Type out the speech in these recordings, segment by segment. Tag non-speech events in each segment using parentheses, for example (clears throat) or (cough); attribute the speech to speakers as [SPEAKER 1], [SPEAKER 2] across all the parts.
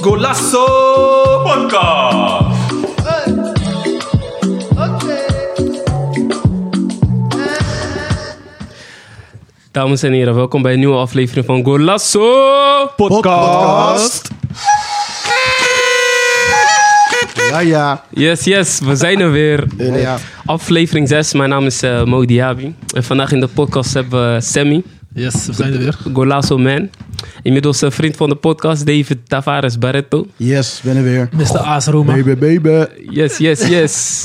[SPEAKER 1] Golasso Podcast.
[SPEAKER 2] Dames en heren, welkom bij een nieuwe aflevering van Golasso!
[SPEAKER 3] Podcast. Ja, ja.
[SPEAKER 2] Yes, yes, we zijn er weer. Eh,
[SPEAKER 3] ja, ja.
[SPEAKER 2] Aflevering 6, mijn naam is eh Mo Diaby. En vandaag in de podcast hebben we Sammy,
[SPEAKER 4] Yes, we zijn er weer.
[SPEAKER 2] Golasso Man. Inmiddels een vriend van de podcast, David Tavares Barreto.
[SPEAKER 3] Yes, ben er weer.
[SPEAKER 4] Mr. Aas Roma.
[SPEAKER 3] Baby, baby.
[SPEAKER 2] Yes, yes, yes.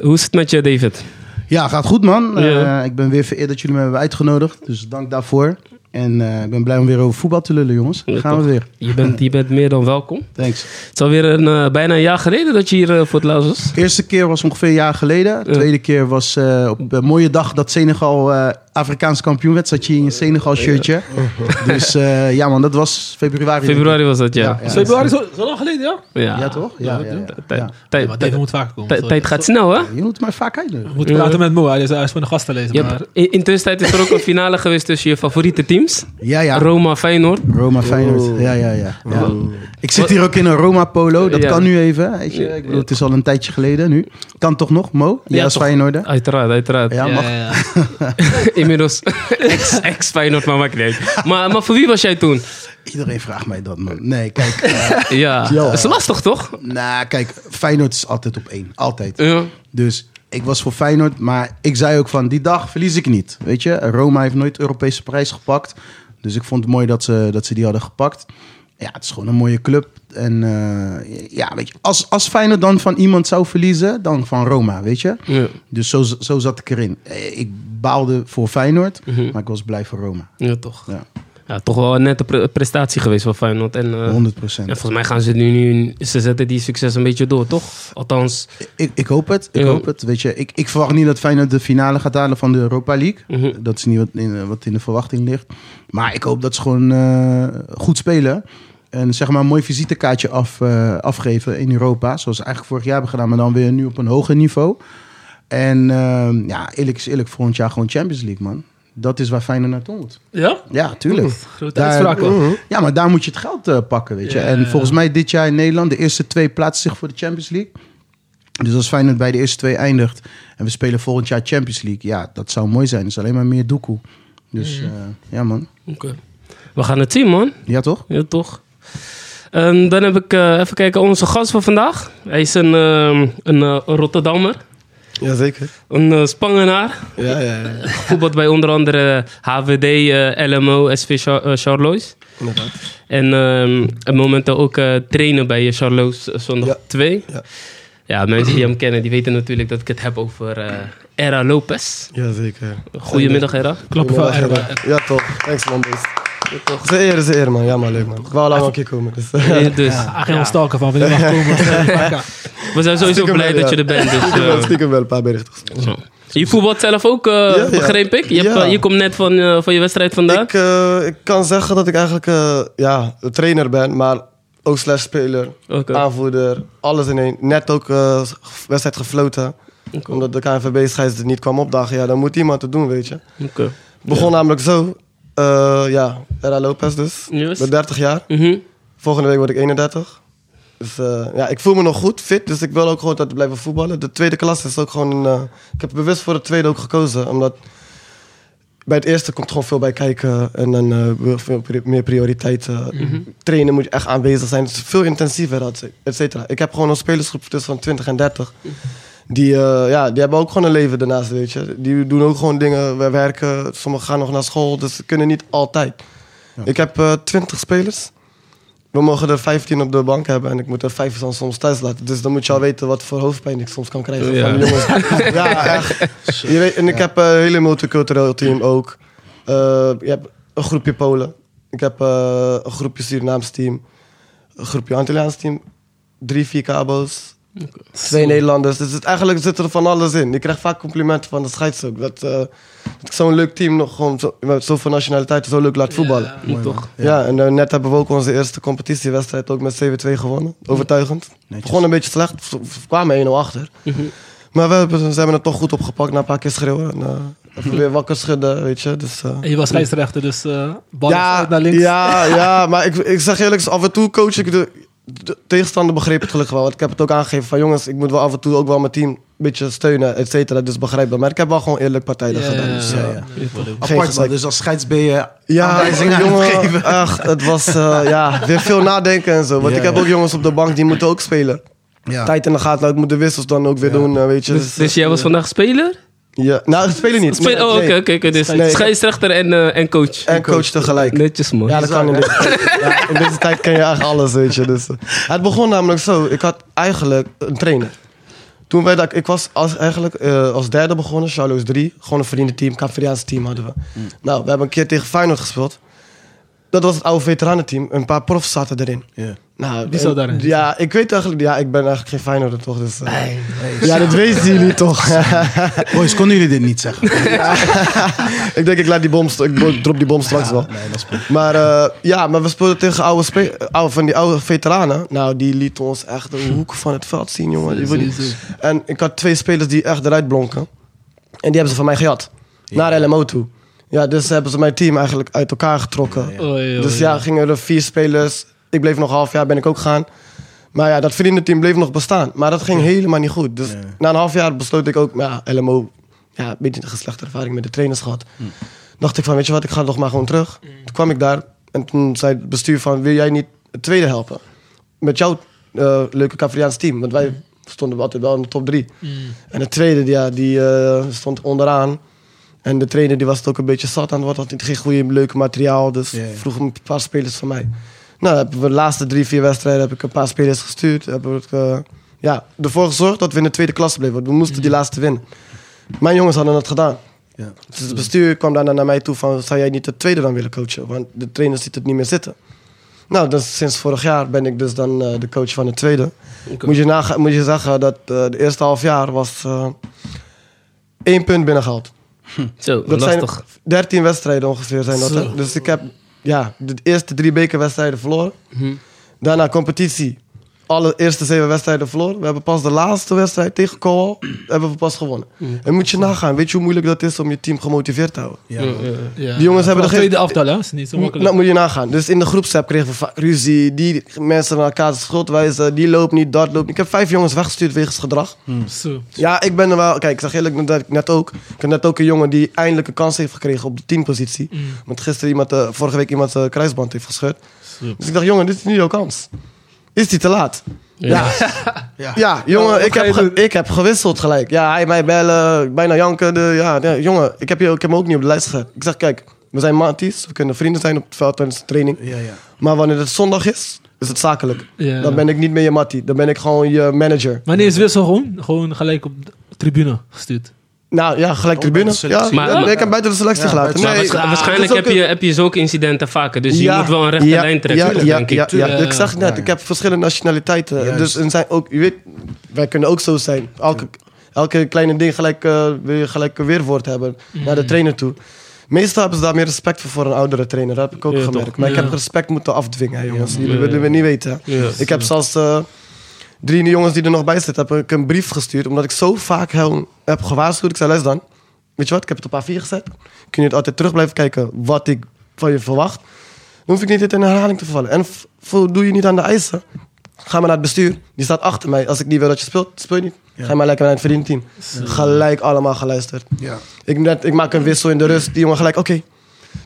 [SPEAKER 2] Hoe is het met je, David?
[SPEAKER 3] Ja, gaat goed man.
[SPEAKER 2] Ja.
[SPEAKER 3] Eh, ik ben weer vereerd dat jullie me hebben uitgenodigd. Dus dank daarvoor. En eh, ik ben blij om weer over voetbal te lullen, jongens.
[SPEAKER 2] Ja,
[SPEAKER 3] Gaan we
[SPEAKER 2] toch.
[SPEAKER 3] weer.
[SPEAKER 2] Je bent, je bent meer dan welkom.
[SPEAKER 3] Thanks.
[SPEAKER 2] Het is alweer een, eh, bijna een jaar geleden dat je hier eh, voor het laatst was.
[SPEAKER 3] Eerste keer was ongeveer een jaar geleden. Tweede keer was eh, op een mooie dag dat Senegal eh, Afrikaans kampioen werd. Zat je in een Senegal shirtje. Dus eh, ja man, dat was februari.
[SPEAKER 2] Februari was dat, ja.
[SPEAKER 3] Ja, ja.
[SPEAKER 4] Februari is al zo lang geleden, ja?
[SPEAKER 3] Ja toch? Ja, ja, ja.
[SPEAKER 2] Tijd-
[SPEAKER 3] Ja.
[SPEAKER 2] tijd-
[SPEAKER 4] maar David moet eh, vaker komen.
[SPEAKER 2] tijd-
[SPEAKER 4] sorry.
[SPEAKER 2] Tijd gaat snel, hè?
[SPEAKER 3] Je moet mij vaak uitnodigen.
[SPEAKER 4] We moeten praten met Moa, hij is, hij is van de gasten lezen.
[SPEAKER 2] Je
[SPEAKER 4] Maar
[SPEAKER 2] hebt- in, in tussentijd is er ook een finale geweest tussen je favoriete teams.
[SPEAKER 3] Ja, ja.
[SPEAKER 2] Roma Feyenoord.
[SPEAKER 3] Roma Feyenoord. Ja, ja, ja. ja. Ik zit hier ook in een Roma polo. Dat
[SPEAKER 2] Ja.
[SPEAKER 3] kan nu even. Weet je. Ik eh, bedoel, het is al een tijdje geleden nu. Kan toch nog, Mo? Ja,
[SPEAKER 2] Ja,
[SPEAKER 3] als
[SPEAKER 2] toch.
[SPEAKER 3] Feyenoorder.
[SPEAKER 2] Uiteraard, uiteraard.
[SPEAKER 3] Ja,
[SPEAKER 4] ja,
[SPEAKER 3] mag.
[SPEAKER 4] ja, ja.
[SPEAKER 2] (laughs) Inmiddels ex- ex-Feyenoord, maar maakt niet uit. Maar, maar voor wie was jij toen?
[SPEAKER 3] Iedereen vraagt mij dat, man. Nee, kijk. eh, (laughs)
[SPEAKER 2] Ja,
[SPEAKER 3] Ja.
[SPEAKER 2] dat is lastig toch?
[SPEAKER 3] nou, kijk. Feyenoord is altijd op één. Altijd.
[SPEAKER 2] Ja.
[SPEAKER 3] Dus ik was voor Feyenoord. Maar ik zei ook van, die dag verlies ik niet. Weet je, Roma heeft nooit Europese prijs gepakt. Dus ik vond het mooi dat ze, dat ze die hadden gepakt. Ja, het is gewoon een mooie club. En eh, ja, weet je, als, als Feyenoord dan van iemand zou verliezen, dan van Roma, weet je.
[SPEAKER 2] Ja.
[SPEAKER 3] Dus zo, zo zat ik erin. Eh, Ik baalde voor Feyenoord, maar ik was blij voor Roma.
[SPEAKER 2] ja, toch.
[SPEAKER 3] Ja,
[SPEAKER 2] Ja, toch wel een nette pre- prestatie geweest van Feyenoord. En, eh,
[SPEAKER 3] 100
[SPEAKER 2] en volgens mij gaan ze nu, nu, ze zetten die succes een beetje door, toch? Althans,
[SPEAKER 3] Ik, ik hoop het, ik
[SPEAKER 2] Ja.
[SPEAKER 3] hoop het. Weet je, ik, ik verwacht niet dat Feyenoord de finale gaat halen van de Europa League.
[SPEAKER 2] Mhm.
[SPEAKER 3] Dat is niet wat in, eh, wat in de verwachting ligt. Maar ik hoop dat ze gewoon eh, goed spelen. En zeg maar een mooi visitekaartje af, eh, afgeven in Europa. Zoals ze eigenlijk vorig jaar hebben gedaan, maar dan weer nu op een hoger niveau. En eh, ja, eerlijk is eerlijk, volgend jaar gewoon Champions League, man. Dat is waar Feyenoord naartoe moet.
[SPEAKER 4] ja?
[SPEAKER 3] Ja, tuurlijk.
[SPEAKER 4] Grote
[SPEAKER 3] Daar-
[SPEAKER 4] uitspraak hoor.
[SPEAKER 3] Ja, maar daar moet je het geld eh, pakken, weet je.
[SPEAKER 4] Ja,
[SPEAKER 3] en
[SPEAKER 4] ja.
[SPEAKER 3] volgens mij dit jaar in Nederland, de eerste twee plaatsen zich voor de Champions League. Dus als Feyenoord bij de eerste twee eindigt en we spelen volgend jaar Champions League, ja, dat zou mooi zijn. Dat is alleen maar meer doekoe. Dus
[SPEAKER 4] Mhm.
[SPEAKER 3] eh, ja, man.
[SPEAKER 2] oké. we gaan het zien, man.
[SPEAKER 3] Ja, toch?
[SPEAKER 2] Ja, toch. En dan heb ik eh, even kijken onze gast van vandaag. Hij is een, ehm, een eh, Rotterdammer,
[SPEAKER 5] Jazeker.
[SPEAKER 2] een eh, Spangenaar.
[SPEAKER 5] Ja, ja, ja.
[SPEAKER 2] Voetbalt bij onder andere HVD, eh, LMO, SV Char- eh, Charlois.
[SPEAKER 5] Inderdaad.
[SPEAKER 2] En ehm, en momenteel ook eh, trainen bij eh, Charloes eh, zondag
[SPEAKER 5] Ja.
[SPEAKER 2] 2. Ja.
[SPEAKER 5] Ja.
[SPEAKER 2] mensen die hem kennen, die weten natuurlijk dat ik het heb over eh Era Lopez.
[SPEAKER 5] Jazeker.
[SPEAKER 2] Goedemiddag, Era.
[SPEAKER 4] Klappen van
[SPEAKER 5] Goedemiddag,
[SPEAKER 4] Erba.
[SPEAKER 5] Erwin. Ja, toch. Thanks, man. boys. Het is een eer, het is een eer, man. Ja, maar leuk, man. Ik wou al lang een keer komen, dus... (laughs)
[SPEAKER 2] Eh, Dus,
[SPEAKER 4] Hij ging ons stalken van wanneer mag ik
[SPEAKER 2] (laughs)
[SPEAKER 4] komen.
[SPEAKER 2] we zijn sowieso
[SPEAKER 5] Stiekem
[SPEAKER 2] blij
[SPEAKER 5] wel,
[SPEAKER 2] dat je
[SPEAKER 5] ja.
[SPEAKER 2] er bent. Dus,
[SPEAKER 5] Ik
[SPEAKER 2] eh,
[SPEAKER 5] heb stiekem wel een paar berichten gestuurd.
[SPEAKER 2] zo. je voetbalt zelf ook, eh,
[SPEAKER 5] ja.
[SPEAKER 2] begreep ik. Je, hebt,
[SPEAKER 5] Ja.
[SPEAKER 2] eh, je komt net van, eh, van je wedstrijd vandaag.
[SPEAKER 5] Ik, eh, ik kan zeggen dat ik eigenlijk eh, ja, een trainer ben, maar ook slash speler,
[SPEAKER 2] Oké.
[SPEAKER 5] Ah. aanvoerder, alles in één. Net ook eh, wedstrijd gefloten, omdat de KNVB scheids er niet kwam opdagen. Ja, dan moet iemand het doen, weet je.
[SPEAKER 2] Oké.
[SPEAKER 5] Begon namelijk zo. Eh, ja, Era Lopez dus.
[SPEAKER 2] Yes.
[SPEAKER 5] Ik ben 30 jaar.
[SPEAKER 2] Mhm.
[SPEAKER 5] Volgende week word ik 31. Dus eh, ja, ik voel me nog goed, fit. Dus ik wil ook gewoon dat blijven voetballen. De tweede klas is ook gewoon... eh, ik heb bewust voor de tweede ook gekozen. Omdat bij het eerste komt gewoon veel bij kijken. En dan eh, wel veel pri- meer prioriteiten. Trainen moet je echt aanwezig zijn. Het is veel intensiever, et cetera. Ik heb gewoon een spelersgroep tussen van 20 en 30. Die, eh, ja, die hebben ook gewoon een leven daarnaast, weet je. Die doen ook gewoon dingen. We werken, sommigen gaan nog naar school. Dus ze kunnen niet altijd. Ik heb eh 20 spelers. We mogen er 15 op de bank hebben en ik moet er 5 dan soms thuis laten. Dus dan moet je al weten wat voor hoofdpijn ik soms kan krijgen
[SPEAKER 2] Ja.
[SPEAKER 5] van de jongens. ja, echt. Je weet, en ik heb eh, een hele multicultureel team ook. Eh, je hebt een groepje Polen. Ik heb eh, een groepje Surinaams team. Een groepje Antilliaans team. Drie, vier Cabo's. Twee Nederlanders. Dus het, eigenlijk zit er van alles in. Ik krijg vaak complimenten van de scheids ook. Dat, eh, dat ik zo'n leuk team nog gewoon zo, met zoveel nationaliteiten zo leuk laat voetballen.
[SPEAKER 2] Moet toch.
[SPEAKER 5] Ja, en eh, net hebben we ook onze eerste competitiewedstrijd ook met 7-2 gewonnen. Overtuigend.
[SPEAKER 3] Netjes.
[SPEAKER 5] Gewoon een beetje slecht. We kwamen 1-0 achter. Maar we, hebben, ze hebben het toch goed opgepakt na een paar keer schreeuwen. En, eh, even weer wakker schudden, weet je. Dus, eh,
[SPEAKER 4] En je
[SPEAKER 2] Mhm.
[SPEAKER 4] was scheidsrechter, dus eh bal
[SPEAKER 5] ja,
[SPEAKER 4] uit naar links.
[SPEAKER 5] Ja, ja maar ik, ik zeg eerlijk, af en toe coach ik de, de tegenstander begreep het gelukkig wel. Want ik heb het ook aangegeven van jongens, ik moet wel af en toe ook wel mijn team een beetje steunen, et cetera. Dus begrijp dat. Maar ik heb wel gewoon eerlijk partijdig
[SPEAKER 4] Ja, ja,
[SPEAKER 5] gedaan. Dus, eh,
[SPEAKER 4] ja,
[SPEAKER 3] ja.
[SPEAKER 4] ja.
[SPEAKER 5] Geen
[SPEAKER 3] Apart man,
[SPEAKER 5] gezeik.
[SPEAKER 3] dus als scheids ben je...
[SPEAKER 5] ja,
[SPEAKER 3] Aanwijzingen aan het
[SPEAKER 5] jongen,
[SPEAKER 3] geven.
[SPEAKER 5] echt, het was eh, ja, weer veel nadenken en zo. Want
[SPEAKER 3] Ja,
[SPEAKER 5] ik heb
[SPEAKER 3] ja.
[SPEAKER 5] ook jongens op de bank die moeten ook spelen.
[SPEAKER 3] Ja.
[SPEAKER 5] Tijd in de gaten houden, ik moet de wissels dan ook weer
[SPEAKER 3] Ja.
[SPEAKER 5] doen, eh, weet je.
[SPEAKER 2] Dus,
[SPEAKER 5] Dus,
[SPEAKER 2] dus jij was vandaag speler?
[SPEAKER 5] ja. Nou, spelen niet.
[SPEAKER 2] Speel- oh,
[SPEAKER 5] Nee.
[SPEAKER 2] oké, oké. oké, dus
[SPEAKER 5] Nee.
[SPEAKER 2] scheidsrechter en, eh, en coach.
[SPEAKER 5] En coach tegelijk.
[SPEAKER 2] Netjes, man.
[SPEAKER 5] Ja, dat kan in deze, ja, in deze tijd kan je eigenlijk alles, weet je. Dus, eh, het begon namelijk zo. Ik had eigenlijk een trainer. Toen wij dat, ik was als, eigenlijk eh, als derde begonnen, Charlo's 3. Gewoon een vriendenteam, Caveriaanse team hadden we. Nou, we hebben een keer tegen Feyenoord gespeeld. Dat was het oude veteranenteam. Een paar profs zaten erin.
[SPEAKER 3] Ja.
[SPEAKER 5] Nou,
[SPEAKER 4] Die zat
[SPEAKER 5] en-
[SPEAKER 4] daarin.
[SPEAKER 5] Ja, ik weet eigenlijk... Ja, ik ben eigenlijk geen Feyenoorder, toch? Dus, eh, ja, dat weten jullie
[SPEAKER 4] (laughs)
[SPEAKER 5] toch. (laughs)
[SPEAKER 3] Boys, konden jullie dit niet zeggen?
[SPEAKER 5] ik denk, ik laat die bom... st- Ik drop die bom straks wel.
[SPEAKER 3] (laughs) Nee, dat is goed.
[SPEAKER 5] Maar eh, ja, maar we speelden tegen oude, spe- eh, oude- van die oude veteranen. Nou, die lieten ons echt de hoek van het veld zien, jongen. Die- die- En ik had twee spelers die echt eruit blonken. En die hebben ze van mij gejat. Naar LMO toe. Ja, dus hebben ze mijn team eigenlijk uit elkaar getrokken.
[SPEAKER 4] Oei, oei,
[SPEAKER 5] Dus ja, gingen er vier spelers. Ik bleef nog een half jaar, ben ik ook gaan. Maar ja, dat vriendenteam bleef nog bestaan. Maar dat ging helemaal niet goed. Dus
[SPEAKER 3] Ja.
[SPEAKER 5] na een half jaar besloot ik ook, ja, LMO, ja, een beetje een geslechte ervaring met de trainers gehad. Dacht ik van, weet je wat, ik ga nog maar gewoon terug. Toen kwam ik daar en toen zei het bestuur van, wil jij niet het tweede helpen? Met jouw eh, leuke Cavriaans team. Want wij stonden altijd wel in de top drie.
[SPEAKER 4] Mm.
[SPEAKER 5] En de tweede, die, ja, die eh, stond onderaan. En de trainer die was het ook een beetje zat aan het worden. Had niet geen goede, leuke materiaal. Dus
[SPEAKER 3] Ja, ja.
[SPEAKER 5] vroeg een paar spelers van mij. Nou, hebben we de laatste drie, vier wedstrijden heb ik een paar spelers gestuurd. Hebben we het, eh, ja, ervoor gezorgd dat we in de tweede klasse bleven. Want we moesten die laatste winnen. Mijn jongens hadden het gedaan.
[SPEAKER 3] Ja.
[SPEAKER 5] Dus het bestuur kwam daarna naar mij toe van... zou jij niet de tweede dan willen coachen? Want de trainer ziet het niet meer zitten. Nou, dus sinds vorig jaar ben ik dus dan eh, de coach van de tweede.
[SPEAKER 2] Oké.
[SPEAKER 5] Moet, je naga- moet je zeggen dat eh, de eerste half jaar was eh, één punt binnengehaald.
[SPEAKER 2] Zo,
[SPEAKER 5] Dat zijn
[SPEAKER 2] lastig.
[SPEAKER 5] 13 wedstrijden ongeveer zijn dat. hè.
[SPEAKER 4] Zo.
[SPEAKER 5] Dus ik heb ja, de eerste drie bekerwedstrijden verloren.
[SPEAKER 2] Mhm.
[SPEAKER 5] Daarna competitie. Alle eerste zeven wedstrijden verloren. We hebben pas de laatste wedstrijd tegen Koal hebben we pas gewonnen. En moet je nagaan, weet je hoe moeilijk dat is om je team gemotiveerd te houden?
[SPEAKER 3] Ja,
[SPEAKER 2] Ja,
[SPEAKER 3] man.
[SPEAKER 2] ja.
[SPEAKER 4] Ja.
[SPEAKER 5] Die jongens hebben
[SPEAKER 4] Vooral
[SPEAKER 5] er geen-
[SPEAKER 4] tweede aftal, hè? Is niet zo
[SPEAKER 5] Dat
[SPEAKER 4] makkelijk.
[SPEAKER 5] moet je nagaan. Dus in de groepsapp kregen we vaak ruzie. Die mensen naar elkaar de schuld wijzen. Die loopt niet, dat loopt niet. Ik heb vijf jongens weggestuurd wegens gedrag.
[SPEAKER 4] Zo.
[SPEAKER 5] Ja, ik ben er wel... Kijk, ik zeg eerlijk net, net ook. Ik heb net ook een jongen die eindelijk een kans heeft gekregen op de teampositie.
[SPEAKER 4] Mm.
[SPEAKER 5] Want gisteren iemand, eh, vorige week iemand zijn kruisband heeft gescheurd.
[SPEAKER 4] Zo.
[SPEAKER 5] Dus ik dacht, jongen, dit is nu jouw kans. Is die te laat? Ja, ja.
[SPEAKER 3] Ja. Oh,
[SPEAKER 5] jongen,
[SPEAKER 4] Wat
[SPEAKER 5] ik,
[SPEAKER 4] ga
[SPEAKER 5] heb
[SPEAKER 4] je
[SPEAKER 5] ge-
[SPEAKER 4] doen?
[SPEAKER 5] ik heb gewisseld gelijk. Ja, hij mij bellen, bijna janken. De, ja, ja, jongen, ik heb, je, ik heb hem ook niet op de lijst gezet. Ik zeg, kijk, we zijn maties. We kunnen vrienden zijn op het veld tijdens de training.
[SPEAKER 3] Ja, ja.
[SPEAKER 5] Maar wanneer het zondag is, is het zakelijk.
[SPEAKER 4] Ja.
[SPEAKER 5] Dan ben ik niet meer je mattie. Dan ben ik gewoon je manager.
[SPEAKER 4] Wanneer is Wissel gewoon? Gewoon gelijk op de tribune gestuurd.
[SPEAKER 5] Nou ja, gelijk
[SPEAKER 3] Oh, bij
[SPEAKER 5] tribune.
[SPEAKER 3] de
[SPEAKER 5] Ja,
[SPEAKER 3] selectie.
[SPEAKER 2] Maar-
[SPEAKER 5] ja,
[SPEAKER 2] maar-
[SPEAKER 5] ik heb buiten de selectie
[SPEAKER 3] Ja,
[SPEAKER 5] gelaten.
[SPEAKER 3] buiten-
[SPEAKER 2] Maar
[SPEAKER 5] Nee,
[SPEAKER 2] waarsch-
[SPEAKER 5] ja,
[SPEAKER 2] waarschijnlijk
[SPEAKER 5] dat is ook
[SPEAKER 2] heb je,
[SPEAKER 5] een-
[SPEAKER 2] heb je zulke incidenten vaker. Dus
[SPEAKER 5] Ja,
[SPEAKER 2] je moet wel een rechte
[SPEAKER 5] ja,
[SPEAKER 2] lijn trekken,
[SPEAKER 5] Ja, ja,
[SPEAKER 2] denk ik.
[SPEAKER 5] ja, ja.
[SPEAKER 4] Tuurlijk.
[SPEAKER 5] ik zeg net,
[SPEAKER 3] Ja.
[SPEAKER 5] ik heb verschillende nationaliteiten.
[SPEAKER 3] Juist.
[SPEAKER 5] Dus en zijn ook, je weet, wij kunnen ook zo zijn. Elke, elke kleine ding gelijk, eh, wil je gelijk een weerwoord hebben
[SPEAKER 2] Mhm.
[SPEAKER 5] naar de trainer toe. Meestal hebben ze daar meer respect voor voor een oudere trainer. Dat heb ik ook
[SPEAKER 2] Ja,
[SPEAKER 5] gemerkt.
[SPEAKER 2] toch.
[SPEAKER 5] Maar ik
[SPEAKER 4] Ja.
[SPEAKER 5] heb respect moeten afdwingen, hè, jongens. Jullie
[SPEAKER 2] Ja, ja,
[SPEAKER 5] willen we
[SPEAKER 2] ja.
[SPEAKER 5] niet weten. hè.
[SPEAKER 2] Ja.
[SPEAKER 5] Ik heb zelfs eh, drie jongens die er nog bij zitten, heb ik een brief gestuurd. Omdat ik zo vaak heel- heb gewaarschuwd. Ik zei, les dan. Weet je wat, ik heb het op A4 gezet. Kun je het altijd terug blijven kijken wat ik van je verwacht. Dan hoef ik niet dit in herhaling te vallen. En v- voldoe je niet aan de eisen. Ga maar naar het bestuur. Die staat achter mij. Als ik niet wil dat je speelt, speel je niet.
[SPEAKER 3] Ja.
[SPEAKER 5] Ga maar lekker naar het verdienteam. Gelijk allemaal geluisterd.
[SPEAKER 3] Ja.
[SPEAKER 5] Ik, net, ik maak een wissel in de rust. Die jongen gelijk, oké.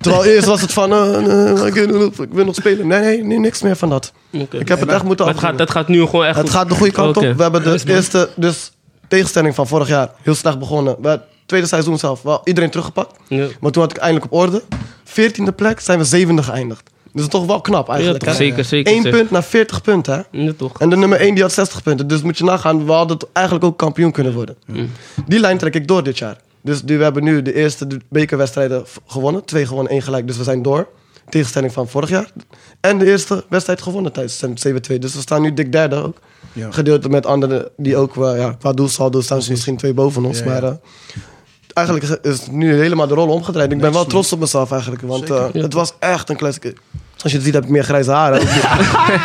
[SPEAKER 5] Terwijl eerst was het van, eh, eh, ik, wil, ik wil nog spelen. Nee, nee, nee, niks meer van dat.
[SPEAKER 2] Oké.
[SPEAKER 5] Ik heb het echt moeten
[SPEAKER 2] Maar het gaat,
[SPEAKER 5] afdwingen.
[SPEAKER 2] dat gaat nu gewoon echt
[SPEAKER 5] Het
[SPEAKER 2] goed.
[SPEAKER 5] gaat de goede kant
[SPEAKER 2] Oké.
[SPEAKER 5] op. We hebben de
[SPEAKER 4] Nice, man.
[SPEAKER 5] eerste, dus tegenstelling van vorig jaar, heel slecht begonnen. We het tweede seizoen zelf, wel iedereen teruggepakt.
[SPEAKER 2] Ja.
[SPEAKER 5] Maar toen had ik eindelijk op orde. Veertiende plek zijn we zevende geëindigd. Dus toch wel knap
[SPEAKER 2] Ja,
[SPEAKER 5] eigenlijk.
[SPEAKER 2] toch,
[SPEAKER 5] hè?
[SPEAKER 2] zeker, zeker.
[SPEAKER 5] Eén
[SPEAKER 2] zeker.
[SPEAKER 5] punt naar 40 punten. Hè?
[SPEAKER 2] Ja, toch.
[SPEAKER 5] En de nummer 1 die had 60 punten. Dus moet je nagaan, we hadden eigenlijk ook kampioen kunnen worden. Die lijn trek ik door dit jaar. Dus die- we hebben nu de eerste de bekerwedstrijden v- gewonnen. Twee gewonnen, één gelijk. Dus we zijn door. Tegenstelling van vorig jaar. En de eerste wedstrijd gewonnen tijdens 7-2. Dus we staan nu dik derde ook.
[SPEAKER 3] Ja.
[SPEAKER 5] Gedeeld met anderen die ook eh, ja, qua doelsaldo staan ze misschien twee boven ons.
[SPEAKER 3] Ja, ja.
[SPEAKER 5] Maar eh, eigenlijk is nu helemaal de rol omgedraaid. Ik ben wel trots op mezelf eigenlijk. Want
[SPEAKER 3] Zeker.
[SPEAKER 5] eh, het was echt een klassieke. Als je het ziet heb ik meer grijze
[SPEAKER 3] (laughs)
[SPEAKER 5] haren. Ik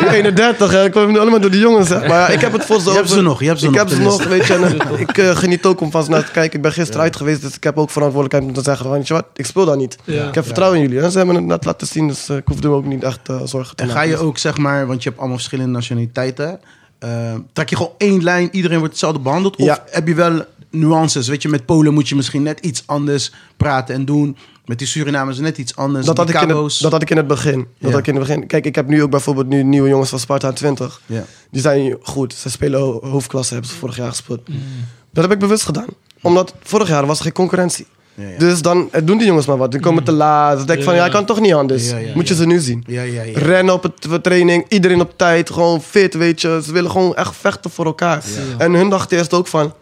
[SPEAKER 5] ben 31, hè. ik kom nu allemaal door die jongens. Hè. Maar ja, ik heb het voor zo.
[SPEAKER 3] Je hebt ze nog, je hebt ze
[SPEAKER 5] ik
[SPEAKER 3] nog
[SPEAKER 5] heb ze
[SPEAKER 3] ten
[SPEAKER 5] nog,
[SPEAKER 3] eerste.
[SPEAKER 5] weet je. en,
[SPEAKER 3] (laughs)
[SPEAKER 5] eh, ik eh, geniet ook om van ze naar te kijken. Ik ben gisteren uit geweest, dus ik heb ook verantwoordelijkheid om te zeggen: van, weet je wat, ik speel daar niet.
[SPEAKER 4] Ja.
[SPEAKER 5] Ik heb vertrouwen in jullie. Hè. Ze hebben het net laten zien, dus eh, ik hoefde me ook niet echt eh, zorgen te
[SPEAKER 3] En ga
[SPEAKER 5] maken.
[SPEAKER 3] je ook, zeg maar, want je hebt allemaal verschillende nationaliteiten. eh, trek je gewoon één lijn, iedereen wordt hetzelfde behandeld? Of
[SPEAKER 5] Ja.
[SPEAKER 3] heb je wel nuances? Weet je, met Polen moet je misschien net iets anders praten en doen. Met die Surinamers net iets anders.
[SPEAKER 5] Dat had,
[SPEAKER 3] die
[SPEAKER 5] ik in
[SPEAKER 3] Cabo's.
[SPEAKER 5] het, dat had ik in het begin. Dat
[SPEAKER 3] Ja.
[SPEAKER 5] had ik in het begin. Kijk, ik heb nu ook bijvoorbeeld nu nieuwe jongens van Sparta 20.
[SPEAKER 3] Ja.
[SPEAKER 5] Die zijn goed. Ze spelen ho- hoofdklasse, hebben ze vorig jaar gespeeld.
[SPEAKER 3] Mm.
[SPEAKER 5] Dat heb ik bewust gedaan. Omdat vorig jaar was er geen concurrentie.
[SPEAKER 3] Ja, ja.
[SPEAKER 5] Dus dan eh, doen die jongens maar wat. Die komen te laat. Ze denken van,
[SPEAKER 4] Ja.
[SPEAKER 5] ja, ik kan toch niet anders.
[SPEAKER 3] Ja, ja,
[SPEAKER 5] Moet je
[SPEAKER 3] ja.
[SPEAKER 5] ze nu zien.
[SPEAKER 3] ja, ja, ja.
[SPEAKER 5] Rennen op het op training, iedereen op tijd, gewoon fit, weet je. Ze willen gewoon echt vechten voor elkaar.
[SPEAKER 4] Ja.
[SPEAKER 5] En hun dachten eerst ook van...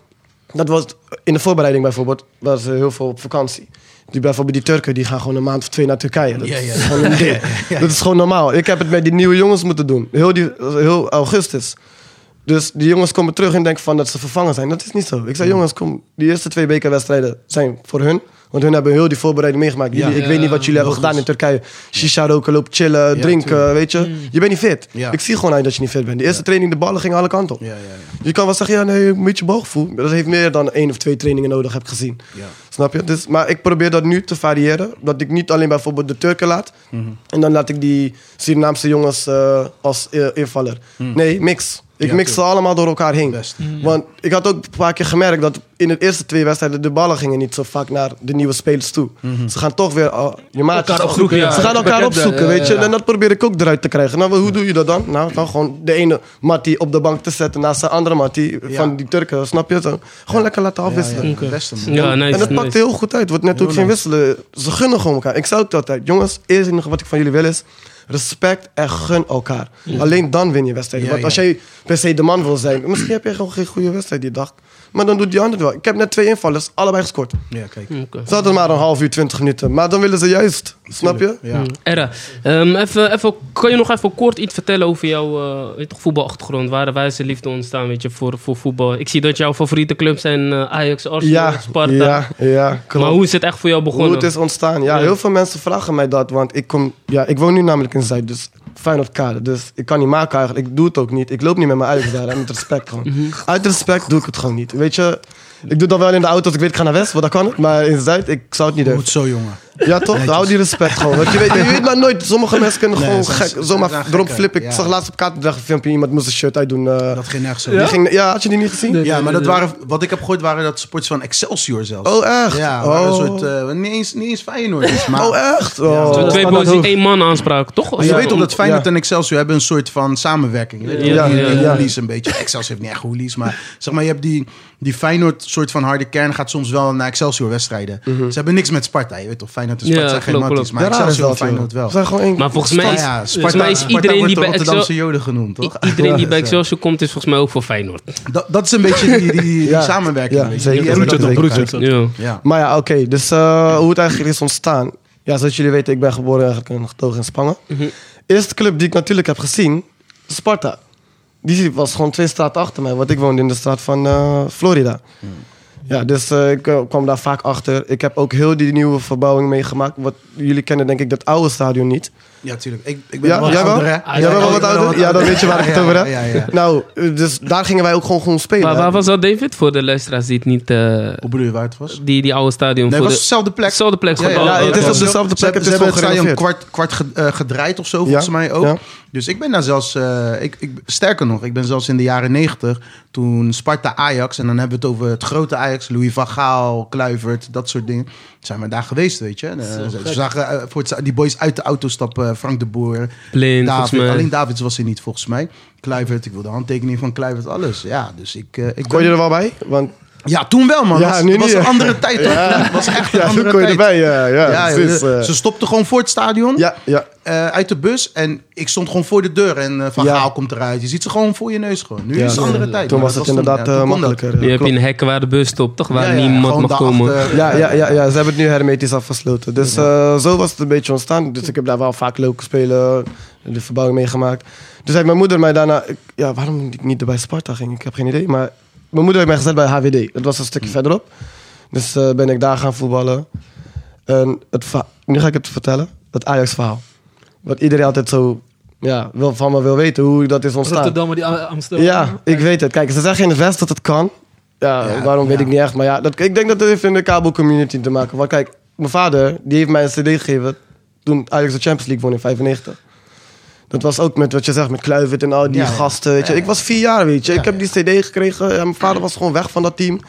[SPEAKER 5] Dat was in de voorbereiding bijvoorbeeld, waren ze heel veel op vakantie. Die bijvoorbeeld die Turken, die gaan gewoon een maand of twee naar Turkije. Dat,
[SPEAKER 3] Ja, ja.
[SPEAKER 5] Is,
[SPEAKER 3] (laughs)
[SPEAKER 5] gewoon een ding. dat is gewoon normaal. Ik heb het met die nieuwe jongens moeten doen. Heel, die, heel augustus. Dus die jongens komen terug en denken van dat ze vervangen zijn. Dat is niet zo. Ik zei, jongens, kom, die eerste twee bekerwedstrijden zijn voor hun. Want hun hebben heel die voorbereiding meegemaakt. Jullie-
[SPEAKER 3] Ja.
[SPEAKER 5] ik weet niet wat jullie hebben
[SPEAKER 3] Logisch.
[SPEAKER 5] gedaan in Turkije. Shisha roken, lopen chillen,
[SPEAKER 3] Ja,
[SPEAKER 5] drinken, weet je.
[SPEAKER 4] Mm.
[SPEAKER 5] Je bent niet fit.
[SPEAKER 3] Ja.
[SPEAKER 5] Ik zie gewoon aan je dat je niet fit bent. De eerste training, de ballen gingen alle kanten op.
[SPEAKER 3] Ja, ja, ja.
[SPEAKER 5] Je kan wel zeggen, ja, nee, een beetje balgevoel. Maar Dat heeft meer dan één of twee trainingen nodig, heb ik gezien.
[SPEAKER 3] Ja.
[SPEAKER 5] Snap je? Dus, maar ik probeer dat nu te variëren. Dat ik niet alleen bijvoorbeeld de Turken laat.
[SPEAKER 3] Mhm.
[SPEAKER 5] En dan laat ik die Surinaamse jongens eh, als eh, invaller. Nee, mix. Ik
[SPEAKER 3] Mhm. Ja,
[SPEAKER 5] mix ze allemaal door elkaar heen.
[SPEAKER 3] Best.
[SPEAKER 4] Mhm.
[SPEAKER 5] Want ik had ook een paar keer gemerkt dat in de eerste twee wedstrijden de ballen gingen niet zo vaak naar de nieuwe spelers toe.
[SPEAKER 3] Mhm.
[SPEAKER 5] Ze gaan toch weer eh, je maatjes
[SPEAKER 4] Elkaar opzoeken, ja.
[SPEAKER 5] Ze gaan elkaar
[SPEAKER 4] Bekende,
[SPEAKER 5] opzoeken,
[SPEAKER 4] ja,
[SPEAKER 5] weet je.
[SPEAKER 4] ja.
[SPEAKER 5] En dat probeer ik ook eruit te krijgen. Nou, hoe doe je dat dan? Nou, dan gewoon de ene Mattie op de bank te zetten naast de andere Mattie van die Turken, snap je? Zo, Gewoon lekker laten afwisselen.
[SPEAKER 3] Ja, ja. Beste, man.
[SPEAKER 2] Ja, nice.
[SPEAKER 5] en dat
[SPEAKER 2] nice.
[SPEAKER 5] pakt heel goed uit. Wordt natuurlijk geen wisselen. Ze gunnen gewoon elkaar. Ik zou het altijd. Jongens, eerst nog wat ik van jullie wil is... Respect en gun elkaar. Alleen dan win je wedstrijden.
[SPEAKER 3] Ja,
[SPEAKER 5] Want als
[SPEAKER 3] ja.
[SPEAKER 5] jij per se de man wil zijn... Misschien heb je gewoon geen goede wedstrijd die dag. Maar dan doet die ander het wel. Ik heb net twee invallers, allebei gescoord.
[SPEAKER 3] Ja, kijk.
[SPEAKER 2] Oké.
[SPEAKER 5] Ze hadden maar een half uur, twintig minuten. Maar dan willen ze juist. Snap je? Mm.
[SPEAKER 3] Ja.
[SPEAKER 2] Era, Hmm. ehm, even, even, kan je nog even kort iets vertellen over jouw eh, weet toch, voetbalachtergrond? Waar, waar is de liefde ontstaan weet je, voor, voor voetbal? Ik zie dat jouw favoriete clubs zijn eh, Ajax, Arsenal,
[SPEAKER 5] Ja,
[SPEAKER 2] Sparta.
[SPEAKER 5] ja, ja,
[SPEAKER 2] maar
[SPEAKER 5] klopt.
[SPEAKER 2] hoe is het echt voor jou begonnen?
[SPEAKER 5] Hoe het is ontstaan. Ja,
[SPEAKER 2] Ja.
[SPEAKER 5] heel veel mensen vragen mij dat. Want ik, kom, ja, ik woon nu namelijk in Zuid, dus fijn op kade. Dus ik kan niet maken eigenlijk. Ik doe het ook niet. Ik loop niet met mijn Ajax daar. En met respect gewoon.
[SPEAKER 2] Mhm.
[SPEAKER 5] Uit respect doe ik het gewoon niet. Weet je, ik doe dat wel in de auto als ik weet ik ga naar West, want dan kan het. Maar in Zuid, ik zou het niet durven.
[SPEAKER 3] Goed zo, jongen.
[SPEAKER 5] Ja, toch? Hou die respect gewoon. Want je weet, je weet maar nooit. Sommige mensen
[SPEAKER 3] (laughs)
[SPEAKER 5] kunnen
[SPEAKER 3] Nee,
[SPEAKER 5] gewoon
[SPEAKER 3] soms-
[SPEAKER 5] gek,
[SPEAKER 3] soms
[SPEAKER 5] zomaar
[SPEAKER 3] zijn ze
[SPEAKER 5] erop
[SPEAKER 3] gekken,
[SPEAKER 5] flippen. Ik
[SPEAKER 3] ja.
[SPEAKER 5] zag laatst op kaartendag een filmpje. Iemand moest zijn shirt uitdoen. eh.
[SPEAKER 3] Dat ging nergens
[SPEAKER 5] die
[SPEAKER 3] over.
[SPEAKER 5] ging, ja, had je die niet gezien?
[SPEAKER 4] Nee.
[SPEAKER 3] Ja, maar dat waren, wat ik heb gehoord waren dat sports van Excelsior zelfs.
[SPEAKER 5] Oh, echt?
[SPEAKER 3] Ja,
[SPEAKER 5] oh.
[SPEAKER 3] waren een soort, eh, niet, eens, niet eens Feyenoord. Maar,
[SPEAKER 5] oh, echt? Oh.
[SPEAKER 2] Zo
[SPEAKER 5] Dat
[SPEAKER 2] twee
[SPEAKER 5] gaat
[SPEAKER 2] boys die
[SPEAKER 5] hoog.
[SPEAKER 2] één man aanspraken, toch?
[SPEAKER 3] Maar je weet toch dat Feyenoord
[SPEAKER 5] Ja.
[SPEAKER 3] en Excelsior hebben een soort van samenwerking. Je weet
[SPEAKER 2] Ja,
[SPEAKER 3] toch, die-
[SPEAKER 2] ja,
[SPEAKER 3] die
[SPEAKER 5] ja.
[SPEAKER 3] hoolies een beetje. Excelsior heeft niet echt hoolies, maar zeg maar, je hebt die, die Feyenoord soort van harde kern gaat soms wel naar Excelsior wedstrijden. Ze hebben niks met Sparta. Je weet toch, Feyenoord en Sparta
[SPEAKER 2] Ja,
[SPEAKER 3] zijn geen
[SPEAKER 2] klopt,
[SPEAKER 3] matties,
[SPEAKER 2] klopt.
[SPEAKER 3] maar
[SPEAKER 5] Mhm. Ja, raar is
[SPEAKER 3] Excelsior en
[SPEAKER 5] dat, joh.
[SPEAKER 3] Feyenoord wel.
[SPEAKER 5] Ze zijn gewoon één.
[SPEAKER 2] Maar volgens mij
[SPEAKER 3] Ja,
[SPEAKER 2] is,
[SPEAKER 3] ja,
[SPEAKER 2] volgens mij is
[SPEAKER 3] Sparta
[SPEAKER 2] iedereen
[SPEAKER 3] wordt
[SPEAKER 2] die
[SPEAKER 3] de
[SPEAKER 2] bij
[SPEAKER 3] Rotterdamse
[SPEAKER 2] Excelsior...
[SPEAKER 3] Joden genoemd, toch?
[SPEAKER 2] Iedereen die bij
[SPEAKER 3] (laughs) Ja,
[SPEAKER 2] Excelsior komt is volgens mij ook voor Feyenoord.
[SPEAKER 3] Dat, dat is een beetje die, die, die
[SPEAKER 5] (laughs) Ja.
[SPEAKER 3] samenwerking.
[SPEAKER 5] Ja,
[SPEAKER 3] weet je.
[SPEAKER 5] zeker.
[SPEAKER 3] Die hebben
[SPEAKER 5] Broertje
[SPEAKER 3] dat
[SPEAKER 5] toch,
[SPEAKER 3] met
[SPEAKER 4] broertje.
[SPEAKER 3] elkaar.
[SPEAKER 2] Ja.
[SPEAKER 3] Ja.
[SPEAKER 5] Maar ja, oké. Dus eh, hoe het eigenlijk is ontstaan. Ja, zoals jullie weten, ik ben geboren eigenlijk en getogen in Spangen. Eerste club die ik natuurlijk heb gezien, Sparta. Die was gewoon twee straten achter mij, want ik woonde in de straat van eh, Florida. Ja, dus eh, ik eh, kwam daar vaak achter. Ik heb ook heel die nieuwe verbouwing meegemaakt. Wat jullie kennen denk ik dat oude stadion niet.
[SPEAKER 3] Ja, tuurlijk. Ik, ik ben
[SPEAKER 5] Ah, Ja,
[SPEAKER 3] wel
[SPEAKER 5] jij wel?
[SPEAKER 3] ouder, hè?
[SPEAKER 5] Jij bent wel
[SPEAKER 3] ik
[SPEAKER 5] wat
[SPEAKER 3] ben
[SPEAKER 5] ouder? Ja, dan weet je waar ik het
[SPEAKER 3] Ja,
[SPEAKER 5] over heb.
[SPEAKER 3] Ja, ja, ja.
[SPEAKER 5] Nou, eh, dus daar gingen wij ook gewoon, gewoon spelen.
[SPEAKER 2] Maar waar was dat, David? Voor de luisteraars die het niet... eh,
[SPEAKER 3] Hoe bedoel je waar het was?
[SPEAKER 2] die, die oude stadion...
[SPEAKER 3] Nee,
[SPEAKER 2] voor
[SPEAKER 3] het was
[SPEAKER 2] de-
[SPEAKER 3] dezelfde plek.
[SPEAKER 2] Dezelfde plek.
[SPEAKER 3] Ja, ja,
[SPEAKER 2] gebouwd.
[SPEAKER 5] ja, het is op
[SPEAKER 2] Oké.
[SPEAKER 5] dezelfde plek,
[SPEAKER 3] Ze,
[SPEAKER 5] het
[SPEAKER 3] ze
[SPEAKER 5] is
[SPEAKER 3] hebben het
[SPEAKER 5] gewoon
[SPEAKER 3] stadion
[SPEAKER 5] gerenoveerd.
[SPEAKER 3] kwart, kwart ge- eh, gedraaid of zo, volgens
[SPEAKER 5] Ja,
[SPEAKER 3] mij ook.
[SPEAKER 5] ja.
[SPEAKER 3] Dus ik ben daar zelfs, eh, ik, ik, sterker nog, ik ben zelfs in de jaren negentig toen Sparta Ajax, en dan hebben we het over het grote Ajax, Louis van Gaal, Kluivert, dat soort dingen. Zijn we daar geweest, weet je? En, eh, ze- ze zagen eh, voor het- die boys uit de auto stappen, eh, Frank de Boer,
[SPEAKER 2] Blind, volgens
[SPEAKER 3] David.
[SPEAKER 2] mij.
[SPEAKER 3] Alleen Davids was er niet, volgens mij. Kluivert, ik wil de handtekening van Kluivert, alles. Ja, dus ik, eh, ik
[SPEAKER 5] Kon je
[SPEAKER 3] ben-
[SPEAKER 5] er wel bij? Want
[SPEAKER 3] Ja, toen wel, man.
[SPEAKER 5] Ja,
[SPEAKER 3] was,
[SPEAKER 5] nu
[SPEAKER 3] was
[SPEAKER 5] niet,
[SPEAKER 3] een
[SPEAKER 5] hè?
[SPEAKER 3] andere tijd, hoor. was echt een
[SPEAKER 5] ja,
[SPEAKER 3] andere
[SPEAKER 5] hoe (laughs) kon je
[SPEAKER 3] tijd.
[SPEAKER 5] erbij? Ja, ja,
[SPEAKER 3] Ja,
[SPEAKER 5] precies,
[SPEAKER 3] joh,
[SPEAKER 5] eh.
[SPEAKER 3] ze stopte gewoon voor het stadion.
[SPEAKER 5] ja, ja.
[SPEAKER 3] eh, uit de bus en ik stond gewoon voor de deur en eh, Van
[SPEAKER 5] Ja.
[SPEAKER 3] Gaal komt eruit. Je ziet ze gewoon voor je neus gewoon. Nu
[SPEAKER 5] Ja,
[SPEAKER 3] is het
[SPEAKER 5] toen-
[SPEAKER 3] andere tijd.
[SPEAKER 5] Toen
[SPEAKER 3] maar
[SPEAKER 5] was het
[SPEAKER 3] dat
[SPEAKER 5] inderdaad
[SPEAKER 3] toen- ja,
[SPEAKER 5] eh,
[SPEAKER 3] toen kon dat.
[SPEAKER 5] makkelijker.
[SPEAKER 2] Je
[SPEAKER 5] ja,
[SPEAKER 2] hebt
[SPEAKER 5] klopt.
[SPEAKER 2] een hekken waar de bus stopt, toch? Waar
[SPEAKER 3] Ja, ja,
[SPEAKER 2] niemand
[SPEAKER 3] gewoon
[SPEAKER 2] mag
[SPEAKER 3] daarachter,
[SPEAKER 2] komen.
[SPEAKER 3] eh,
[SPEAKER 5] Ja, ja, ja, ja, ze hebben het nu hermetisch afgesloten. Dus eh, zo was het een beetje ontstaan. Dus ik heb daar wel vaak leuke spelen, eh, de verbouwing meegemaakt. Dus heeft mijn moeder mij daarna... ik- ja, waarom ik niet bij Sparta ging, ik heb geen idee. Maar mijn moeder heeft mij gezet bij HWD. Dat was een stukje verderop. Dus eh, ben ik daar gaan voetballen. En het verha- nu ga ik het vertellen, het Ajax-verhaal. Wat iedereen altijd zo ja, wil, van me wil weten, hoe dat is ontstaan.
[SPEAKER 4] Rotterdam, maar die A- Amsterdam.
[SPEAKER 5] Ja, ik weet het. Kijk, ze zeggen in het West dat het kan. Ja,
[SPEAKER 3] Ja,
[SPEAKER 5] waarom weet
[SPEAKER 3] ja.
[SPEAKER 5] ik niet echt. Maar ja, dat, ik denk dat het heeft in de kabelcommunity te maken. Want kijk, mijn vader, die heeft mij een cd gegeven toen Ajax de Champions League won in 95. Dat was ook met wat je zegt, met Kluivert en al die
[SPEAKER 3] Ja, ja.
[SPEAKER 5] gasten. Weet je. Ik was vier jaar, weet je.
[SPEAKER 3] Ja, Mhm.
[SPEAKER 5] ik heb die cd gekregen. Ja, mijn vader was gewoon weg van dat team.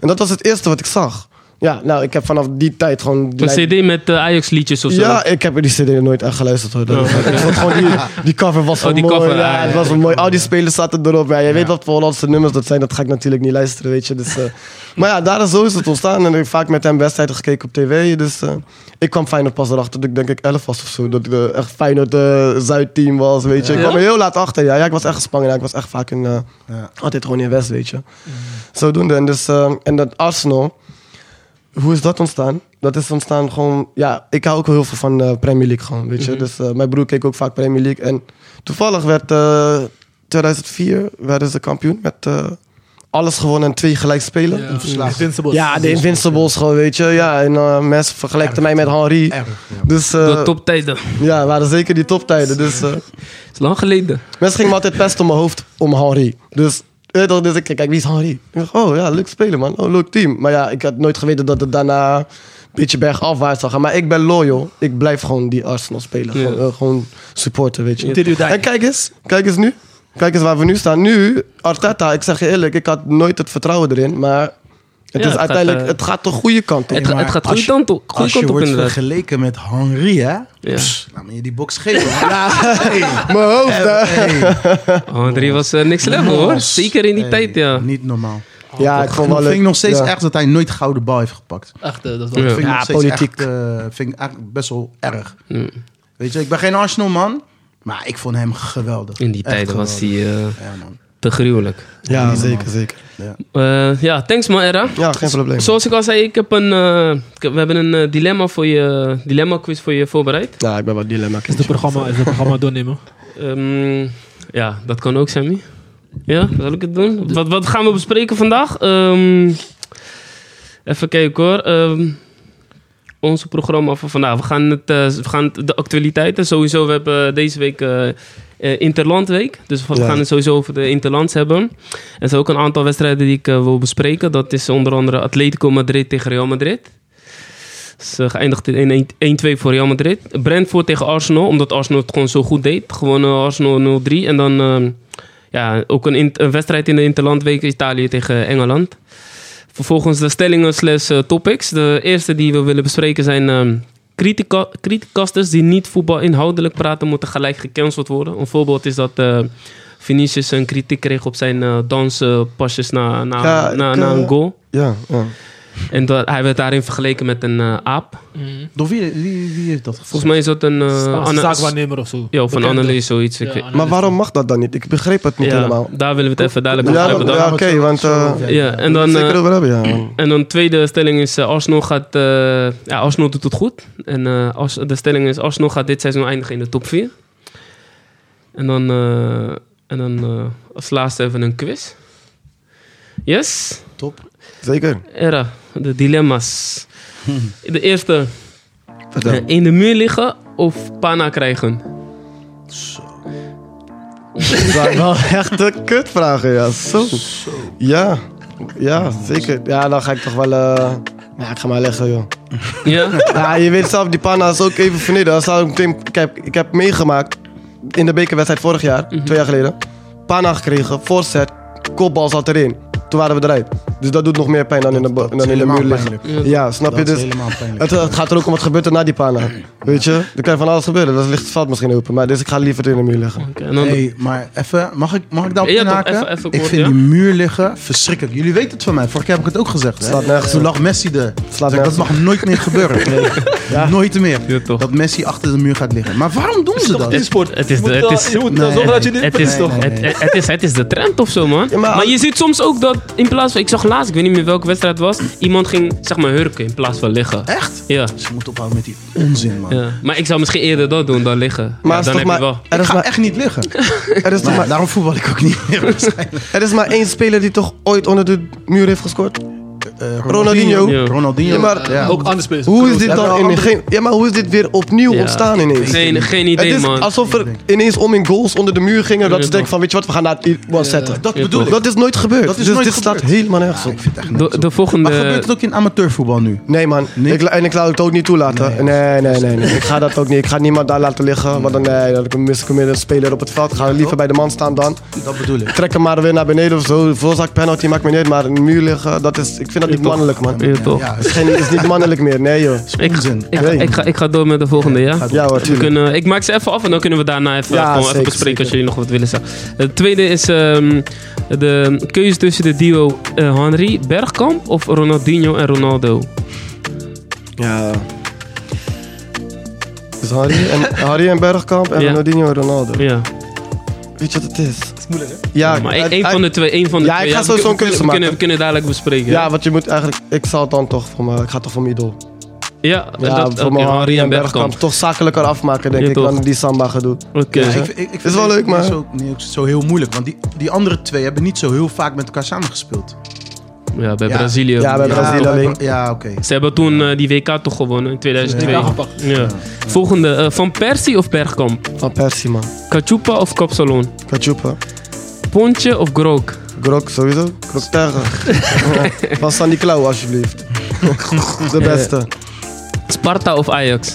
[SPEAKER 5] En dat was het eerste wat ik zag. Ja, nou, ik heb vanaf die tijd gewoon...
[SPEAKER 2] Een cd met eh, Ajax-liedjes of zo.
[SPEAKER 5] Ja, ik heb die CD nooit echt geluisterd hoor. Dat-
[SPEAKER 2] Oh, oké.
[SPEAKER 5] ik vond gewoon die, die cover was zo
[SPEAKER 2] Oh, die
[SPEAKER 5] mooi.
[SPEAKER 2] cover,
[SPEAKER 5] ja,
[SPEAKER 2] ah,
[SPEAKER 5] het
[SPEAKER 2] ja,
[SPEAKER 5] was wel
[SPEAKER 2] ja.
[SPEAKER 5] mooi. Al die spelers zaten erop. Ja, je weet
[SPEAKER 3] Ja.
[SPEAKER 5] wat voor Hollandse nummers dat zijn. Dat ga ik natuurlijk niet luisteren, weet je.
[SPEAKER 2] (laughs)
[SPEAKER 5] Dus, eh, maar ja, daar is zo is het ontstaan. En ik heb vaak met hem wedstrijden gekeken op tv. Dus eh, ik kwam Feyenoord pas erachter dat ik denk ik 11 was of zo. Dat ik eh, echt Feyenoord eh Zuidteam was, weet je. Ik
[SPEAKER 4] Ja?
[SPEAKER 5] kwam er heel laat achter. Ja, ja ik was echt gespannen. Ja, ik was echt vaak in... eh,
[SPEAKER 3] Ja.
[SPEAKER 5] altijd gewoon in West, weet je. Zodoende. En, dus, eh, en dat Arsenal, hoe is dat ontstaan? Dat is ontstaan gewoon... Ja, ik hou ook wel heel veel van eh, Premier League gewoon, weet je.
[SPEAKER 3] Mhm.
[SPEAKER 5] Dus eh, mijn broer keek ook vaak Premier League. En toevallig werd eh 2004 werden ze kampioen met eh, alles gewonnen en twee gelijk spelen. Ja.
[SPEAKER 3] verslagen.
[SPEAKER 4] Invincibles.
[SPEAKER 5] de Invincibles gewoon, weet je. Ja, en eh Mes vergelijkte mij met Henry.
[SPEAKER 3] Erg. Ja.
[SPEAKER 5] Dus eh,
[SPEAKER 2] De toptijden.
[SPEAKER 5] ja, waren zeker die toptijden. Dus eh,
[SPEAKER 2] Dat is lang geleden.
[SPEAKER 5] Mensen gingen me altijd pesten om mijn hoofd om Henri. Dus, eh, dan- dus ik kijk, kijk, wie is Henri? Ik dacht, oh ja, leuk spelen man. Oh, leuk team. Maar ja, ik had nooit geweten dat het daarna een beetje bergafwaarts zou gaan. Maar ik ben loyal. Ik blijf gewoon die Arsenal spelen.
[SPEAKER 2] Ja.
[SPEAKER 5] Gewoon, eh, gewoon supporten, weet je.
[SPEAKER 4] Till you die.
[SPEAKER 5] En kijk eens, kijk eens nu. Kijk eens waar we nu staan. Nu, Arteta, ik zeg je eerlijk, ik had nooit het vertrouwen erin. Maar het
[SPEAKER 2] Ja,
[SPEAKER 5] is
[SPEAKER 2] het gaat,
[SPEAKER 5] uiteindelijk,
[SPEAKER 2] eh,
[SPEAKER 5] het gaat de goede kant op.
[SPEAKER 2] Het, ga-
[SPEAKER 3] maar
[SPEAKER 2] het gaat
[SPEAKER 3] als
[SPEAKER 2] goede
[SPEAKER 3] je-
[SPEAKER 2] kant op, goede
[SPEAKER 3] Als je
[SPEAKER 2] kant op
[SPEAKER 3] wordt
[SPEAKER 2] inderdaad.
[SPEAKER 3] vergeleken met Henri, hè? Pss, laat me je die box geven. man. Hey,
[SPEAKER 5] Mijn hoofd,
[SPEAKER 2] Eh,
[SPEAKER 5] hè? (laughs)
[SPEAKER 3] hey.
[SPEAKER 2] André was eh, niks level hoor. Zeker in die
[SPEAKER 3] Oh. Hey,
[SPEAKER 2] tijd, ja.
[SPEAKER 3] Niet normaal.
[SPEAKER 5] Ja, ik
[SPEAKER 3] Ik
[SPEAKER 5] vond wel
[SPEAKER 3] vind
[SPEAKER 5] leuk.
[SPEAKER 3] ik nog steeds
[SPEAKER 5] Ja.
[SPEAKER 3] erg dat hij nooit gouden bal heeft gepakt.
[SPEAKER 4] Echt, eh, dat is
[SPEAKER 2] Ja.
[SPEAKER 4] wel-
[SPEAKER 3] Dat vind ik
[SPEAKER 5] Ja,
[SPEAKER 3] nog steeds
[SPEAKER 5] politiek.
[SPEAKER 3] echt, eh, vind ik eigenlijk best wel erg.
[SPEAKER 2] Mm.
[SPEAKER 3] Weet je, ik ben geen Arsenal man, maar ik vond hem geweldig.
[SPEAKER 2] In die
[SPEAKER 3] Echt
[SPEAKER 2] tijd was hij
[SPEAKER 3] geweldig.
[SPEAKER 2] eh,
[SPEAKER 3] Ja, man.
[SPEAKER 2] te gruwelijk.
[SPEAKER 5] Ja, zeker, zeker.
[SPEAKER 2] Eh, ja, thanks man, Era.
[SPEAKER 5] Ja, geen probleem.
[SPEAKER 2] Zoals ik al zei, ik heb een, eh, ik heb- we hebben een eh, dilemma, voor je, dilemma quiz voor je voorbereid.
[SPEAKER 5] Ja, ik ben wat dilemma.
[SPEAKER 4] Is het programma, is het programma doornemen?
[SPEAKER 2] Ehm, ja, dat kan ook, Sammy. Ja, zal ik het doen? Wat, wat gaan we bespreken vandaag? Ehm, even kijken hoor. Ehm onze programma van vandaag. We gaan, het, eh, we gaan het- de actualiteiten sowieso. We hebben deze week eh, eh, Interlandweek. Dus we
[SPEAKER 5] Ja.
[SPEAKER 2] gaan het sowieso over de Interlands hebben. En er zijn ook een aantal wedstrijden die ik eh, wil bespreken. Dat is onder andere Atletico Madrid tegen Real Madrid. Ze geëindigd in 1-2 voor Real Madrid. Brentford tegen Arsenal, omdat Arsenal het gewoon zo goed deed. Gewoon eh, Arsenal 0-3. En dan ehm, ja, ook een, in- een wedstrijd in de Interlandweek Italië tegen Engeland. Vervolgens de stellingen slash eh, topics. De eerste die we willen bespreken zijn... ehm critica- criticasters die niet voetbal inhoudelijk praten... moeten gelijk gecanceld worden. Een voorbeeld is dat... eh Vinicius een kritiek kreeg op zijn eh, danspasjes na, na,
[SPEAKER 5] Ja,
[SPEAKER 2] na,
[SPEAKER 5] ik,
[SPEAKER 2] na
[SPEAKER 5] eh,
[SPEAKER 2] een goal.
[SPEAKER 5] Ja, ja.
[SPEAKER 2] En dat, hij werd daarin vergeleken met een eh, aap.
[SPEAKER 3] Door wie, wie, wie heeft dat gezegd?
[SPEAKER 2] Volgens mij is dat een... eh,
[SPEAKER 4] Zaak-
[SPEAKER 2] ana-
[SPEAKER 4] zaakwaarnemer of zo.
[SPEAKER 2] Ja, of een
[SPEAKER 4] Bekende.
[SPEAKER 2] analyse, zoiets. Ik
[SPEAKER 4] Ja,
[SPEAKER 2] weet-
[SPEAKER 4] analyse.
[SPEAKER 5] Maar waarom mag dat dan niet? Ik begreep het niet
[SPEAKER 2] ja,
[SPEAKER 5] helemaal.
[SPEAKER 2] daar willen we het even dadelijk over
[SPEAKER 5] Ja,
[SPEAKER 2] hebben.
[SPEAKER 5] dat-
[SPEAKER 2] Dan.
[SPEAKER 5] ja, oké, want, eh,
[SPEAKER 2] Ja, en dan...
[SPEAKER 5] Zeker
[SPEAKER 2] eh,
[SPEAKER 5] over hebben, ja. man.
[SPEAKER 2] en dan tweede stelling is eh, Arsenal gaat... eh, ja, Arsenal doet het goed. En eh, als, de stelling is Arsenal gaat dit seizoen eindigen in de top 4. En dan, eh, en dan eh, als laatste even een quiz. Yes?
[SPEAKER 3] top.
[SPEAKER 2] (laughs)
[SPEAKER 5] Zeker.
[SPEAKER 2] Era, de dilemma's. De eerste,
[SPEAKER 5] Vertel.
[SPEAKER 2] eh, in de muur liggen of pana krijgen?
[SPEAKER 5] Het waren wel echte kutvragen, ja. Zo. Ja. Ja, zeker. Ja, dan ga ik toch wel... eh, Ja, ik ga maar leggen, joh.
[SPEAKER 2] Ja?
[SPEAKER 5] Ja, je weet zelf, die panna is ook even vernederd. Dat zou ik meteen- Ik heb, ik heb meegemaakt in de bekerwedstrijd vorig jaar,
[SPEAKER 2] Mhm.
[SPEAKER 5] twee jaar geleden. Panna gekregen, voorzet, kopbal zat erin. Toen waren we eruit. Dus dat doet nog meer pijn dan in de, bo- dan in de muur liggen. Ja, snap je?
[SPEAKER 3] Dat is
[SPEAKER 5] Dus
[SPEAKER 3] helemaal pijnlijk.
[SPEAKER 5] Het, het gaat er ook om wat gebeurt er na die pana. Weet je? Er kan van alles gebeuren. Dat ligt het veld misschien open. Maar dus ik ga liever in de muur liggen.
[SPEAKER 2] Oké, en dan
[SPEAKER 3] Hey, maar even, mag ik, mag ik daarop
[SPEAKER 2] Ja, toch,
[SPEAKER 3] inhaken?
[SPEAKER 2] even- even
[SPEAKER 3] ik
[SPEAKER 2] kort,
[SPEAKER 3] vind
[SPEAKER 2] ja.
[SPEAKER 3] die muur liggen verschrikkelijk. Jullie weten het van mij, vorig jaar heb ik het ook gezegd. Hè?
[SPEAKER 5] Slaat nergens
[SPEAKER 3] Toen
[SPEAKER 5] op.
[SPEAKER 3] lag Messi er.
[SPEAKER 5] Slaat
[SPEAKER 3] Zeg, dat
[SPEAKER 5] nergens
[SPEAKER 3] mag nooit meer
[SPEAKER 5] (laughs)
[SPEAKER 3] gebeuren. Nooit meer.
[SPEAKER 2] Ja, toch.
[SPEAKER 3] Dat Messi achter de muur gaat liggen. Maar waarom doen ze dat?
[SPEAKER 4] Het is sport.
[SPEAKER 2] Het is
[SPEAKER 4] Je moet
[SPEAKER 2] de- het
[SPEAKER 4] wel-
[SPEAKER 2] is-
[SPEAKER 4] Je moet
[SPEAKER 3] Nee,
[SPEAKER 4] wel zorgen dat je
[SPEAKER 3] nee,
[SPEAKER 4] dit...
[SPEAKER 2] Het is,
[SPEAKER 3] Nee,
[SPEAKER 2] toch,
[SPEAKER 3] nee,
[SPEAKER 2] het,
[SPEAKER 3] nee.
[SPEAKER 2] het, het is, het is de trend of zo, man.
[SPEAKER 5] Ja,
[SPEAKER 2] maar,
[SPEAKER 5] maar-
[SPEAKER 2] je ziet soms ook dat in plaats van. Ik zag laatst, ik weet niet meer welke wedstrijd het was. Iemand ging zeg maar hurken in plaats van liggen.
[SPEAKER 3] Echt?
[SPEAKER 2] Ja,
[SPEAKER 3] Ze moeten ophouden met die onzin, man.
[SPEAKER 2] ja. Maar ik zou misschien eerder dat doen dan liggen.
[SPEAKER 5] Maar
[SPEAKER 2] Ja,
[SPEAKER 5] is
[SPEAKER 2] dan
[SPEAKER 5] toch
[SPEAKER 2] heb je
[SPEAKER 5] maar,
[SPEAKER 2] wel.
[SPEAKER 5] er,
[SPEAKER 3] Ik
[SPEAKER 5] is
[SPEAKER 3] ga
[SPEAKER 5] maar,
[SPEAKER 3] echt niet
[SPEAKER 2] (laughs)
[SPEAKER 3] liggen.
[SPEAKER 5] er, is
[SPEAKER 3] Maar
[SPEAKER 5] toch maar,
[SPEAKER 3] (laughs) Eh, daarom voetbal ik ook niet meer waarschijnlijk.
[SPEAKER 5] er is maar één speler die toch ooit onder de muur heeft gescoord?
[SPEAKER 3] eh,
[SPEAKER 5] Ronaldinho.
[SPEAKER 2] Ja.
[SPEAKER 3] Ronaldinho.
[SPEAKER 5] Ja, maar
[SPEAKER 3] ja.
[SPEAKER 4] Ook anders spelen.
[SPEAKER 5] Hoe is dit
[SPEAKER 3] Hebben
[SPEAKER 5] dan
[SPEAKER 3] we
[SPEAKER 5] in
[SPEAKER 3] andere-
[SPEAKER 5] geen, ja, maar hoe is dit weer opnieuw
[SPEAKER 2] Ja.
[SPEAKER 5] ontstaan ineens?
[SPEAKER 2] Geen, geen idee,
[SPEAKER 5] het is
[SPEAKER 2] man.
[SPEAKER 5] alsof er ineens om in goals onder de muur gingen. Dat
[SPEAKER 2] Ja,
[SPEAKER 5] ze denken van, weet je wat, we gaan naar het wel zetten.
[SPEAKER 3] Dat
[SPEAKER 2] Ja,
[SPEAKER 3] bedoel ik.
[SPEAKER 5] Dat is nooit gebeurd.
[SPEAKER 3] Dat is
[SPEAKER 5] dus
[SPEAKER 3] nooit
[SPEAKER 5] dit
[SPEAKER 3] gebeurd.
[SPEAKER 5] staat helemaal nergens op.
[SPEAKER 3] Ik vind het echt
[SPEAKER 2] De,
[SPEAKER 3] niks.
[SPEAKER 2] de
[SPEAKER 3] Maar
[SPEAKER 5] Eh,
[SPEAKER 3] gebeurt
[SPEAKER 2] volgende...
[SPEAKER 3] het ook in amateurvoetbal nu?
[SPEAKER 5] Nee man,
[SPEAKER 3] Nee?
[SPEAKER 5] Ik, la- en ik laat het ook niet toelaten.
[SPEAKER 3] Nee.
[SPEAKER 5] Nee, nee, nee, nee, Ik ga dat ook niet. Ik ga niemand daar laten liggen. Want dan, nee, dan mis ik weer een speler op het veld. Ga liever bij de man staan dan.
[SPEAKER 3] Dat bedoel
[SPEAKER 5] (laughs)
[SPEAKER 3] ik.
[SPEAKER 5] Trek hem maar weer naar beneden of zo. Voorzak penalty, maakt me niet uit. Maar een muur liggen, dat is, ik vind dat niet
[SPEAKER 2] toch.
[SPEAKER 5] mannelijk man.
[SPEAKER 2] Ja, toch?
[SPEAKER 3] Ja,
[SPEAKER 5] Het is, geen, het is niet mannelijk meer, nee joh.
[SPEAKER 2] Ik,
[SPEAKER 3] onzin.
[SPEAKER 2] ik, ga- ik, ga, ik ga door met de volgende, ja?
[SPEAKER 5] Ja hoor,
[SPEAKER 2] We
[SPEAKER 5] tuurlijk.
[SPEAKER 2] kunnen, ik maak ze even af en dan kunnen we daarna even,
[SPEAKER 5] Ja,
[SPEAKER 2] gewoon even
[SPEAKER 5] zeker,
[SPEAKER 2] bespreken als
[SPEAKER 5] zeker.
[SPEAKER 2] jullie nog wat willen zeggen. Het tweede is ehm, de keuze tussen de duo eh, Henry Bergkamp of Ronaldinho en Ronaldo.
[SPEAKER 5] Ja. Dus Harry en, Harry en Bergkamp en
[SPEAKER 2] Ja.
[SPEAKER 5] Ronaldinho en Ronaldo.
[SPEAKER 2] Ja,
[SPEAKER 5] Weet je wat het is?
[SPEAKER 4] Dat is moeilijk, hè?
[SPEAKER 5] Ja,
[SPEAKER 2] maar
[SPEAKER 5] het-
[SPEAKER 2] één één van de twee. één van de
[SPEAKER 5] Ja,
[SPEAKER 2] twee.
[SPEAKER 5] ik ga
[SPEAKER 2] we
[SPEAKER 5] zo zo'n
[SPEAKER 2] kunnen-
[SPEAKER 5] keuze
[SPEAKER 2] we
[SPEAKER 5] maken.
[SPEAKER 2] Kunnen, we kunnen dadelijk bespreken.
[SPEAKER 5] Ja, want je moet eigenlijk... Ik zal het dan toch voor mijn... Ik ga toch voor mijn idool.
[SPEAKER 2] ja,
[SPEAKER 5] Ja,
[SPEAKER 2] dat,
[SPEAKER 5] voor
[SPEAKER 2] oké,
[SPEAKER 5] mijn
[SPEAKER 2] Henry en Bergkamp.
[SPEAKER 5] Toch zakelijker afmaken, denk
[SPEAKER 2] Ja,
[SPEAKER 5] ik,
[SPEAKER 2] toch.
[SPEAKER 5] dan die samba gedoe.
[SPEAKER 2] Oké.
[SPEAKER 3] Ja,
[SPEAKER 5] hè?
[SPEAKER 3] ik, ik, ik vind
[SPEAKER 5] Is wel
[SPEAKER 3] het
[SPEAKER 5] leuk,
[SPEAKER 3] niet
[SPEAKER 5] maar-
[SPEAKER 3] Zo, niet ook zo heel moeilijk. Want die, die andere twee hebben niet zo heel vaak met elkaar samengespeeld.
[SPEAKER 2] Ja, bij
[SPEAKER 3] Ja.
[SPEAKER 2] Brazilië.
[SPEAKER 5] Ja, bij Brazilië
[SPEAKER 3] ja,
[SPEAKER 5] alleen.
[SPEAKER 3] Ja, oké.
[SPEAKER 2] Ze hebben toen eh, die WK toch gewonnen in 2002.
[SPEAKER 4] Ja,
[SPEAKER 2] Ja.
[SPEAKER 4] aangepakt.
[SPEAKER 2] Volgende, eh, Van Persie of Bergkamp?
[SPEAKER 5] Van Persie, man.
[SPEAKER 2] Kachupa of Kapsalon?
[SPEAKER 5] Kachupa.
[SPEAKER 2] Pontje of Grok?
[SPEAKER 5] Grok, sowieso. Grok tergen. (laughs) Ja, Van Sandy Klauw, alsjeblieft. (laughs) De beste.
[SPEAKER 2] Sparta of Ajax?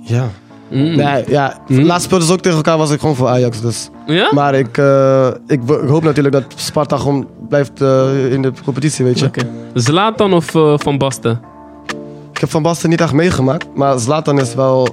[SPEAKER 5] Ja.
[SPEAKER 2] Mm.
[SPEAKER 5] Nee, ja.
[SPEAKER 2] Mm. Ah.
[SPEAKER 5] Laatst speelden ze ook tegen elkaar, was ik gewoon voor Ajax, dus.
[SPEAKER 2] Ja?
[SPEAKER 5] Maar ik, eh, ik, wo- ik hoop natuurlijk dat Sparta gewoon blijft eh, in de competitie, weet je.
[SPEAKER 2] Oké. Zlatan of eh, Van Basten?
[SPEAKER 5] Ik heb Van Basten niet echt meegemaakt, maar Zlatan is wel...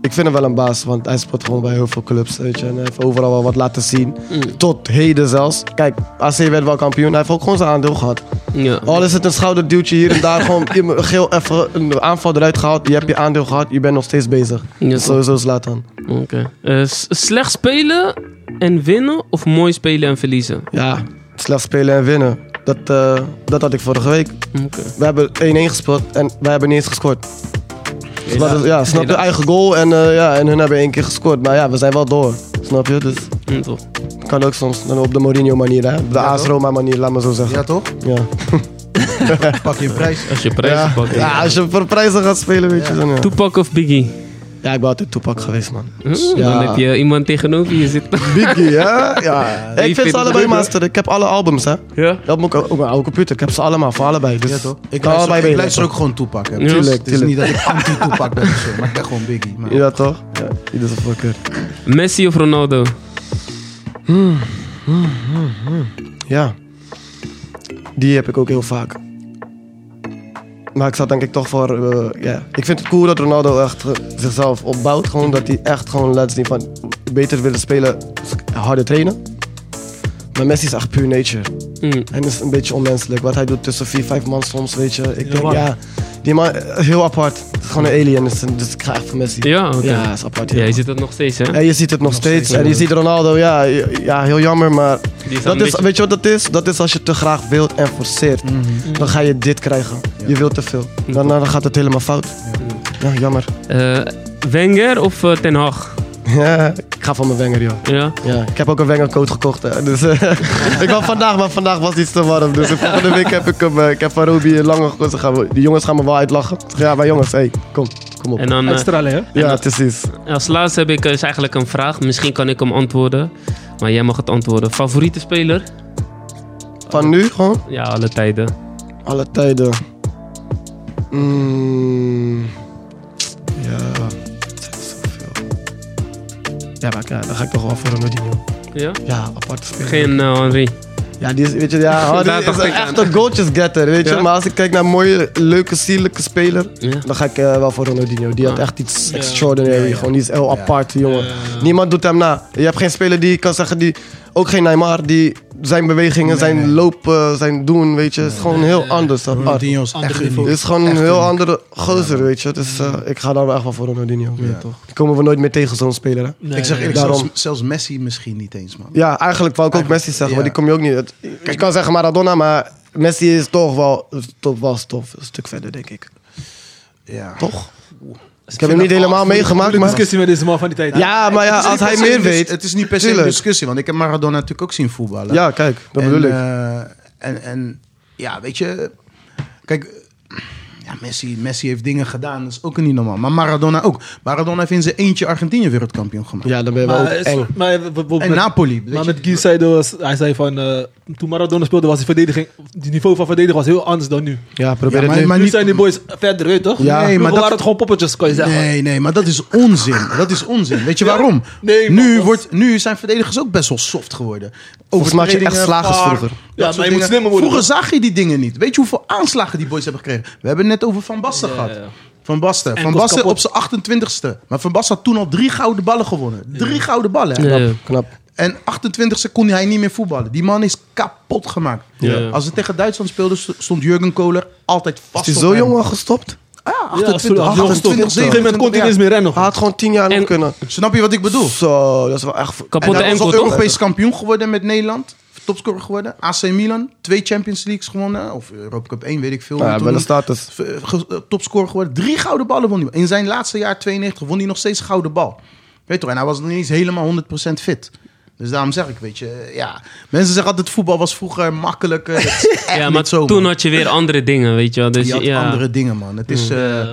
[SPEAKER 5] Ik vind hem wel een baas, want hij speelt gewoon bij heel veel clubs, weet je. En hij heeft overal wel wat laten zien.
[SPEAKER 2] Mm.
[SPEAKER 5] Tot heden zelfs. Kijk, AC werd wel kampioen, hij heeft ook gewoon zijn aandeel gehad.
[SPEAKER 2] Ja.
[SPEAKER 5] Al is het een schouderduwtje hier en
[SPEAKER 2] (laughs)
[SPEAKER 5] daar, gewoon iemand- geel even een aanval eruit gehaald. Je hebt je aandeel gehad, je bent nog steeds bezig.
[SPEAKER 2] Ja, toch.
[SPEAKER 5] Sowieso Zlatan.
[SPEAKER 2] Oké. Eh, s- slecht spelen en winnen of mooi spelen en verliezen?
[SPEAKER 5] Ja, slecht spelen en winnen. Dat, eh, dat had ik vorige week.
[SPEAKER 2] Oké.
[SPEAKER 5] We hebben 1-1 gespeeld en wij hebben niet eens gescoort. Dus wat is- ja, snap je?
[SPEAKER 2] Helaas.
[SPEAKER 5] Eigen goal en, eh, ja, en hun hebben één keer gescoord. Maar ja, we zijn wel door. Snap je? Dus
[SPEAKER 2] Mm, toch.
[SPEAKER 5] kan ook soms dan op de Mourinho manier, hè? Op de
[SPEAKER 3] Ja,
[SPEAKER 5] AS
[SPEAKER 3] toch?
[SPEAKER 5] Roma manier, laat maar zo zeggen.
[SPEAKER 3] Ja, toch?
[SPEAKER 5] Ja.
[SPEAKER 3] Pak je een prijs.
[SPEAKER 2] Als je prijzen
[SPEAKER 5] Ja.
[SPEAKER 2] pakt.
[SPEAKER 5] Ja, als je voor prijzen gaat spelen, weet je dan. Ja,
[SPEAKER 2] Toepak of Biggie?
[SPEAKER 5] ja ik ben altijd toepak geweest, man.
[SPEAKER 2] Hm?
[SPEAKER 5] Ja.
[SPEAKER 2] Dan heb je iemand tegenover je zitten.
[SPEAKER 5] Biggie, (laughs) hè? Ja.
[SPEAKER 2] Die
[SPEAKER 5] Ik
[SPEAKER 2] vind
[SPEAKER 5] vind ze
[SPEAKER 2] ik
[SPEAKER 5] allebei
[SPEAKER 2] leuk, hè?
[SPEAKER 5] master. Ik heb alle albums, hè?
[SPEAKER 2] ja?
[SPEAKER 5] Dat moet ik ook op mijn oude computer. Ik heb ze allemaal, voor allebei. Dus
[SPEAKER 3] Ja, toch? Ik
[SPEAKER 5] kan
[SPEAKER 3] luister,
[SPEAKER 5] allebei
[SPEAKER 3] ik
[SPEAKER 5] mee.
[SPEAKER 3] luister ook gewoon Toepak. hè.
[SPEAKER 2] Ja,
[SPEAKER 3] Het is-
[SPEAKER 5] tuurlijk,
[SPEAKER 3] Het is niet dat ik anti-Toepak ben of zo, maar ik ben gewoon Biggie. Maar...
[SPEAKER 5] Ja, toch? Ja, ieder zijn voorkeur.
[SPEAKER 2] Messi of Ronaldo?
[SPEAKER 5] Ja. Die heb ik ook heel vaak. Maar ik zat denk ik toch voor... eh, ja. Ik vind het cool dat Ronaldo echt eh, zichzelf opbouwt. Gewoon dat hij echt gewoon laat zien van... Beter willen spelen, harder trainen. Maar Messi is echt pure nature.
[SPEAKER 2] Mm.
[SPEAKER 5] Hij is een beetje onmenselijk. Wat hij doet tussen vier, vijf man soms, weet je. Ik denk,
[SPEAKER 4] man.
[SPEAKER 5] ja... Die man, eh, heel apart. Het is gewoon een alien. Dus, dus ik ga echt voor Messi.
[SPEAKER 2] Ja, oké.
[SPEAKER 5] Ja, is apart.
[SPEAKER 2] Ja,
[SPEAKER 5] ja.
[SPEAKER 2] je zit het nog steeds, hè?
[SPEAKER 5] En je ziet het nog, steeds. En je ziet Ronaldo, ja, ja heel jammer, maar
[SPEAKER 2] Die is
[SPEAKER 5] dat
[SPEAKER 2] een
[SPEAKER 5] is,
[SPEAKER 2] beetje-
[SPEAKER 5] weet je wat dat is? Dat is als je te graag wilt en forceert.
[SPEAKER 2] Mhm.
[SPEAKER 5] Dan ga je dit krijgen. Je wilt te veel. Dan, dan gaat het helemaal fout. Ja, jammer. (laughs)
[SPEAKER 2] Eh, Wenger of eh, Ten Hag?
[SPEAKER 5] Ja, ik ga van mijn wenger, joh.
[SPEAKER 2] Ja.
[SPEAKER 5] Ja, ik heb ook een wengercoat gekocht. Hè. Dus, eh, (laughs) ik wou vandaag, maar vandaag was iets te warm. Dus de volgende week heb ik hem. eh, ik heb van Roby een lange gekozen. Gaan we- Die jongens gaan me wel uitlachen. Ja, maar jongens, hey, kom, kom op.
[SPEAKER 2] En dan eh,
[SPEAKER 4] Uitstralen, hè?
[SPEAKER 5] ja, precies.
[SPEAKER 2] als laatste heb ik eh, is eigenlijk een vraag. Misschien kan ik hem antwoorden. Maar jij mag het antwoorden. Favoriete speler?
[SPEAKER 5] Van nu gewoon.
[SPEAKER 2] Ja, alle tijden.
[SPEAKER 5] Alle tijden. Mm, ja, het zijn zoveel. Ja, maar ik- ja, dan ga ik toch wel voor Ronaldinho.
[SPEAKER 2] Ja?
[SPEAKER 5] Ja, apart spelen.
[SPEAKER 2] Geen eh, Henri.
[SPEAKER 5] Ja, die is, weet je, ja, oh,
[SPEAKER 2] Daar
[SPEAKER 5] die is
[SPEAKER 2] dacht
[SPEAKER 5] een
[SPEAKER 2] ik aan.
[SPEAKER 5] echte goaltjesgetter, weet je.
[SPEAKER 2] Ja.
[SPEAKER 5] Maar als ik kijk naar een mooie, leuke, sierlijke speler,
[SPEAKER 2] Ja.
[SPEAKER 5] dan ga ik eh, wel voor Ronaldinho. Die had
[SPEAKER 2] Ja.
[SPEAKER 5] echt iets
[SPEAKER 4] Ja.
[SPEAKER 5] extraordinary,
[SPEAKER 3] Ja, ja.
[SPEAKER 5] gewoon die is heel
[SPEAKER 3] Ja.
[SPEAKER 5] apart, jongen.
[SPEAKER 4] Ja.
[SPEAKER 5] Niemand doet hem na. Je hebt geen speler die kan zeggen, die, ook geen Neymar, die zijn bewegingen,
[SPEAKER 3] Nee,
[SPEAKER 5] zijn
[SPEAKER 3] nee.
[SPEAKER 5] lopen, zijn doen, weet je. Het is gewoon heel anders, apart.
[SPEAKER 3] Ronaldinho is
[SPEAKER 4] Ander
[SPEAKER 3] echt
[SPEAKER 4] niveau.
[SPEAKER 5] Dit
[SPEAKER 3] uniek.
[SPEAKER 5] is gewoon een Oh,
[SPEAKER 3] Echt
[SPEAKER 5] heel
[SPEAKER 3] uniek.
[SPEAKER 5] andere gozer, weet je. Dus eh, ik ga daar wel echt wel voor Ronaldinho.
[SPEAKER 3] Ja.
[SPEAKER 5] Ja, toch. Die komen we nooit meer tegen zo'n speler, hè?
[SPEAKER 4] Nee,
[SPEAKER 3] Ik zeg
[SPEAKER 4] nee,
[SPEAKER 3] eerlijk,
[SPEAKER 5] daarom.
[SPEAKER 3] zelfs, zelfs Messi misschien niet eens, man.
[SPEAKER 5] Ja, eigenlijk wou ik ook
[SPEAKER 3] Eigenlijk,
[SPEAKER 5] Messi zeggen,
[SPEAKER 3] ja.
[SPEAKER 5] maar die kom je ook niet. Het- Je kan zeggen Maradona, maar Messi is toch wel, is toch wel stof, een stuk verder, denk ik.
[SPEAKER 3] Ja.
[SPEAKER 5] Toch? Ik heb hem niet helemaal meegemaakt,
[SPEAKER 4] Moeilijke
[SPEAKER 5] maar...
[SPEAKER 4] discussie met deze man van die tijd.
[SPEAKER 5] Ja, maar ja,
[SPEAKER 3] Het is
[SPEAKER 5] als
[SPEAKER 3] niet per
[SPEAKER 5] hij
[SPEAKER 3] se
[SPEAKER 5] meer
[SPEAKER 3] een dis-
[SPEAKER 5] weet...
[SPEAKER 3] Het is niet per se een
[SPEAKER 5] Tuurlijk. eh,
[SPEAKER 3] discussie, want ik heb Maradona natuurlijk ook zien voetballen.
[SPEAKER 5] Ja, kijk, dat
[SPEAKER 3] En,
[SPEAKER 5] bedoel ik.
[SPEAKER 3] eh, en, en ja, weet je. Kijk, ja, Messi, Messi heeft dingen gedaan. Dat is ook niet normaal. Maar Maradona ook. Maradona heeft in zijn eentje Argentinië wereldkampioen gemaakt.
[SPEAKER 5] Ja, dan ben je wel ook
[SPEAKER 4] Maar, is-
[SPEAKER 5] eng.
[SPEAKER 4] maar, we- we- we-
[SPEAKER 3] En Napoli. weet
[SPEAKER 4] maar
[SPEAKER 3] je.
[SPEAKER 4] met Guy zei dat was- hij zei van, eh, toen Maradona speelde was die verdediging, die niveau van verdedigen was heel anders dan nu.
[SPEAKER 5] Ja, probeer
[SPEAKER 3] Ja,
[SPEAKER 5] het nu.
[SPEAKER 3] maar
[SPEAKER 4] nu
[SPEAKER 3] niet-
[SPEAKER 4] zijn die boys verder, weet je toch?
[SPEAKER 3] Ja, maar
[SPEAKER 4] Vroeger
[SPEAKER 3] dat-
[SPEAKER 4] waren het gewoon poppetjes, kan je zeggen.
[SPEAKER 3] Nee, nee, maar dat is onzin. Dat is onzin. Weet je
[SPEAKER 4] Ja?
[SPEAKER 3] waarom?
[SPEAKER 4] Nee, maar
[SPEAKER 3] nu,
[SPEAKER 4] wat-
[SPEAKER 3] wordt, nu zijn verdedigers ook best wel soft geworden.
[SPEAKER 5] Volgens mij had je echt
[SPEAKER 3] Overtredingen,
[SPEAKER 5] slagers
[SPEAKER 3] VAR,
[SPEAKER 5] vroeger.
[SPEAKER 3] dat
[SPEAKER 4] Ja, maar
[SPEAKER 3] soort
[SPEAKER 4] je moet
[SPEAKER 3] dingen.
[SPEAKER 4] slimmer worden,
[SPEAKER 3] Vroeger zag je die dingen niet. Weet je hoeveel aanslagen die boys hebben gekregen? We hebben het net over Van Basten
[SPEAKER 4] Ja,
[SPEAKER 3] gehad.
[SPEAKER 4] ja, ja.
[SPEAKER 3] Van Basten. Van
[SPEAKER 4] Enkels
[SPEAKER 3] Basten op
[SPEAKER 4] kapot.
[SPEAKER 3] zijn 28ste. Maar Van Basten had toen al drie gouden ballen gewonnen. Drie gouden ballen. hè?
[SPEAKER 2] Ja, ja.
[SPEAKER 5] Knap.
[SPEAKER 3] En 28 kon hij niet meer voetballen. Die man is kapot gemaakt.
[SPEAKER 2] Ja.
[SPEAKER 3] Als ze tegen Duitsland speelden, st- stond Jurgen Kohler altijd
[SPEAKER 5] Is
[SPEAKER 3] vast.
[SPEAKER 5] hij
[SPEAKER 3] op
[SPEAKER 5] zo
[SPEAKER 3] hem.
[SPEAKER 5] jong al gestopt?
[SPEAKER 3] Ja,
[SPEAKER 4] Ja,
[SPEAKER 3] 28,
[SPEAKER 4] als je nog stopt. Op
[SPEAKER 3] 28,
[SPEAKER 4] een gegeven moment kon hij niet eens meer rennen.
[SPEAKER 5] Hij had gewoon tien jaar nog
[SPEAKER 2] En-
[SPEAKER 5] kunnen.
[SPEAKER 3] Snap je wat ik bedoel?
[SPEAKER 5] Zo, dat is wel echt...
[SPEAKER 3] En
[SPEAKER 2] Kapotte
[SPEAKER 3] hij is
[SPEAKER 2] enkel,
[SPEAKER 3] al
[SPEAKER 2] toch?
[SPEAKER 3] Europees kampioen geworden met Nederland. Topscorer geworden. AC Milan, twee Champions Leagues gewonnen. Of Europa Cup 1, weet ik veel. hoe
[SPEAKER 5] Ja,
[SPEAKER 3] het
[SPEAKER 5] wel een
[SPEAKER 3] toen-
[SPEAKER 5] status.
[SPEAKER 3] v- ge- eh, Topscorer geworden. Drie gouden ballen won hij. In zijn laatste jaar, 92, won hij nog steeds gouden bal. Weet je toch? En hij was nog niet eens helemaal 100% fit. Dus daarom zeg ik, weet je, eh, ja. Mensen zeggen altijd, voetbal was vroeger makkelijk. eh,
[SPEAKER 2] (laughs)
[SPEAKER 3] het is echt
[SPEAKER 2] Ja, maar
[SPEAKER 3] niet zo, man.
[SPEAKER 2] toen had je weer andere dingen, weet je wel. Dus,
[SPEAKER 3] je had
[SPEAKER 2] ja. Mm,
[SPEAKER 3] andere dingen, man. Het is... eh,
[SPEAKER 4] Ja.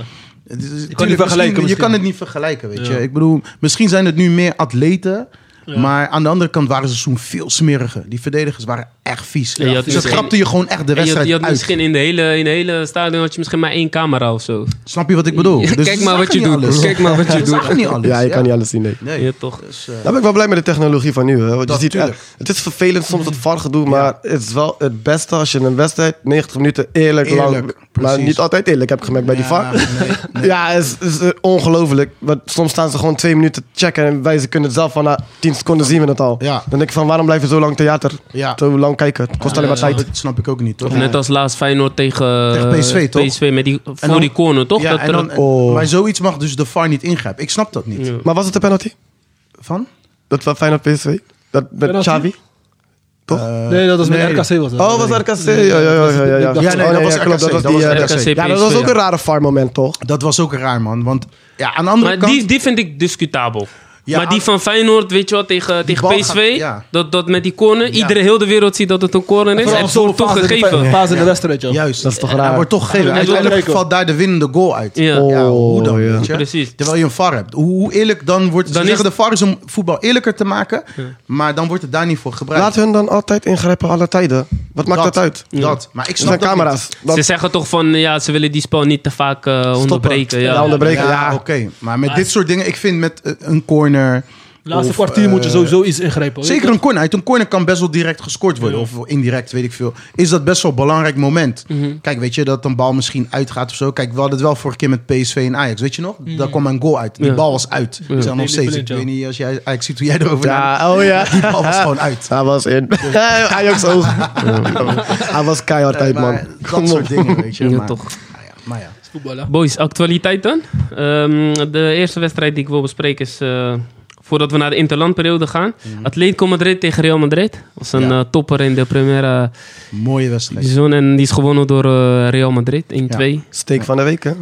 [SPEAKER 3] het is- tuurlijk,
[SPEAKER 4] vergelijken
[SPEAKER 3] misschien- Je
[SPEAKER 4] misschien.
[SPEAKER 3] kan het niet vergelijken, weet
[SPEAKER 4] Ja.
[SPEAKER 3] je. Ik bedoel, misschien zijn het nu meer atleten. Maar aan de andere kant waren ze toen veel smeriger. Die verdedigers waren echt vies.
[SPEAKER 2] Ja, je had
[SPEAKER 3] dus dat
[SPEAKER 2] misschien-
[SPEAKER 3] grapte je gewoon echt de
[SPEAKER 2] En je had,
[SPEAKER 3] wedstrijd
[SPEAKER 2] je had
[SPEAKER 3] uit.
[SPEAKER 2] misschien in de hele, in de hele stadion had je misschien maar één camera of zo.
[SPEAKER 3] Snap je wat ik bedoel? Dus
[SPEAKER 2] Kijk
[SPEAKER 3] ze
[SPEAKER 2] maar
[SPEAKER 3] zagen
[SPEAKER 2] wat je
[SPEAKER 3] niet
[SPEAKER 2] doet.
[SPEAKER 3] alles.
[SPEAKER 2] Kijk maar wat je
[SPEAKER 3] Ze
[SPEAKER 2] doet.
[SPEAKER 3] zagen niet alles.
[SPEAKER 5] Ja, je kan niet alles zien, nee.
[SPEAKER 3] Nee.
[SPEAKER 2] Ja, toch.
[SPEAKER 3] Dus, eh,
[SPEAKER 5] Daar ben ik wel blij met de technologie van nu. Hè? Want
[SPEAKER 3] Dat
[SPEAKER 5] je ziet,
[SPEAKER 3] tuurlijk.
[SPEAKER 5] eh, het is vervelend soms het var gedoe, maar het is wel het beste als je een wedstrijd 90 minuten eerlijk,
[SPEAKER 3] Eerlijk,
[SPEAKER 5] lang... Maar
[SPEAKER 3] precies.
[SPEAKER 5] niet altijd eerlijk, heb ik gemerkt bij die
[SPEAKER 3] ja,
[SPEAKER 5] var. (laughs)
[SPEAKER 3] nee, nee.
[SPEAKER 5] Ja, het is, is eh, ongelooflijk. Want soms staan ze gewoon twee minuten te checken en wij ze kunnen het zelf van na 10 seconden zien we het al.
[SPEAKER 3] Ja.
[SPEAKER 5] Dan denk ik van waarom blijf je zo lang theater?
[SPEAKER 3] Ja.
[SPEAKER 5] Zo lang kijken, het kost alleen maar
[SPEAKER 2] ja,
[SPEAKER 5] tijd.
[SPEAKER 3] Dat snap ik ook niet, toch?
[SPEAKER 2] Of net als laatst Feyenoord tegen, eh,
[SPEAKER 3] Tegen PSV, toch?
[SPEAKER 2] PSV met die, voor
[SPEAKER 3] dan-
[SPEAKER 2] die corner, toch?
[SPEAKER 3] Ja,
[SPEAKER 2] dat
[SPEAKER 3] en
[SPEAKER 2] er-
[SPEAKER 3] dan,
[SPEAKER 5] Oh.
[SPEAKER 3] Maar zoiets mag dus de VAR niet ingrijpen. Ik snap dat niet.
[SPEAKER 2] Ja.
[SPEAKER 5] Maar was het de penalty?
[SPEAKER 3] Van?
[SPEAKER 5] Dat was Feyenoord PSV? Dat met
[SPEAKER 4] Penalty?
[SPEAKER 5] Xavi? Toch?
[SPEAKER 3] Eh,
[SPEAKER 4] Nee, dat was met
[SPEAKER 3] nee.
[SPEAKER 4] RKC was dat.
[SPEAKER 5] Oh, was RKC? Ja, ja, ja. ja, ja.
[SPEAKER 4] Ja, nee,
[SPEAKER 5] Oh,
[SPEAKER 3] dat was
[SPEAKER 5] klopt,
[SPEAKER 3] RKC,
[SPEAKER 5] Dat was
[SPEAKER 3] dat
[SPEAKER 5] die,
[SPEAKER 3] was
[SPEAKER 5] eh,
[SPEAKER 2] RKC,
[SPEAKER 5] Ja, dat was
[SPEAKER 2] PSV,
[SPEAKER 5] ook een rare VAR moment, toch?
[SPEAKER 3] Dat was ook raar, man. Want ja, aan de andere
[SPEAKER 2] Maar
[SPEAKER 3] kant...
[SPEAKER 2] die, die vind ik discutabel.
[SPEAKER 3] Ja, ah,
[SPEAKER 2] maar die
[SPEAKER 3] aan-
[SPEAKER 2] van Feyenoord, weet je wel, tegen, tegen
[SPEAKER 3] bal
[SPEAKER 2] PSV,
[SPEAKER 3] gaat- ja.
[SPEAKER 2] dat, dat met die corner, iedere heel de wereld ziet dat het een corner is.
[SPEAKER 4] Vooral
[SPEAKER 2] Het
[SPEAKER 4] zo'n
[SPEAKER 2] wordt toch
[SPEAKER 4] fase in de-
[SPEAKER 2] gegeven.
[SPEAKER 4] Fase in de wedstrijd, joh.
[SPEAKER 3] Juist.
[SPEAKER 5] Dat is toch
[SPEAKER 3] En
[SPEAKER 5] raar?
[SPEAKER 3] Hij wordt toch gegeven.
[SPEAKER 4] Ja,
[SPEAKER 3] Uiteindelijk
[SPEAKER 4] kijken.
[SPEAKER 3] valt daar de winnende goal uit.
[SPEAKER 2] Ja.
[SPEAKER 3] Ja,
[SPEAKER 5] Oh,
[SPEAKER 3] hoe dan,
[SPEAKER 5] ja.
[SPEAKER 3] weet je?
[SPEAKER 2] Precies.
[SPEAKER 3] Terwijl je een VAR hebt. Hoe, hoe eerlijk dan wordt... ze
[SPEAKER 2] Dan is-
[SPEAKER 3] zeggen de VAR is om voetbal eerlijker te maken. Maar dan wordt het daar niet voor gebruikt.
[SPEAKER 5] Laat hun dan altijd ingrijpen alle tijden. Wat maakt dat, uit?
[SPEAKER 2] Ja.
[SPEAKER 3] Dat. Maar ik
[SPEAKER 5] Er
[SPEAKER 3] snap
[SPEAKER 5] zijn
[SPEAKER 3] dat
[SPEAKER 5] camera's. Dat
[SPEAKER 2] Ze zeggen toch van, ja, ze willen die spel niet te vaak eh, onderbreken. Ja.
[SPEAKER 5] Ja,
[SPEAKER 3] niet.
[SPEAKER 5] onderbreken.
[SPEAKER 3] Ja,
[SPEAKER 5] Ja,
[SPEAKER 3] oké. Maar met dit soort dingen... Ik vind met eh, een corner...
[SPEAKER 4] Laatste
[SPEAKER 3] of,
[SPEAKER 4] kwartier
[SPEAKER 3] eh,
[SPEAKER 4] moet je sowieso iets ingrijpen. weet
[SPEAKER 3] Zeker
[SPEAKER 4] je
[SPEAKER 3] een corner. Uit een corner kan best wel direct gescoord worden.
[SPEAKER 4] Ja.
[SPEAKER 3] Of indirect, weet ik veel. Is dat best wel een belangrijk moment.
[SPEAKER 2] Mhm.
[SPEAKER 3] Kijk, weet je, dat een bal misschien uitgaat of zo. Kijk, we hadden het wel vorige keer met PSV en Ajax. Weet je nog? Daar kwam een goal uit. Die
[SPEAKER 2] Mhm. Ja.
[SPEAKER 3] bal was uit. Ik zeg nog
[SPEAKER 4] Nee,
[SPEAKER 3] steeds. Ik
[SPEAKER 4] blind, ja.
[SPEAKER 3] weet niet als jij Ajax ziet hoe jij erover nadenkt.
[SPEAKER 5] ja oh ja.
[SPEAKER 3] Die bal was gewoon uit.
[SPEAKER 5] (laughs) Hij was (laughs) in. Ajax (laughs) ook. Hij was keihard uit, man.
[SPEAKER 3] Eh, Maar dat soort dingen, weet je.
[SPEAKER 2] Ja,
[SPEAKER 3] maar,
[SPEAKER 2] toch.
[SPEAKER 3] nou ja, maar ja.
[SPEAKER 4] toch? Voetbal, hè?
[SPEAKER 2] Boys, actualiteit dan. Ehm, de eerste wedstrijd die ik wil bespreken is... eh, voordat we naar de interlandperiode gaan. Atletico Madrid tegen Real Madrid. was een
[SPEAKER 3] Mhm. Ja.
[SPEAKER 2] eh, topper in de Primera
[SPEAKER 3] Mooie wedstrijd.
[SPEAKER 2] Division. En die is gewonnen door eh, Real Madrid. 1-2.
[SPEAKER 5] Steek van de week, hè?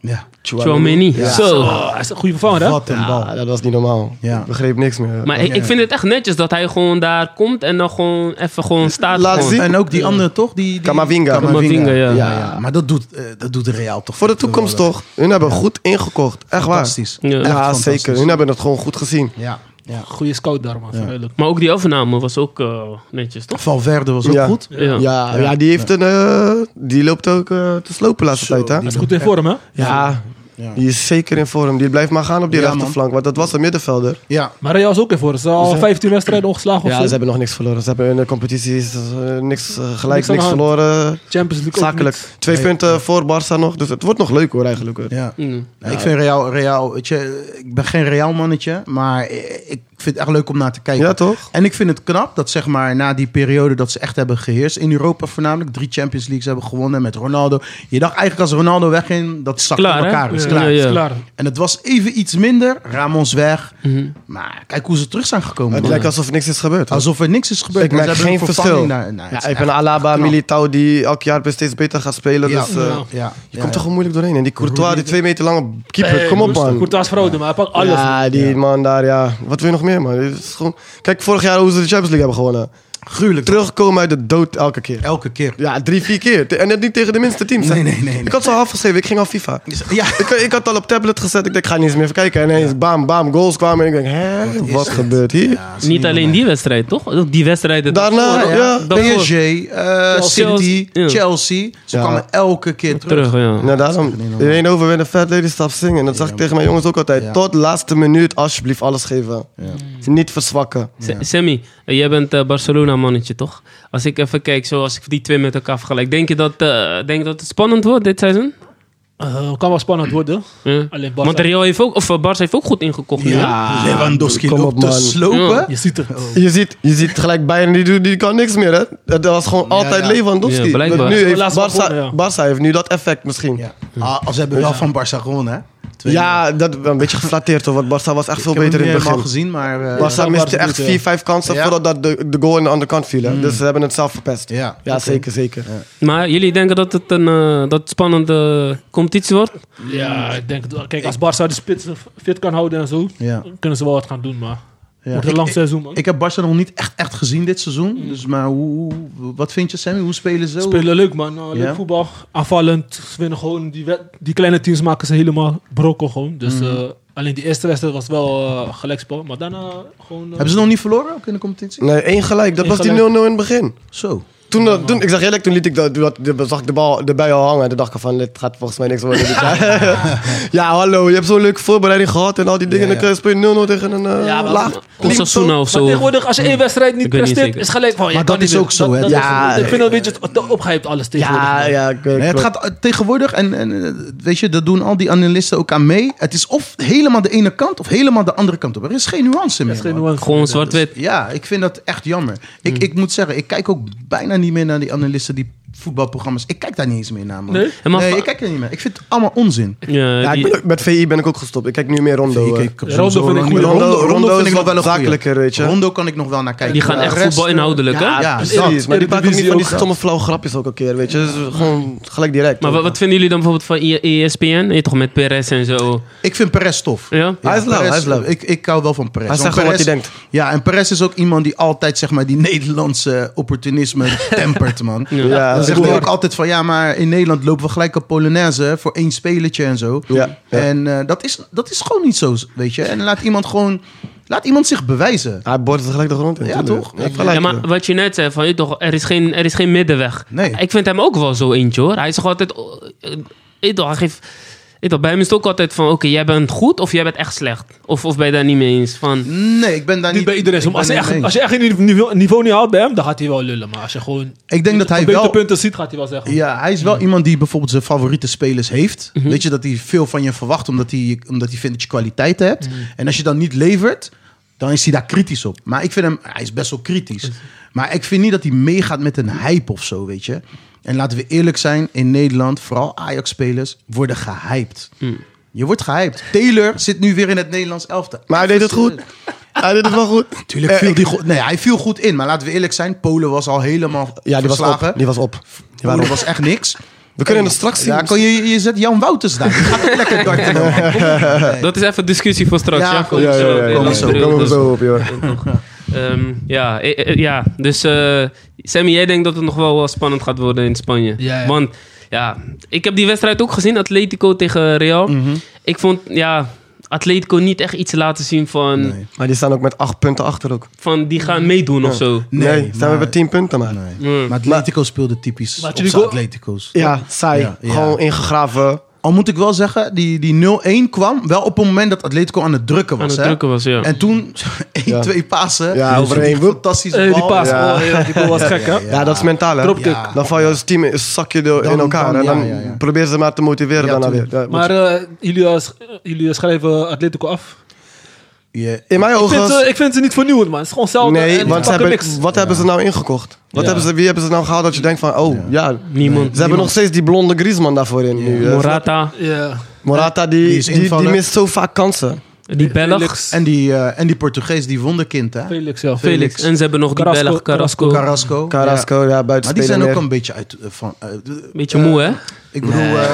[SPEAKER 3] Ja.
[SPEAKER 2] Tchouameni. Zo.
[SPEAKER 4] Oh, hij is een goede vervanger, hè?
[SPEAKER 3] Wat een bal.
[SPEAKER 5] Ja, dat was niet normaal.
[SPEAKER 3] Ja.
[SPEAKER 5] Ik begreep niks meer.
[SPEAKER 2] Maar ik, ik vind het echt netjes dat hij gewoon daar komt en dan gewoon even gewoon staat.
[SPEAKER 5] Laat
[SPEAKER 2] gewoon.
[SPEAKER 5] zien.
[SPEAKER 3] En ook die andere toch? Die, die...
[SPEAKER 5] Kamavinga.
[SPEAKER 2] Kamavinga, ja.
[SPEAKER 3] ja, ja. Maar dat doet, eh, dat doet Real toch?
[SPEAKER 5] Voor de toekomst, toch? Hun hebben goed ingekocht. Echt waar.
[SPEAKER 3] Fantastisch.
[SPEAKER 2] Ja.
[SPEAKER 3] Echt
[SPEAKER 5] Ja,
[SPEAKER 3] fantastisch.
[SPEAKER 5] zeker. Hun hebben het gewoon goed gezien.
[SPEAKER 3] Ja, ja.
[SPEAKER 4] Goede scout daar, man. Verduidelijk.
[SPEAKER 2] Maar ook die overname was ook eh, netjes, toch?
[SPEAKER 3] Valverde was ook
[SPEAKER 5] Ja.
[SPEAKER 3] goed.
[SPEAKER 2] Ja. Ja.
[SPEAKER 5] Ja, ja die, heeft een, eh, die loopt ook eh, te slopen de laatste
[SPEAKER 3] Zo,
[SPEAKER 5] tijd, hè?
[SPEAKER 4] Hij is goed in vorm, hè?
[SPEAKER 5] Ja,
[SPEAKER 3] Ja.
[SPEAKER 5] die is zeker in vorm. Die blijft maar gaan op die
[SPEAKER 3] Ja,
[SPEAKER 5] rechterflank, want dat was een middenvelder.
[SPEAKER 3] Ja,
[SPEAKER 4] Maar Real is ook in vorm. Ze zijn al 15 wedstrijden ongeslagen of
[SPEAKER 5] Ja,
[SPEAKER 4] zo.
[SPEAKER 5] ze hebben nog niks verloren. Ze hebben in de competities niks eh, gelijk,
[SPEAKER 4] Niks aan
[SPEAKER 5] niks
[SPEAKER 4] de hand.
[SPEAKER 5] verloren.
[SPEAKER 4] Champions League ook
[SPEAKER 5] Zakelijk.
[SPEAKER 4] niet.
[SPEAKER 5] Twee
[SPEAKER 3] Nee.
[SPEAKER 5] punten voor Barça nog. Dus het wordt nog leuk hoor, eigenlijk. hoor.
[SPEAKER 3] ja.
[SPEAKER 2] Mm.
[SPEAKER 3] Nou, Ik vind Real, Real weet je, ik ben geen Real mannetje, maar ik vind het echt leuk om naar te kijken.
[SPEAKER 5] Ja, toch?
[SPEAKER 3] En ik vind het knap dat zeg maar na die periode dat ze echt hebben geheerst in Europa voornamelijk drie Champions Leagues hebben gewonnen met Ronaldo. Je dacht eigenlijk als Ronaldo wegging dat zakt
[SPEAKER 2] Klaar,
[SPEAKER 3] in
[SPEAKER 2] hè?
[SPEAKER 3] elkaar. Is
[SPEAKER 2] Ja,
[SPEAKER 3] klaar.
[SPEAKER 2] ja, ja.
[SPEAKER 4] Is klaar.
[SPEAKER 3] En het was even iets minder. Ramos weg.
[SPEAKER 2] Mhm.
[SPEAKER 3] Maar kijk hoe ze terug zijn gekomen.
[SPEAKER 5] Het
[SPEAKER 3] man.
[SPEAKER 5] lijkt alsof niks is gebeurd. hoor.
[SPEAKER 3] Alsof er niks is gebeurd.
[SPEAKER 5] Ik
[SPEAKER 3] maar
[SPEAKER 5] merk
[SPEAKER 3] ze hebben
[SPEAKER 5] geen
[SPEAKER 3] een vervanging
[SPEAKER 5] verschil.
[SPEAKER 3] daar- nou, het
[SPEAKER 5] Ja,
[SPEAKER 3] is
[SPEAKER 5] ik ben
[SPEAKER 3] echt-
[SPEAKER 5] Alaba,
[SPEAKER 3] knap.
[SPEAKER 5] Militao, die elk jaar weer steeds beter gaat spelen.
[SPEAKER 3] Ja,
[SPEAKER 5] dus, eh,
[SPEAKER 3] ja, ja,
[SPEAKER 5] Je komt toch gewoon moeilijk doorheen. En die Courtois, die twee meter lange keeper.
[SPEAKER 4] Hey,
[SPEAKER 5] Kom op,
[SPEAKER 4] rustig.
[SPEAKER 5] man.
[SPEAKER 4] Courtois fraude, maar hij pakt alles.
[SPEAKER 5] Ja, die man daar, ja. Wat wil je nog meer, man? Dit is gewoon... Kijk, vorig jaar hoe ze de Champions League hebben gewonnen.
[SPEAKER 3] Gruwelijk.
[SPEAKER 5] Terugkomen uit de dood elke keer.
[SPEAKER 3] Elke keer.
[SPEAKER 5] Ja, drie, vier keer. Te- En net niet tegen de minste teams. hè.
[SPEAKER 3] Nee, nee, nee, nee.
[SPEAKER 5] Ik had ze al afgeschreven, ik ging al FIFA.
[SPEAKER 3] Ja.
[SPEAKER 5] (laughs) Ik, ik had al op tablet gezet, ik denk, ik ga niet eens meer even kijken. En ineens, bam, bam, goals kwamen. En ik denk, hè, wat,
[SPEAKER 3] is dit?
[SPEAKER 5] gebeurt hier?
[SPEAKER 3] Ja,
[SPEAKER 2] Niet alleen die wedstrijd, toch? Ook die wedstrijden.
[SPEAKER 5] Daarna,
[SPEAKER 2] daarvoor.
[SPEAKER 5] ja.
[SPEAKER 2] Daarvoor.
[SPEAKER 3] PSG, eh,
[SPEAKER 2] Chelsea.
[SPEAKER 3] City,
[SPEAKER 2] Ja.
[SPEAKER 3] Chelsea. Ze
[SPEAKER 5] Ja.
[SPEAKER 3] kwamen elke keer terug.
[SPEAKER 2] Terug, ja.
[SPEAKER 5] Nou,
[SPEAKER 3] dat
[SPEAKER 5] daarom.
[SPEAKER 3] is echt niet normaal.
[SPEAKER 5] Iedereen overwinnen, Fat Lady Stop zingen. Dat zag ik tegen mijn jongens ook altijd.
[SPEAKER 3] Ja.
[SPEAKER 5] Tot laatste minuut, alsjeblieft, alles geven. Niet verzwakken.
[SPEAKER 2] S- Sammy, eh, jij bent eh, Barcelona-mannetje, toch? Als ik even kijk, zoals ik die twee met elkaar vergelijk. Denk je dat, eh, denk je dat het spannend wordt dit seizoen?
[SPEAKER 4] Eh, kan wel spannend worden.
[SPEAKER 2] Ja.
[SPEAKER 4] Alleen Barca-
[SPEAKER 2] Want Real heeft ook, of eh, Barca heeft ook goed ingekocht. nu, hè?
[SPEAKER 3] Lewandowski
[SPEAKER 5] kom op,
[SPEAKER 3] loopt te
[SPEAKER 5] man.
[SPEAKER 3] slopen.
[SPEAKER 4] Je ziet het.
[SPEAKER 5] Je ziet, je ziet gelijk Bayern, die, doet- die kan niks meer. Hè? Dat was gewoon altijd
[SPEAKER 3] ja.
[SPEAKER 5] Lewandowski.
[SPEAKER 2] Ja, blijkbaar.
[SPEAKER 5] Want Nu
[SPEAKER 4] Ja,
[SPEAKER 5] heeft
[SPEAKER 4] laatst wel
[SPEAKER 5] Barca,
[SPEAKER 4] gewonnen,
[SPEAKER 5] Barca heeft nu dat effect misschien. Ja,
[SPEAKER 3] Ja. Ah, ze hebben wel van Barça gewonnen, hè?
[SPEAKER 5] dat een beetje geflatteerd hoor. Want Barca was echt veel
[SPEAKER 3] Ik heb
[SPEAKER 5] beter in
[SPEAKER 3] hem
[SPEAKER 5] het
[SPEAKER 3] niet helemaal
[SPEAKER 5] begin.
[SPEAKER 3] gezien, maar... eh,
[SPEAKER 5] Barca
[SPEAKER 4] Ja,
[SPEAKER 5] miste
[SPEAKER 4] Barca
[SPEAKER 5] echt
[SPEAKER 4] doet,
[SPEAKER 5] vier,
[SPEAKER 4] ja.
[SPEAKER 5] vijf kansen
[SPEAKER 3] Ja.
[SPEAKER 5] voordat dat de, de goal aan de andere kant viel. Hè?
[SPEAKER 3] Hmm.
[SPEAKER 5] Dus ze hebben het zelf verpest.
[SPEAKER 3] Ja, oké.
[SPEAKER 5] zeker, zeker.
[SPEAKER 2] Maar jullie denken dat het een eh, dat het spannende competitie wordt?
[SPEAKER 4] Ja, ik denk, dat- kijk, als Barca de spits fit kan houden en zo,
[SPEAKER 3] Ja.
[SPEAKER 4] kunnen ze wel wat gaan doen, maar
[SPEAKER 3] Ja.
[SPEAKER 4] wordt
[SPEAKER 3] Ik-
[SPEAKER 4] een lang
[SPEAKER 3] ik-
[SPEAKER 4] seizoen, man.
[SPEAKER 3] Ik heb Barça nog niet echt, echt gezien dit seizoen. Dus, maar hoe, hoe- wat vind je, Sammy? Hoe spelen ze?
[SPEAKER 4] Spelen leuk, man. Eh, leuk
[SPEAKER 3] Ja?
[SPEAKER 4] voetbal. Aanvallend. Ze winnen gewoon. Die, wed- die kleine teams maken ze helemaal brokken gewoon. Dus
[SPEAKER 3] Mhm.
[SPEAKER 4] eh, alleen die eerste wedstrijd was wel eh, gelijkspel. Maar daarna gewoon... eh,
[SPEAKER 3] Hebben ze nog niet verloren ook in de competitie?
[SPEAKER 5] Nee, één gelijk. Dat
[SPEAKER 4] Eén
[SPEAKER 5] was die 0-0
[SPEAKER 4] gelijk.
[SPEAKER 5] in het begin.
[SPEAKER 3] Zo.
[SPEAKER 5] Toen, dat- toen, ik zeg eerlijk, toen liet ik dat, dat, dat- zag ik de bal erbij al hangen. En toen dacht ik van, dit gaat volgens mij niks worden.
[SPEAKER 3] (laughs)
[SPEAKER 5] (laughs) dit jaar. ja, hallo, je hebt zo'n leuke voorbereiding gehad en al die dingen.
[SPEAKER 3] Ja,
[SPEAKER 5] En dan speel je 0-0 tegen een eh,
[SPEAKER 4] Ja, maar-
[SPEAKER 3] Ah,
[SPEAKER 5] laag.
[SPEAKER 2] Of Sasuna of
[SPEAKER 4] Maar
[SPEAKER 2] zo?
[SPEAKER 4] tegenwoordig, als je één wedstrijd niet
[SPEAKER 2] Ik weet niet
[SPEAKER 4] presteert,
[SPEAKER 2] zeker.
[SPEAKER 4] is gelijk van... je
[SPEAKER 3] Mhm. Maar
[SPEAKER 4] kan niet
[SPEAKER 3] dat is
[SPEAKER 4] meer.
[SPEAKER 3] ook zo, hè.
[SPEAKER 4] Dat- dat is
[SPEAKER 5] Ja,
[SPEAKER 4] zo. ik vind dat een beetje te- opgehyped alles tegenwoordig.
[SPEAKER 5] Ja, ja, ik-
[SPEAKER 3] Nee, het
[SPEAKER 5] klopt.
[SPEAKER 3] gaat eh, tegenwoordig, en, en eh, weet je, dat doen al die analisten ook aan mee. Het is of helemaal de ene kant of helemaal de andere kant op. Er is geen nuance meer.
[SPEAKER 4] Dat Mm. is geen
[SPEAKER 3] man. Dus
[SPEAKER 4] nuance.
[SPEAKER 2] Gewoon zwart-wit.
[SPEAKER 3] Ja, ik vind dat echt jammer. Ik, ik moet zeggen, ik kijk ook bijna niet meer naar die analisten, die voetbalprogramma's. Ik kijk daar niet eens meer naar, man.
[SPEAKER 4] Nee?
[SPEAKER 2] Ja, maar-
[SPEAKER 3] nee, ik kijk er niet meer. Ik vind het allemaal onzin.
[SPEAKER 2] Ja,
[SPEAKER 5] Ja, ik
[SPEAKER 2] die-
[SPEAKER 5] ben ook- met VI ben ik ook gestopt. Ik kijk nu meer Rondo. eh.
[SPEAKER 3] heb
[SPEAKER 4] Rondo
[SPEAKER 3] sowieso
[SPEAKER 4] vind ik
[SPEAKER 3] niet-
[SPEAKER 5] goed.
[SPEAKER 3] Rondo,
[SPEAKER 5] Rondo-
[SPEAKER 3] Rondo
[SPEAKER 5] Rondo
[SPEAKER 3] vind
[SPEAKER 5] is
[SPEAKER 3] ik nog
[SPEAKER 5] wat
[SPEAKER 3] wel een goeie.
[SPEAKER 5] zakelijker, weet je. eh,
[SPEAKER 3] Rondo kan ik nog wel naar kijken.
[SPEAKER 2] die gaan
[SPEAKER 3] Maar
[SPEAKER 2] echt
[SPEAKER 3] de rest,
[SPEAKER 2] voetbal inhoudelijk, hè?
[SPEAKER 3] Ja,
[SPEAKER 5] Ja,
[SPEAKER 3] Ah, dat.
[SPEAKER 5] precies. Maar die maken ook niet van die
[SPEAKER 3] ook, hè.
[SPEAKER 5] stomme flauwe grapjes ook een keer, weet je. Dus gewoon gelijk direct.
[SPEAKER 2] Maar wat, wat vinden jullie dan bijvoorbeeld van E- I- ESPN? Nee, toch met Perez en zo?
[SPEAKER 3] Ik vind Perez tof.
[SPEAKER 2] Ja?
[SPEAKER 3] Ja,
[SPEAKER 5] Hij is lauw,
[SPEAKER 3] Perez,
[SPEAKER 5] hij is lauw.
[SPEAKER 3] Ik, ik hou wel van Perez.
[SPEAKER 5] Hij
[SPEAKER 3] Want
[SPEAKER 5] zegt gewoon wat
[SPEAKER 3] Perez-
[SPEAKER 5] hij denkt.
[SPEAKER 3] Ja, en Perez is ook iemand die altijd zeg maar, die Nederlandse
[SPEAKER 5] (laughs)
[SPEAKER 3] opportunisme tempert, man.
[SPEAKER 5] Ja,
[SPEAKER 3] Dan
[SPEAKER 5] dat is
[SPEAKER 3] zegt hij
[SPEAKER 5] waar.
[SPEAKER 3] ook altijd van, ja, maar in Nederland lopen we gelijk op Polonaise voor één spelletje en zo.
[SPEAKER 5] Ja, ja.
[SPEAKER 3] En eh, dat, is, dat is gewoon niet zo, weet je. En laat iemand gewoon, laat iemand zich bewijzen.
[SPEAKER 5] Hij bord het gelijk de grond in.
[SPEAKER 3] Ja,
[SPEAKER 5] tuurlijk.
[SPEAKER 3] toch?
[SPEAKER 5] Hij heeft
[SPEAKER 2] Ja,
[SPEAKER 5] gelijk.
[SPEAKER 2] maar wat je net zei, van, je toch, er, is geen, er is geen middenweg.
[SPEAKER 3] Nee.
[SPEAKER 2] Ik vind hem ook wel zo eentje hoor. Hij is gewoon altijd. oh, eh, je toch, hij geeft, je toch, bij hem is het ook altijd van: oké, jij bent goed of jij bent echt slecht. Of, of ben je daar niet mee eens. Van,
[SPEAKER 3] Nee, ik ben daar niet...
[SPEAKER 4] Niet bij iedereen. zo,
[SPEAKER 3] ik
[SPEAKER 4] maar Als je,
[SPEAKER 3] ben
[SPEAKER 4] echt,
[SPEAKER 3] daarmee
[SPEAKER 4] als je echt een niveau, niveau niet haalt bij hem, dan gaat hij wel lullen. Maar als je gewoon
[SPEAKER 3] Ik denk dat hij wel-
[SPEAKER 4] punten ziet, gaat hij wel zeggen.
[SPEAKER 3] Ja, hij is wel iemand die bijvoorbeeld zijn favoriete spelers heeft.
[SPEAKER 5] Mhm.
[SPEAKER 3] Weet je, dat hij veel van je verwacht, omdat hij, omdat hij vindt dat je kwaliteiten
[SPEAKER 5] Mhm.
[SPEAKER 3] hebt. En als je dan niet levert, dan is hij daar kritisch op. Maar ik vind hem, hij is best wel kritisch. Maar ik vind niet dat hij meegaat met een hype of zo, weet je. En laten we eerlijk zijn, in Nederland, vooral Ajax-spelers, worden gehyped.
[SPEAKER 5] Mhm.
[SPEAKER 3] Je wordt gehyped. Taylor zit nu weer in het Nederlands elftal.
[SPEAKER 5] Maar hij deed het goed. Hij deed het wel goed.
[SPEAKER 3] Tuurlijk
[SPEAKER 5] Eh,
[SPEAKER 3] viel
[SPEAKER 5] ik-
[SPEAKER 3] die goed. Nee, hij viel goed in. Maar laten we eerlijk zijn, Polen was al helemaal
[SPEAKER 5] Ja, die was
[SPEAKER 3] verslagen.
[SPEAKER 5] op. Die was op. Die waren
[SPEAKER 3] Polen
[SPEAKER 5] op.
[SPEAKER 3] was echt niks.
[SPEAKER 5] We kunnen het straks zien.
[SPEAKER 3] Ja, kon je, je zet Jan Wouters daar. Die gaat ook lekker darten. dan, man. Kom op.
[SPEAKER 2] Dat is even discussie voor straks.
[SPEAKER 3] Ja,
[SPEAKER 2] Ja, kom
[SPEAKER 5] Ja,
[SPEAKER 2] zo.
[SPEAKER 5] ja, ja,
[SPEAKER 2] op,
[SPEAKER 5] ja.
[SPEAKER 2] in
[SPEAKER 3] kom
[SPEAKER 5] Kom
[SPEAKER 3] Laat zo,
[SPEAKER 2] april,
[SPEAKER 5] er
[SPEAKER 2] dus.
[SPEAKER 5] zo op, joh.
[SPEAKER 2] Ehm, ja, eh, eh, ja, dus eh, Sammy, jij denkt dat het nog wel wel spannend gaat worden in Spanje.
[SPEAKER 4] Ja, ja.
[SPEAKER 2] Want ja, ik heb die wedstrijd ook gezien, Atletico tegen Real. Ik vond, ja, Atletico niet echt iets laten zien van,
[SPEAKER 3] Nee.
[SPEAKER 5] Maar die staan ook met acht punten achter ook.
[SPEAKER 2] van die gaan meedoen of zo.
[SPEAKER 3] Nee,
[SPEAKER 5] Nee, staan we
[SPEAKER 3] maar-
[SPEAKER 5] bij tien punten maar.
[SPEAKER 3] Nee.
[SPEAKER 2] Mm.
[SPEAKER 3] Maar Atletico speelde typisch
[SPEAKER 4] Maar
[SPEAKER 3] op
[SPEAKER 4] jullie
[SPEAKER 3] zijn
[SPEAKER 4] go-
[SPEAKER 3] Atletico's.
[SPEAKER 5] Ja, saai.
[SPEAKER 3] Ja, ja.
[SPEAKER 5] Gewoon ingegraven.
[SPEAKER 3] Al moet ik wel zeggen, die, die 0-1 kwam wel op het moment dat Atletico aan het drukken was.
[SPEAKER 2] Aan het
[SPEAKER 3] hè?
[SPEAKER 2] drukken was, ja.
[SPEAKER 3] En toen (laughs) 1-2 passen.
[SPEAKER 5] Ja,
[SPEAKER 3] Dus
[SPEAKER 5] overheen.
[SPEAKER 3] die Fantastische
[SPEAKER 4] Eh,
[SPEAKER 3] bal.
[SPEAKER 4] die paas,
[SPEAKER 5] Ja.
[SPEAKER 4] oh, ja, die goal was gek, hè?
[SPEAKER 5] Ja, dat is mentaal, hè?
[SPEAKER 4] Dropkick.
[SPEAKER 3] Ja.
[SPEAKER 5] Dan val je als team, in- zak je er
[SPEAKER 3] Dan-
[SPEAKER 5] in elkaar.
[SPEAKER 3] dan-
[SPEAKER 5] en dan
[SPEAKER 3] ja, ja, ja.
[SPEAKER 5] probeer ze maar te motiveren
[SPEAKER 3] Ja,
[SPEAKER 5] daarna weer.
[SPEAKER 3] tuurlijk.
[SPEAKER 5] Ja,
[SPEAKER 4] Maar eh, jullie, eh, sch- eh, jullie schrijven Atletico af.
[SPEAKER 3] Ja.
[SPEAKER 5] in mijn
[SPEAKER 4] Ik vind,
[SPEAKER 5] ogen...
[SPEAKER 4] ze, ik vind ze niet vernieuwend, man. Het is gewoon hetzelfde. Oh, en
[SPEAKER 5] nee,
[SPEAKER 4] ze
[SPEAKER 5] want ze
[SPEAKER 4] pakken
[SPEAKER 5] hebben,
[SPEAKER 4] niks.
[SPEAKER 5] wat hebben ze nou ingekocht? Wat
[SPEAKER 4] Ja.
[SPEAKER 5] hebben ze, wie hebben ze nou gehaald dat je denkt van... Oh, ja. Ze
[SPEAKER 2] Niemand.
[SPEAKER 5] hebben nog steeds die blonde Griezmann daarvoor in. nu, eh.
[SPEAKER 2] Morata.
[SPEAKER 4] Ja.
[SPEAKER 5] Morata, die,
[SPEAKER 3] Die is
[SPEAKER 5] die, die,
[SPEAKER 3] invaller.
[SPEAKER 5] mist zo vaak kansen.
[SPEAKER 2] Die Belg,
[SPEAKER 4] Felix,
[SPEAKER 3] En die, eh, en die Portugees, die wonderkind, hè?
[SPEAKER 4] Felix, ja.
[SPEAKER 3] Felix.
[SPEAKER 2] Felix. En ze hebben nog die
[SPEAKER 4] Carrasco-
[SPEAKER 2] Belg, Carrasco.
[SPEAKER 3] Carrasco. Ja.
[SPEAKER 5] Carrasco, ja, buiten
[SPEAKER 3] Maar die zijn ook een beetje uit... eh, van, eh, d-
[SPEAKER 2] Beetje
[SPEAKER 3] eh,
[SPEAKER 2] moe, hè?
[SPEAKER 3] Ik bedoel, eh, (laughs)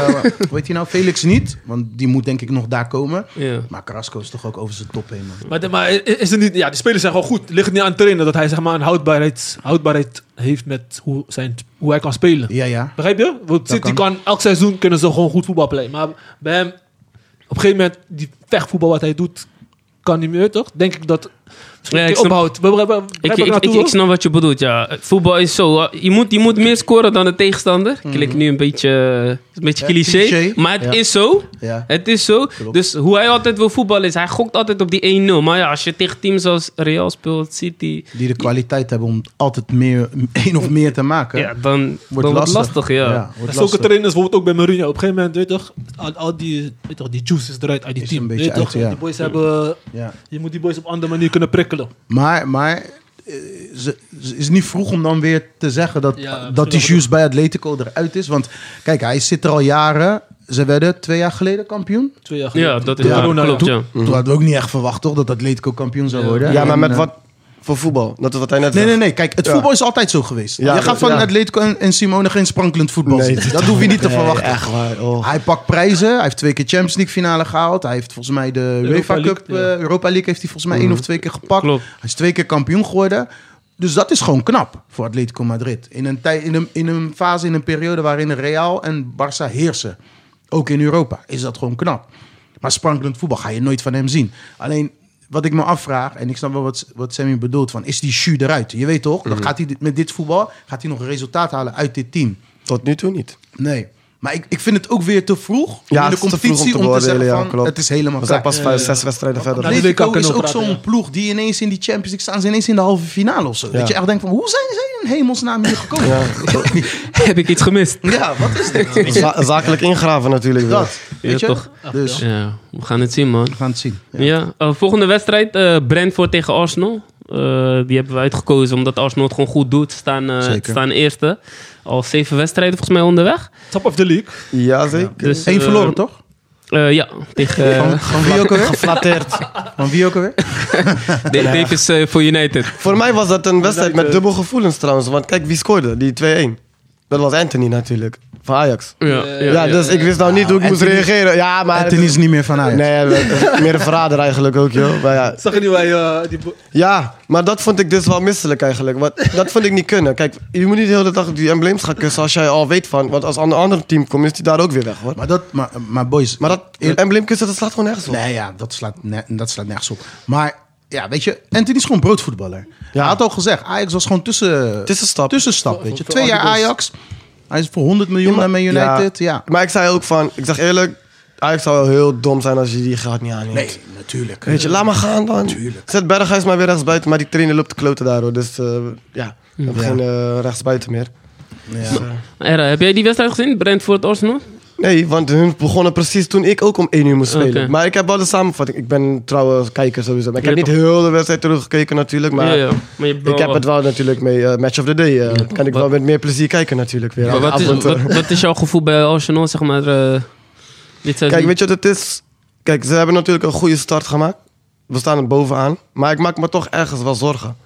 [SPEAKER 3] hoe heet hij nou? Felix niet, want die moet denk ik nog daar komen.
[SPEAKER 2] Ja.
[SPEAKER 3] Maar Carrasco is toch ook over zijn top heen, man.
[SPEAKER 4] Maar, de- maar is is het niet, ja, die spelers zijn gewoon goed. Ligt het niet aan het trainen dat hij zeg maar, een houdbaarheid, houdbaarheid heeft met hoe, zijn, hoe hij kan spelen.
[SPEAKER 3] Ja, ja.
[SPEAKER 4] Begrijp je? Want City
[SPEAKER 3] kan.
[SPEAKER 4] kan elk seizoen kunnen ze gewoon goed voetbal spelen. Maar bij hem, op een gegeven moment, die vechtvoetbal wat hij doet, kan niet meer, toch? Denk ik dat misschien
[SPEAKER 2] Ja,
[SPEAKER 4] een
[SPEAKER 2] ik
[SPEAKER 4] keer
[SPEAKER 2] snap-
[SPEAKER 4] ophoudt. We- we- we- begrijp
[SPEAKER 2] Ik,
[SPEAKER 4] wat
[SPEAKER 2] ik, ik,
[SPEAKER 4] naartoe
[SPEAKER 2] ik
[SPEAKER 4] wil?
[SPEAKER 2] snap wat je bedoelt, ja. Voetbal is zo. eh, Je moet, je moet meer scoren dan de tegenstander. Ik Klik nu een beetje, eh, een beetje
[SPEAKER 3] Ja,
[SPEAKER 2] cliché,
[SPEAKER 3] cliché.
[SPEAKER 2] Maar het
[SPEAKER 3] Ja.
[SPEAKER 2] is zo.
[SPEAKER 3] ja.
[SPEAKER 2] Het is zo. Dus hoe hij altijd wil voetballen is, hij gokt altijd op die 1-0. Maar ja, als je tegen teams als Real speelt, City...
[SPEAKER 3] Die de kwaliteit hebben om altijd meer, (laughs) één of meer te maken.
[SPEAKER 2] Ja, dan wordt
[SPEAKER 3] Wordt
[SPEAKER 2] het
[SPEAKER 3] lastig.
[SPEAKER 2] lastig, ja.
[SPEAKER 3] wordt
[SPEAKER 4] Zulke
[SPEAKER 3] lastig.
[SPEAKER 4] trainers, bijvoorbeeld ook bij Mourinho. Op een gegeven moment, weet je toch, al, al die, weet je toch, die juice is eruit uit die
[SPEAKER 3] Is
[SPEAKER 4] team.
[SPEAKER 3] een beetje
[SPEAKER 4] weet je toch?
[SPEAKER 3] uit, ja.
[SPEAKER 4] Die boys hebben,
[SPEAKER 3] Ja.
[SPEAKER 4] je moet die boys op een andere manier kunnen prikkelen.
[SPEAKER 3] Maar, maar eh, ze, ze- is het niet vroeg om dan weer te zeggen dat,
[SPEAKER 4] Ja, misschien
[SPEAKER 3] dat die
[SPEAKER 4] wel.
[SPEAKER 3] juice bij Atletico eruit is? Want kijk, hij zit er al jaren. Ze werden twee jaar geleden kampioen.
[SPEAKER 4] Twee jaar geleden.
[SPEAKER 2] Ja, dat is
[SPEAKER 4] Ja,
[SPEAKER 2] waar.
[SPEAKER 4] Ronaldo.
[SPEAKER 3] (laughs)
[SPEAKER 2] Klopt, ja.
[SPEAKER 3] Toen hadden we ook niet echt verwacht, toch? Dat Atletico kampioen zou
[SPEAKER 4] Ja.
[SPEAKER 3] worden.
[SPEAKER 5] Mhm. Ja, maar
[SPEAKER 3] En,
[SPEAKER 5] met
[SPEAKER 3] eh,
[SPEAKER 5] wat voor voetbal? Dat is wat hij net
[SPEAKER 3] Nee,
[SPEAKER 5] zegt.
[SPEAKER 3] nee, nee. Kijk, het
[SPEAKER 5] Ja.
[SPEAKER 3] voetbal is altijd zo geweest.
[SPEAKER 5] Ja,
[SPEAKER 3] je gaat
[SPEAKER 5] dat-
[SPEAKER 3] van
[SPEAKER 5] ja.
[SPEAKER 3] Atletico en, en Simone geen sprankelend voetbal
[SPEAKER 5] Nee,
[SPEAKER 3] zien. Dat hoef je niet te verwachten.
[SPEAKER 5] Echt waar, oh.
[SPEAKER 3] Hij pakt prijzen. Hij heeft twee keer Champions League finale gehaald. Hij heeft volgens mij de UEFA
[SPEAKER 4] League,
[SPEAKER 3] Cup,
[SPEAKER 4] ja.
[SPEAKER 3] eh, Europa League heeft hij volgens mij één of twee keer gepakt.
[SPEAKER 2] Klopt.
[SPEAKER 3] Hij is twee keer kampioen geworden. Dus dat is gewoon knap voor Atletico Madrid. In een, tij- in een, in een fase, in een periode waarin Real en Barça heersen. Ook in Europa is dat gewoon knap. Maar sprankelend voetbal ga je nooit van hem zien. Alleen wat ik me afvraag, en ik snap wel wat, wat Sammy bedoelt, van is die jus eruit? Je weet toch, dan gaat hij dit- met dit voetbal gaat hij nog een resultaat halen uit dit team.
[SPEAKER 5] Tot nu toe niet.
[SPEAKER 3] Nee. Maar ik, ik vind het ook weer te vroeg om
[SPEAKER 5] Ja,
[SPEAKER 3] in de
[SPEAKER 5] het is te
[SPEAKER 3] competitie
[SPEAKER 5] vroeg om te
[SPEAKER 3] om te
[SPEAKER 5] beoordelen,
[SPEAKER 3] zeggen
[SPEAKER 5] ja,
[SPEAKER 3] van,
[SPEAKER 5] klopt.
[SPEAKER 3] het is helemaal
[SPEAKER 5] We zijn
[SPEAKER 3] klaar.
[SPEAKER 5] pas vijf, zes wedstrijden verder.
[SPEAKER 4] Nou, die
[SPEAKER 3] Atletico
[SPEAKER 4] WK kunnen
[SPEAKER 3] is
[SPEAKER 4] we
[SPEAKER 3] ook
[SPEAKER 4] praten,
[SPEAKER 3] zo'n
[SPEAKER 4] ja.
[SPEAKER 3] ploeg die ineens in die Champions League staan. Ze ineens in de halve finale of zo.
[SPEAKER 5] Ja.
[SPEAKER 3] Dat je echt denkt van, hoe zijn ze in hemelsnaam hier gekomen? (laughs) Ja,
[SPEAKER 2] Heb ik iets gemist?
[SPEAKER 3] wat is dit? Weet je,
[SPEAKER 5] Za- zakelijk ingraven natuurlijk. weer.
[SPEAKER 3] dat. Weet je?
[SPEAKER 2] Ja, toch.
[SPEAKER 3] Dus
[SPEAKER 2] Ja, we gaan het zien, man.
[SPEAKER 3] we gaan het zien.
[SPEAKER 2] Ja. eh, volgende wedstrijd, eh Brentford tegen Arsenal. Eh, die hebben we uitgekozen omdat Arsenal het gewoon goed doet. Ze staan, eh,
[SPEAKER 3] Zeker.
[SPEAKER 2] staan eerste. Al zeven wedstrijden volgens mij onderweg.
[SPEAKER 4] Top of the league.
[SPEAKER 5] Ja, zeker.
[SPEAKER 2] Dus,
[SPEAKER 3] Eén
[SPEAKER 2] eh,
[SPEAKER 3] verloren, toch?
[SPEAKER 2] eh, ja, tegen
[SPEAKER 5] (laughs)
[SPEAKER 2] eh,
[SPEAKER 3] Van, van wie ook alweer?
[SPEAKER 5] Geflatteerd.
[SPEAKER 3] Van wie ook alweer?
[SPEAKER 2] de- deze is eh, voor United.
[SPEAKER 5] Voor mij was dat een wedstrijd met
[SPEAKER 4] eh,
[SPEAKER 5] dubbel gevoelens trouwens. Want kijk, wie scoorde? Die 2-1. Dat was Anthony natuurlijk. Van Ajax.
[SPEAKER 2] Ja, ja,
[SPEAKER 5] Ja,
[SPEAKER 2] ja.
[SPEAKER 5] dus ik wist nou niet hoe ik
[SPEAKER 3] Anthony-
[SPEAKER 5] moest reageren. Ja, maar...
[SPEAKER 3] Anthony is niet meer van Ajax.
[SPEAKER 5] Nee, dat- meer een verrader eigenlijk ook, joh. Maar ja.
[SPEAKER 4] Zag je niet waar je, eh, die bo-
[SPEAKER 5] ja, maar dat vond ik dus wel misselijk eigenlijk. Want dat vond ik niet kunnen. Kijk, je moet niet de hele dag op die embleems gaan kussen als jij al weet van... Want als een ander team komt, is die daar ook weer weg, hoor.
[SPEAKER 3] Maar, dat, maar, maar boys...
[SPEAKER 5] Maar dat eh, embleem kussen, dat slaat gewoon nergens op.
[SPEAKER 3] Nee, ja, dat slaat, ne- dat slaat nergens op. Maar ja, weet je, Anthony is gewoon broodvoetballer. Hij had al gezegd, Ajax was gewoon tussen,
[SPEAKER 5] Tussenstap.
[SPEAKER 3] tussenstap weet je.
[SPEAKER 4] voor
[SPEAKER 3] Twee jaar
[SPEAKER 4] Adidas.
[SPEAKER 3] Ajax. Hij is voor 100 miljoen naar Man United. Ja.
[SPEAKER 5] Maar ik zei ook van... Ik zeg eerlijk, Ajax zou wel heel dom zijn als je die gaat niet aanneemt.
[SPEAKER 3] Nee, natuurlijk.
[SPEAKER 5] Weet je, laat maar gaan dan.
[SPEAKER 3] Tuurlijk.
[SPEAKER 5] Zet Berghuis maar weer rechtsbuiten, maar die trainer loopt de kloten daar hoor. Dus eh, ja, we hebben
[SPEAKER 3] Ja.
[SPEAKER 5] geen eh, rechtsbuiten meer.
[SPEAKER 3] Ja.
[SPEAKER 2] Era, heb jij die wedstrijd gezien? Brentford-Arsenal?
[SPEAKER 5] Nee, want hun begonnen precies toen ik ook om 1 uur moest spelen.
[SPEAKER 2] Oké.
[SPEAKER 5] Maar ik heb wel de samenvatting. Ik ben trouwens kijker sowieso. Maar ik heb
[SPEAKER 2] Ja,
[SPEAKER 5] niet heel de wedstrijd teruggekeken natuurlijk. Maar
[SPEAKER 2] ja, ja. Maar je hebt wel
[SPEAKER 5] ik heb
[SPEAKER 2] wat-
[SPEAKER 5] het wel natuurlijk mee eh, Match of the Day. eh, kan ik wel met meer plezier kijken natuurlijk weer.
[SPEAKER 2] eh, Maar wat, is,
[SPEAKER 5] Af en toe.
[SPEAKER 2] wat, wat is jouw gevoel bij Arsenal, zeg maar? eh, dit seizoen?
[SPEAKER 5] Kijk, weet je wat het is? Kijk, ze hebben natuurlijk een goede start gemaakt. We staan er bovenaan. Maar ik maak me toch ergens wel zorgen.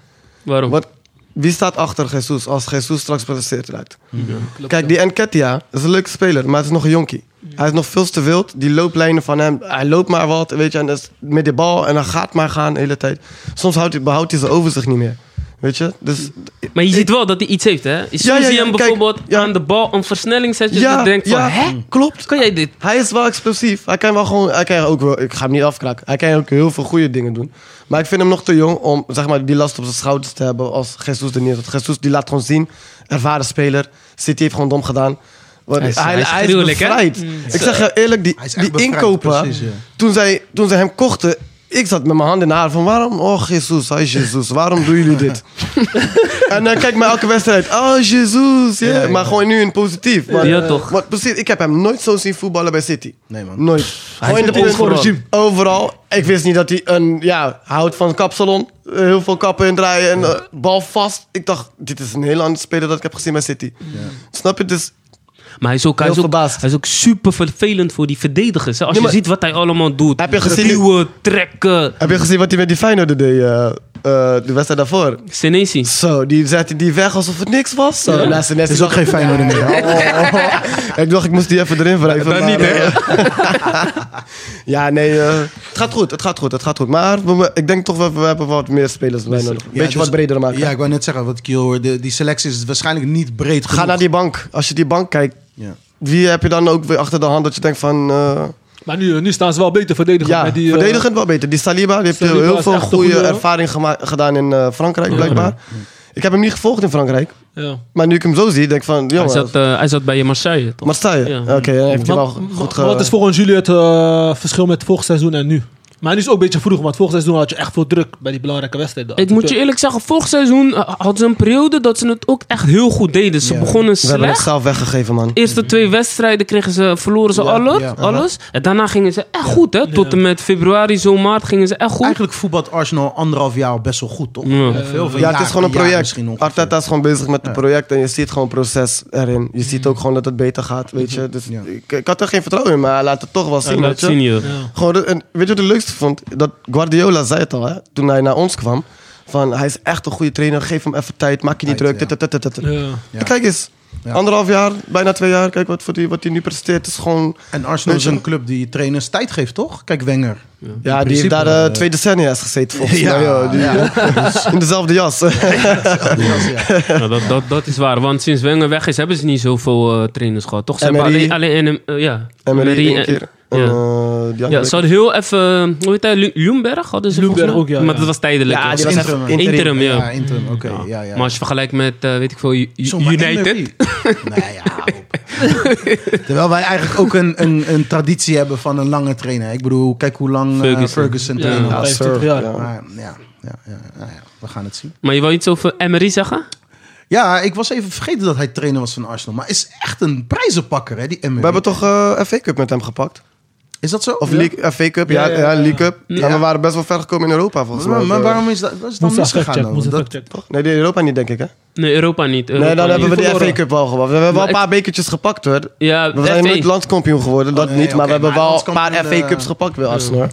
[SPEAKER 2] Waarom?
[SPEAKER 5] Want wie staat achter Jesus als Jesus straks presteert eruit? Kijk, die Enketia is een leuke speler, maar het is nog een jonkie. Hij is nog veel te wild. Die looplijnen van hem, hij loopt maar wat, weet je, en dat is met de bal en dan gaat maar gaan de hele tijd. Soms houdt hij, behoudt hij zijn overzicht niet meer. Weet je? Dus
[SPEAKER 2] Maar je ziet wel dat hij iets heeft, hè? Je
[SPEAKER 5] ja,
[SPEAKER 2] ziet
[SPEAKER 5] ja,
[SPEAKER 2] hem
[SPEAKER 5] kijk,
[SPEAKER 2] bijvoorbeeld
[SPEAKER 5] ja.
[SPEAKER 2] aan de bal een versnelling zet. Je
[SPEAKER 5] ja,
[SPEAKER 2] denkt van,
[SPEAKER 5] ja,
[SPEAKER 2] hè?
[SPEAKER 5] klopt.
[SPEAKER 2] Kan jij dit?
[SPEAKER 5] Hij is wel explosief. Hij kan wel gewoon, hij kan ook wel, ik ga hem niet afkraken. Hij kan ook heel veel goede dingen doen. Maar ik vind hem nog te jong om zeg maar, die last op zijn schouders te hebben als Jesus er niet is. Want Jesus die laat gewoon zien, ervaren speler. City heeft gewoon dom gedaan. Want
[SPEAKER 2] Hij
[SPEAKER 5] hij,
[SPEAKER 2] is-
[SPEAKER 5] is,
[SPEAKER 2] hij is
[SPEAKER 5] hij is
[SPEAKER 2] gruwelijk, hè? Mm.
[SPEAKER 5] bevrijd. Ik zeg je eerlijk, die,
[SPEAKER 3] Hij is echt
[SPEAKER 5] die
[SPEAKER 3] bevrijd,
[SPEAKER 5] inkopen,
[SPEAKER 3] precies, ja.
[SPEAKER 5] toen, zij, toen zij hem kochten, ik zat met mijn hand in de haar van waarom, oh Jesus, hij is Jesus, waarom doen jullie
[SPEAKER 2] (laughs)
[SPEAKER 5] dit? en dan kijk maar elke wedstrijd, oh Jesus, ja.
[SPEAKER 3] Ja, ja.
[SPEAKER 5] maar gewoon nu in positief. eh, Want,
[SPEAKER 2] Ja, toch.
[SPEAKER 5] want precies, ik heb hem nooit zo zien voetballen bij City.
[SPEAKER 3] Nee, man.
[SPEAKER 5] Nooit. Gewoon in de
[SPEAKER 2] zit in het
[SPEAKER 5] overal.
[SPEAKER 2] regime.
[SPEAKER 5] Overal. Ik wist niet dat hij een, ja, hij houdt van kapsalon. Eh, Heel veel kappen indraaien en eh, bal vast. Ik dacht, dit is een heel andere speler dat ik heb gezien bij City. Snap je? Dus
[SPEAKER 2] Maar hij is ook, hij
[SPEAKER 5] Heel
[SPEAKER 2] is ook,
[SPEAKER 5] verbaasd.
[SPEAKER 2] hij is ook super vervelend voor die verdedigers. hè. Als
[SPEAKER 5] Nee,
[SPEAKER 2] je
[SPEAKER 5] maar-
[SPEAKER 2] ziet wat hij allemaal doet.
[SPEAKER 5] Heb je gezien-
[SPEAKER 2] Duwen, trekken.
[SPEAKER 5] Heb je gezien wat hij met die Feyenoord deed? eh, eh, de wedstrijd daarvoor.
[SPEAKER 2] Senesi.
[SPEAKER 5] Zo, die zette die weg alsof het niks was. Zo, ja. naast de
[SPEAKER 3] Het is ook geen Feyenoord meer. hè?
[SPEAKER 5] Eh, (laughs) Ik dacht, ik moest die even erin wrijven.
[SPEAKER 2] Dat niet, hè?
[SPEAKER 5] eh, (laughs) ja, nee. eh, het gaat goed, het gaat goed, het gaat goed. Maar we- we- ik denk toch, wel- we, hebben wat meer spelers bij nodig. Beetje
[SPEAKER 3] Ja, dus-
[SPEAKER 5] wat breder maken.
[SPEAKER 3] Ja, ik wou net zeggen, wat ik hier hoor, de, die selectie is waarschijnlijk niet breed genoeg.
[SPEAKER 5] Ga naar die bank. Als je die bank kijkt,
[SPEAKER 3] Ja.
[SPEAKER 5] wie heb je dan ook weer achter de hand dat je denkt van... eh,
[SPEAKER 4] Maar nu, nu staan ze wel beter verdedigend.
[SPEAKER 5] ja,
[SPEAKER 4] met die, eh,
[SPEAKER 5] verdedigend wel beter. Die Saliba, die heeft eh,
[SPEAKER 4] Saliba
[SPEAKER 5] heel
[SPEAKER 4] is
[SPEAKER 5] veel
[SPEAKER 4] echt een
[SPEAKER 5] goede
[SPEAKER 4] goede-
[SPEAKER 5] ervaring gema- gedaan in eh, Frankrijk, blijkbaar. Ik heb hem niet gevolgd in Frankrijk.
[SPEAKER 4] ja.
[SPEAKER 5] Maar nu ik hem zo zie, denk ik van...
[SPEAKER 2] Hij
[SPEAKER 5] Jongen,
[SPEAKER 2] zat, eh, hij zat bij Marseille, toch?
[SPEAKER 5] Marseille.
[SPEAKER 2] Ja.
[SPEAKER 5] Oké, hij heeft
[SPEAKER 4] Maar-
[SPEAKER 5] hij wel
[SPEAKER 4] maar-
[SPEAKER 5] goed
[SPEAKER 4] maar
[SPEAKER 5] ge...
[SPEAKER 4] Wat is volgens jullie het eh, verschil met vorig seizoen en nu? Maar nu is het ook een beetje vroeg, want vorig seizoen had je echt veel druk bij die belangrijke wedstrijden.
[SPEAKER 2] Ik moet je eerlijk zeggen, vorig seizoen eh, hadden ze een periode dat ze het ook echt heel goed deden. Ze
[SPEAKER 3] Ja.
[SPEAKER 2] begonnen
[SPEAKER 5] We hebben Mhm. het
[SPEAKER 2] slecht.
[SPEAKER 5] zelf weggegeven, man.
[SPEAKER 2] Eerste twee wedstrijden kregen ze, verloren ze
[SPEAKER 3] Ja,
[SPEAKER 2] alles,
[SPEAKER 3] ja.
[SPEAKER 2] alles. En daarna gingen ze echt goed, hè? Tot en met februari, zo maart gingen ze echt goed.
[SPEAKER 3] Eigenlijk voetbalt Arsenal anderhalf jaar al best wel goed, toch?
[SPEAKER 2] Ja.
[SPEAKER 3] Veel, veel
[SPEAKER 5] Ja, het
[SPEAKER 3] jaar-
[SPEAKER 5] is gewoon een
[SPEAKER 3] jaar
[SPEAKER 5] project.
[SPEAKER 3] misschien nog.
[SPEAKER 5] Arteta is gewoon bezig met het project en je ziet gewoon proces erin. Je ziet ook gewoon dat het beter gaat, weet je. Dus
[SPEAKER 3] Mhm. Ja.
[SPEAKER 5] ik, ik had er geen vertrouwen in, maar hij laat het toch wel zien,
[SPEAKER 2] Ja,
[SPEAKER 5] weet
[SPEAKER 2] dat
[SPEAKER 5] je.
[SPEAKER 2] zien je.
[SPEAKER 4] Ja.
[SPEAKER 5] Gewoon, dat- en weet je wat het leukste vond? Dat Guardiola zei het al, hè, toen hij naar ons kwam. Van, hij is echt een goede trainer, geef hem even tijd, maak je niet
[SPEAKER 3] Tijd,
[SPEAKER 5] druk.
[SPEAKER 3] ja.
[SPEAKER 5] dit, dit, dit, dit, dit.
[SPEAKER 4] Ja.
[SPEAKER 3] Ja.
[SPEAKER 5] En Kijk eens,
[SPEAKER 3] Ja.
[SPEAKER 5] anderhalf jaar, bijna twee jaar. Kijk wat, voor die, wat hij nu presteert, is gewoon...
[SPEAKER 3] En Arsenal is
[SPEAKER 5] Weet je-
[SPEAKER 3] een club die trainers tijd geeft, toch? Kijk, Wenger.
[SPEAKER 5] Ja, die heeft
[SPEAKER 3] principe,
[SPEAKER 5] daar eh,
[SPEAKER 3] eh,
[SPEAKER 5] twee decennia is gezeten volgens mij. joh.
[SPEAKER 3] (laughs)
[SPEAKER 5] Die-
[SPEAKER 3] ja.
[SPEAKER 5] In dezelfde jas. (laughs)
[SPEAKER 2] Ja, dat, dat, dat is waar, want sinds Wenger weg is, hebben ze niet zoveel eh, trainers gehad, toch? Ze
[SPEAKER 5] Emery.
[SPEAKER 2] hebben alleen, alleen en, eh, ja.
[SPEAKER 5] Emery
[SPEAKER 2] en-
[SPEAKER 5] één keer. En,
[SPEAKER 2] ja.
[SPEAKER 5] eh, die andere
[SPEAKER 2] Ja, ze hadden heel even, hoe heet hij, Lu- Ljungberg hadden ze
[SPEAKER 4] Ljungberg
[SPEAKER 2] volgens mij.
[SPEAKER 4] ook, ja,
[SPEAKER 2] Maar
[SPEAKER 4] ja.
[SPEAKER 2] dat was tijdelijk.
[SPEAKER 5] Ja,
[SPEAKER 2] Dat
[SPEAKER 5] die
[SPEAKER 2] was
[SPEAKER 5] was
[SPEAKER 2] interim.
[SPEAKER 5] even interim.
[SPEAKER 2] Interim, ja.
[SPEAKER 3] Ja, interim. Oké, ja, ja.
[SPEAKER 2] Maar als je vergelijkt met, eh, weet ik veel, U- U-
[SPEAKER 3] Zomaar
[SPEAKER 2] United.
[SPEAKER 3] MVP. nou ja, hou
[SPEAKER 2] (laughs)
[SPEAKER 3] op. Terwijl wij eigenlijk ook een, een, een traditie hebben van een lange trainer. Ik bedoel, kijk hoe lang eh, Ferguson,
[SPEAKER 2] Ferguson.
[SPEAKER 4] Ja,
[SPEAKER 3] trainer
[SPEAKER 5] Ja,
[SPEAKER 3] was.
[SPEAKER 4] 25
[SPEAKER 5] sir.
[SPEAKER 4] jaar.
[SPEAKER 5] Ja.
[SPEAKER 3] Maar ja, ja, ja, nou ja, we gaan het zien.
[SPEAKER 2] Maar je wil iets over Emery zeggen?
[SPEAKER 3] Ja, ik was even vergeten dat hij trainer was van Arsenal. Maar is echt een prijzenpakker, hè, die Emery.
[SPEAKER 5] We hebben toch eh FA Cup met hem gepakt?
[SPEAKER 3] Is dat zo?
[SPEAKER 5] Of
[SPEAKER 3] Ja.
[SPEAKER 5] League, FA Cup? Ja,
[SPEAKER 4] Ja,
[SPEAKER 5] ja,
[SPEAKER 4] ja, ja.
[SPEAKER 5] League Cup. Ja, we waren best wel ver gekomen in Europa volgens mij.
[SPEAKER 3] Maar, maar
[SPEAKER 5] Eh,
[SPEAKER 3] waarom is dat, wat is dan
[SPEAKER 4] Moest even
[SPEAKER 3] misgegaan?
[SPEAKER 4] checken,
[SPEAKER 3] dan?
[SPEAKER 4] moest
[SPEAKER 3] Dat-
[SPEAKER 4] even checken.
[SPEAKER 5] Nee, die Europa niet, denk ik, hè?
[SPEAKER 2] Nee, Europa niet. Europa
[SPEAKER 5] nee, dan hebben we
[SPEAKER 2] niet.
[SPEAKER 5] de
[SPEAKER 4] verloren.
[SPEAKER 5] FA Cup wel gewonnen. We hebben wel
[SPEAKER 2] Maar
[SPEAKER 5] een paar bekertjes gepakt, hoor. We
[SPEAKER 2] Ja,
[SPEAKER 5] zijn
[SPEAKER 2] FA.
[SPEAKER 5] nooit landskampioen geworden, dat
[SPEAKER 3] Oh, nee,
[SPEAKER 5] niet. Maar
[SPEAKER 3] oké,
[SPEAKER 5] we hebben
[SPEAKER 3] maar
[SPEAKER 5] wel een paar
[SPEAKER 3] landskampioen,
[SPEAKER 5] FA
[SPEAKER 3] eh,
[SPEAKER 5] Cups gepakt, wel Arsenal. hoor.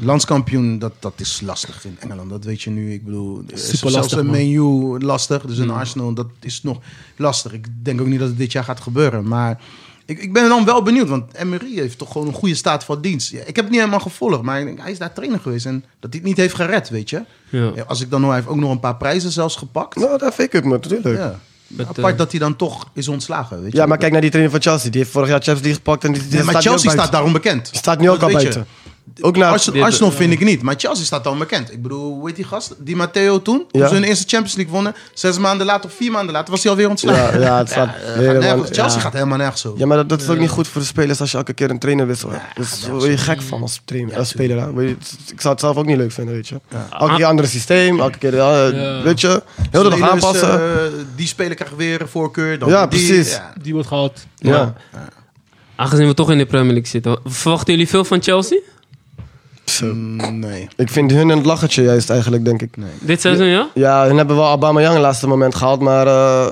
[SPEAKER 3] Landskampioen, dat, dat is lastig in Engeland. Dat weet je nu. Ik bedoel, er is
[SPEAKER 4] Super
[SPEAKER 3] zelfs
[SPEAKER 4] lastig,
[SPEAKER 3] een
[SPEAKER 4] man.
[SPEAKER 3] menu lastig.
[SPEAKER 5] Mm.
[SPEAKER 3] Dus een Arsenal, dat is nog lastig. Ik denk ook niet dat het dit jaar gaat gebeuren. Maar ik, ik ben dan wel benieuwd. Want Emery heeft toch gewoon een goede staat van dienst. Ja, ik heb het niet helemaal gevolgd. Maar ik denk, hij is daar trainer geweest. En dat hij het niet heeft gered, weet je.
[SPEAKER 2] Ja.
[SPEAKER 3] Ja, als ik dan hoor, hij heeft ook nog een paar prijzen zelfs gepakt.
[SPEAKER 5] Nou, de FA Cup, natuurlijk. Ja.
[SPEAKER 3] Ja.
[SPEAKER 2] Met,
[SPEAKER 3] Apart
[SPEAKER 2] eh,
[SPEAKER 3] dat hij dan toch is ontslagen, weet je.
[SPEAKER 5] maar kijk naar die trainer van Chelsea. Die heeft vorig jaar Champions League gepakt en die, die
[SPEAKER 3] Nee, maar
[SPEAKER 5] staat nu ook
[SPEAKER 3] Chelsea staat
[SPEAKER 5] buiten.
[SPEAKER 3] daarom bekend.
[SPEAKER 5] Die staat nu ook
[SPEAKER 3] Dat
[SPEAKER 5] al
[SPEAKER 3] weet je.
[SPEAKER 5] buiten. Ook naar...
[SPEAKER 3] Arsenal,
[SPEAKER 2] dit-
[SPEAKER 3] Arsenal vind ik niet, maar Chelsea staat al bekend. Ik bedoel, hoe heet die gast? Die Matteo toen, toen
[SPEAKER 5] Ja.
[SPEAKER 3] ze hun eerste Champions League wonnen. Zes maanden later of vier maanden later was hij alweer
[SPEAKER 5] Ja,
[SPEAKER 3] ontslagen.
[SPEAKER 5] ja, het staat... helemaal-
[SPEAKER 3] Nergens. Chelsea
[SPEAKER 5] ja.
[SPEAKER 3] gaat helemaal nergens over.
[SPEAKER 5] Ja, maar dat, dat is ook niet goed voor de spelers als je elke keer een trainer wisselt. dus daar word je gek van als, trainer, als speler. hè. Weet je, het- Ik zou het zelf ook niet leuk vinden, weet je. Elke keer een ander systeem, elke keer, ja, eh,
[SPEAKER 4] Ja.
[SPEAKER 5] weet je, heel de dag
[SPEAKER 3] Spelers,
[SPEAKER 5] aanpassen.
[SPEAKER 3] eh, die speler krijgt weer een voorkeur. Dan
[SPEAKER 5] Ja,
[SPEAKER 3] die.
[SPEAKER 5] precies.
[SPEAKER 3] Ja.
[SPEAKER 4] Die wordt gehaald.
[SPEAKER 5] ja.
[SPEAKER 2] ja. Aangezien we toch in de Premier League zitten, verwachten jullie veel van Chelsea?
[SPEAKER 5] Zo.
[SPEAKER 3] Mm, Nee.
[SPEAKER 5] Ik vind hun een lachertje juist eigenlijk, denk ik.
[SPEAKER 2] Dit seizoen, ja?
[SPEAKER 5] Ja, hun hebben wel Aubameyang het laatste moment gehaald, maar eh,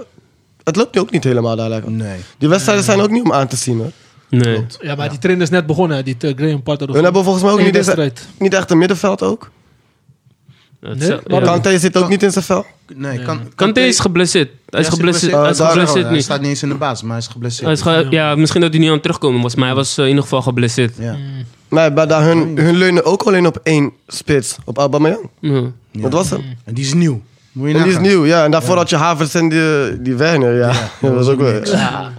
[SPEAKER 5] het loopt nu ook niet helemaal daar lekker.
[SPEAKER 3] Nee.
[SPEAKER 5] Die wedstrijden zijn ook niet om aan te zien, hoor.
[SPEAKER 2] Nee.
[SPEAKER 4] Ja, maar die trainer is net begonnen, hè, die eh, Graham Potter. of
[SPEAKER 5] Hun hebben volgens mij ook
[SPEAKER 4] Eén
[SPEAKER 5] niet, eens-
[SPEAKER 4] wedstrijd.
[SPEAKER 5] niet echt een middenveld ook.
[SPEAKER 2] Dat
[SPEAKER 4] Nee?
[SPEAKER 2] zou-
[SPEAKER 4] Waarom?
[SPEAKER 2] ja.
[SPEAKER 5] Kante zit ook niet in zijn vel.
[SPEAKER 3] Nee, kan,
[SPEAKER 2] Kante is geblesseerd. Hij is
[SPEAKER 3] Ja,
[SPEAKER 2] geblesseerd, hij is
[SPEAKER 3] Ah,
[SPEAKER 5] Oh, daar-
[SPEAKER 2] geblesseerd
[SPEAKER 3] Hij
[SPEAKER 2] nu.
[SPEAKER 3] staat niet eens in de baas, maar hij is geblesseerd.
[SPEAKER 2] Hij is ge- ja, misschien dat hij niet aan het terugkomen was, maar hij was eh, in ieder geval geblesseerd.
[SPEAKER 3] ja.
[SPEAKER 5] Nee, maar daar hun, hun leunen ook alleen op één spits, op Aubameyang.
[SPEAKER 2] Ja.
[SPEAKER 3] Ja.
[SPEAKER 5] Dat was hem.
[SPEAKER 3] En die is nieuw. Moet je
[SPEAKER 5] En Oh, die is
[SPEAKER 3] nagaan.
[SPEAKER 5] nieuw, ja. En daarvoor had je Havers en die, die Werner, ja. (laughs) dat was ook wel... Ja,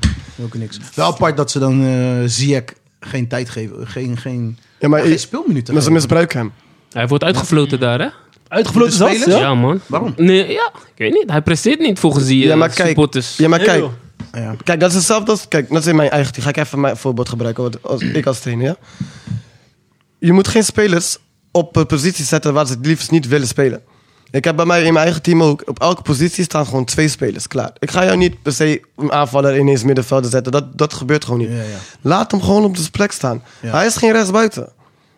[SPEAKER 3] Ook niks. Wel apart dat ze dan eh Ziyech geen tijd geven. Geen, geen,
[SPEAKER 5] Ja, maar
[SPEAKER 3] geen
[SPEAKER 5] ik-
[SPEAKER 3] speelminuten
[SPEAKER 5] maar ze
[SPEAKER 3] geven.
[SPEAKER 5] misbruiken hem.
[SPEAKER 2] Hij wordt uitgefloten daar, hè?
[SPEAKER 4] Uitgevloten
[SPEAKER 3] De
[SPEAKER 4] zat,
[SPEAKER 3] spelers?
[SPEAKER 4] ja?
[SPEAKER 2] Ja, man.
[SPEAKER 3] Waarom?
[SPEAKER 2] Nee, ja, ik weet niet. Hij presteert niet volgens die eh,
[SPEAKER 5] Ja, maar kijk.
[SPEAKER 2] supporters.
[SPEAKER 5] Ja, maar
[SPEAKER 4] Nee,
[SPEAKER 5] kijk,
[SPEAKER 4] joh.
[SPEAKER 3] Ja.
[SPEAKER 5] kijk, dat is hetzelfde als... Kijk, dat is in mijn eigen team. Ga ik even mijn voorbeeld gebruiken, want als, ik als trainer, ja. Je moet geen spelers op een positie zetten waar ze het liefst niet willen spelen. Ik heb bij mij in mijn eigen team ook, op elke positie staan gewoon twee spelers, klaar. Ik ga jou niet per se een aanvaller ineens middenvelder zetten, dat, dat gebeurt gewoon niet.
[SPEAKER 3] Ja, ja.
[SPEAKER 5] Laat hem gewoon op de plek staan.
[SPEAKER 3] Ja.
[SPEAKER 5] Hij is geen rechtsbuiten.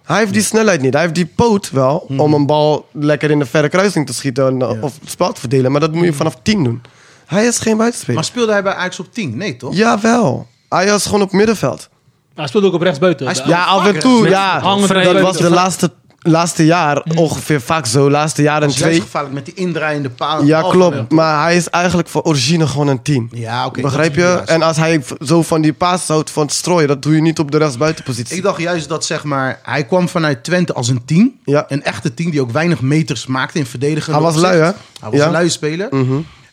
[SPEAKER 5] Hij heeft die snelheid niet. Hij heeft die poot wel
[SPEAKER 3] Hmm.
[SPEAKER 5] om een bal lekker in de verre kruising te schieten en, eh, of het spel te
[SPEAKER 3] Hmm.
[SPEAKER 5] verdelen. Maar dat moet je vanaf 10 doen. Hij is geen buitenspeler.
[SPEAKER 3] Maar speelde hij bij Ajax op 10? Nee, toch?
[SPEAKER 5] Jawel. Ajax is gewoon op middenveld.
[SPEAKER 4] Hij speelt ook op rechtsbuiten.
[SPEAKER 5] Ja,
[SPEAKER 4] Hij
[SPEAKER 5] af en toe,
[SPEAKER 2] Met-
[SPEAKER 5] ja.
[SPEAKER 4] hangend
[SPEAKER 5] Dat
[SPEAKER 4] buiten.
[SPEAKER 5] was de laatste, laatste jaar ongeveer vaak zo. Laatste jaar en
[SPEAKER 3] Dat is Hmm. juist
[SPEAKER 5] twee.
[SPEAKER 3] gevaarlijk met die indraaiende paal.
[SPEAKER 5] Ja, klopt. Maar hij is eigenlijk van origine gewoon een team.
[SPEAKER 3] Ja, oké.
[SPEAKER 5] Begrijp je?
[SPEAKER 3] dat is inderdaad.
[SPEAKER 5] En als hij v- zo van die paas houdt van het strooien, dat doe je niet op de rechtsbuitenpositie.
[SPEAKER 3] Ik dacht juist dat zeg maar, hij kwam vanuit Twente als een tien.
[SPEAKER 5] Ja.
[SPEAKER 3] Een echte tien die ook weinig meters maakte in verdedigen.
[SPEAKER 5] Hij was lui, hè?
[SPEAKER 3] Hij was
[SPEAKER 5] Ja. Mhm.
[SPEAKER 3] een lui speler.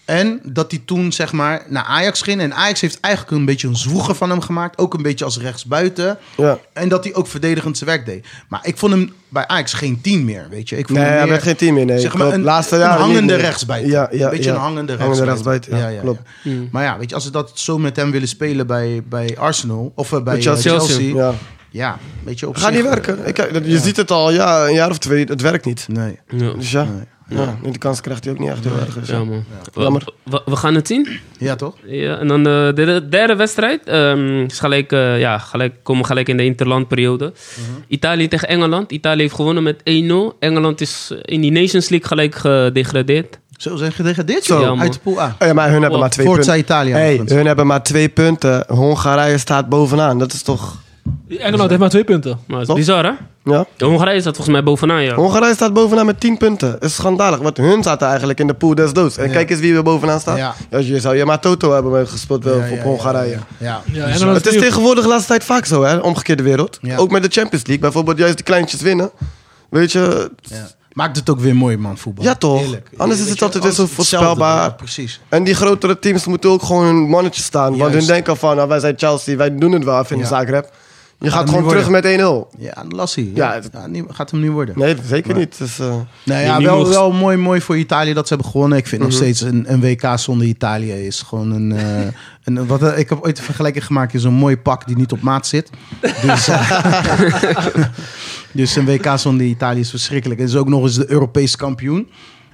[SPEAKER 3] En dat hij toen zeg maar naar Ajax ging. En Ajax heeft eigenlijk een beetje een zwoeger van hem gemaakt. Ook een beetje als rechtsbuiten.
[SPEAKER 5] Ja.
[SPEAKER 3] En dat hij ook verdedigend zijn werk deed. Maar ik vond hem bij Ajax geen tien meer, weet je. Ik vond
[SPEAKER 5] Nee,
[SPEAKER 3] hem
[SPEAKER 5] hij
[SPEAKER 3] meer,
[SPEAKER 5] werd geen team meer, nee,
[SPEAKER 3] Zeg maar
[SPEAKER 5] klopt.
[SPEAKER 3] een,
[SPEAKER 5] Laatste
[SPEAKER 3] een
[SPEAKER 5] jaren niet
[SPEAKER 3] hangende
[SPEAKER 5] meer.
[SPEAKER 3] rechtsbuiten.
[SPEAKER 5] Ja, ja,
[SPEAKER 3] een beetje
[SPEAKER 5] ja.
[SPEAKER 3] een hangende
[SPEAKER 5] Hangende
[SPEAKER 3] rechtsbuiten.
[SPEAKER 5] rechtsbuiten, ja, klopt.
[SPEAKER 3] Maar ja, weet je, als ze dat zo met hem willen spelen bij, bij Arsenal of eh, bij eh,
[SPEAKER 5] Chelsea.
[SPEAKER 3] Chelsea,
[SPEAKER 5] Ja.
[SPEAKER 3] ja, weet je, op
[SPEAKER 5] Gaat
[SPEAKER 3] zich- eh,
[SPEAKER 5] niet werken. Ik, je ziet het al, ja, een jaar of twee, het werkt niet.
[SPEAKER 3] Nee.
[SPEAKER 2] Ja,
[SPEAKER 5] Dus ja,
[SPEAKER 3] Nee.
[SPEAKER 5] ja. die kans krijgt hij ook niet echt heel erg. dus ja.
[SPEAKER 2] ja man.
[SPEAKER 5] Jammer.
[SPEAKER 2] We, we- we gaan het zien.
[SPEAKER 3] Ja, toch?
[SPEAKER 2] Ja, en dan eh, de de derde wedstrijd. ehm, is gelijk, eh, ja, gelijk, komen gelijk in de interlandperiode. Italië tegen Engeland. Italië heeft gewonnen met 1-0. Engeland is in die Nations League gelijk gedegradeerd.
[SPEAKER 3] Zo zijn gedegradeerd,
[SPEAKER 2] Zo.
[SPEAKER 3] joh.
[SPEAKER 2] Ja, man.
[SPEAKER 3] Uit de pool A.
[SPEAKER 5] Oh ja, maar hun hebben maar twee
[SPEAKER 3] Forza
[SPEAKER 5] punten.
[SPEAKER 3] Italia.
[SPEAKER 5] Hey,
[SPEAKER 3] overigens.
[SPEAKER 5] hun hebben maar twee punten. Hongarije staat bovenaan. Dat is toch...
[SPEAKER 4] Engeland heeft maar twee punten.
[SPEAKER 2] Maar het is
[SPEAKER 5] Toch?
[SPEAKER 2] bizar, hè?
[SPEAKER 5] Ja?
[SPEAKER 2] De Hongarije staat volgens mij bovenaan, ja.
[SPEAKER 5] Hongarije staat bovenaan met 10 punten. Dat is schandalig, want hun zaten eigenlijk in de pool des doods. En
[SPEAKER 3] Ja.
[SPEAKER 5] kijk eens wie er bovenaan staat.
[SPEAKER 3] Ja.
[SPEAKER 5] Ja, je zou je maar Toto hebben gespeeld eh, op Hongarije.
[SPEAKER 3] Ja, ja.
[SPEAKER 4] Ja, Engeland
[SPEAKER 5] Het is
[SPEAKER 4] tegen...
[SPEAKER 5] tegenwoordig de laatste tijd vaak zo, hè? Omgekeerde wereld.
[SPEAKER 3] Ja.
[SPEAKER 5] Ook met de Champions League. Bijvoorbeeld juist de kleintjes winnen. Weet je...
[SPEAKER 3] Ja. Maakt het ook weer mooi, man, voetbal.
[SPEAKER 5] Ja, toch?
[SPEAKER 3] Heerlijk.
[SPEAKER 5] Anders is
[SPEAKER 3] Weet
[SPEAKER 5] het
[SPEAKER 3] je,
[SPEAKER 5] altijd weer zo
[SPEAKER 3] anders hetzelfde,
[SPEAKER 5] voorspelbaar.
[SPEAKER 3] ja, precies.
[SPEAKER 5] En die grotere teams moeten ook gewoon hun mannetje staan. Want
[SPEAKER 3] Juist.
[SPEAKER 5] hun denken van, nou, wij zijn Chelsea, wij doen het wel even in de
[SPEAKER 3] Ja.
[SPEAKER 5] Zagreb. Je
[SPEAKER 3] hem
[SPEAKER 5] gaat gewoon
[SPEAKER 3] niet
[SPEAKER 5] terug met 1-0.
[SPEAKER 3] Ja, lassie.
[SPEAKER 5] Ja,
[SPEAKER 3] Ja,
[SPEAKER 5] het-
[SPEAKER 3] ja, niet- gaat hem nu worden.
[SPEAKER 5] Nee, zeker niet. Dus, eh,
[SPEAKER 3] Nou
[SPEAKER 2] Die
[SPEAKER 3] ja,
[SPEAKER 2] nu
[SPEAKER 3] wel,
[SPEAKER 2] nog-
[SPEAKER 3] wel mooi, mooi voor Italië dat ze hebben gewonnen. Ik vind
[SPEAKER 5] Mhm.
[SPEAKER 3] nog steeds een, een WK zonder Italië is gewoon een...
[SPEAKER 5] (laughs)
[SPEAKER 3] eh, een wat, eh, ik heb ooit een vergelijking gemaakt in zo'n mooi pak die niet op maat zit. Dus, eh, (laughs) dus een WK zonder Italië is verschrikkelijk. En is ook nog eens de Europese kampioen.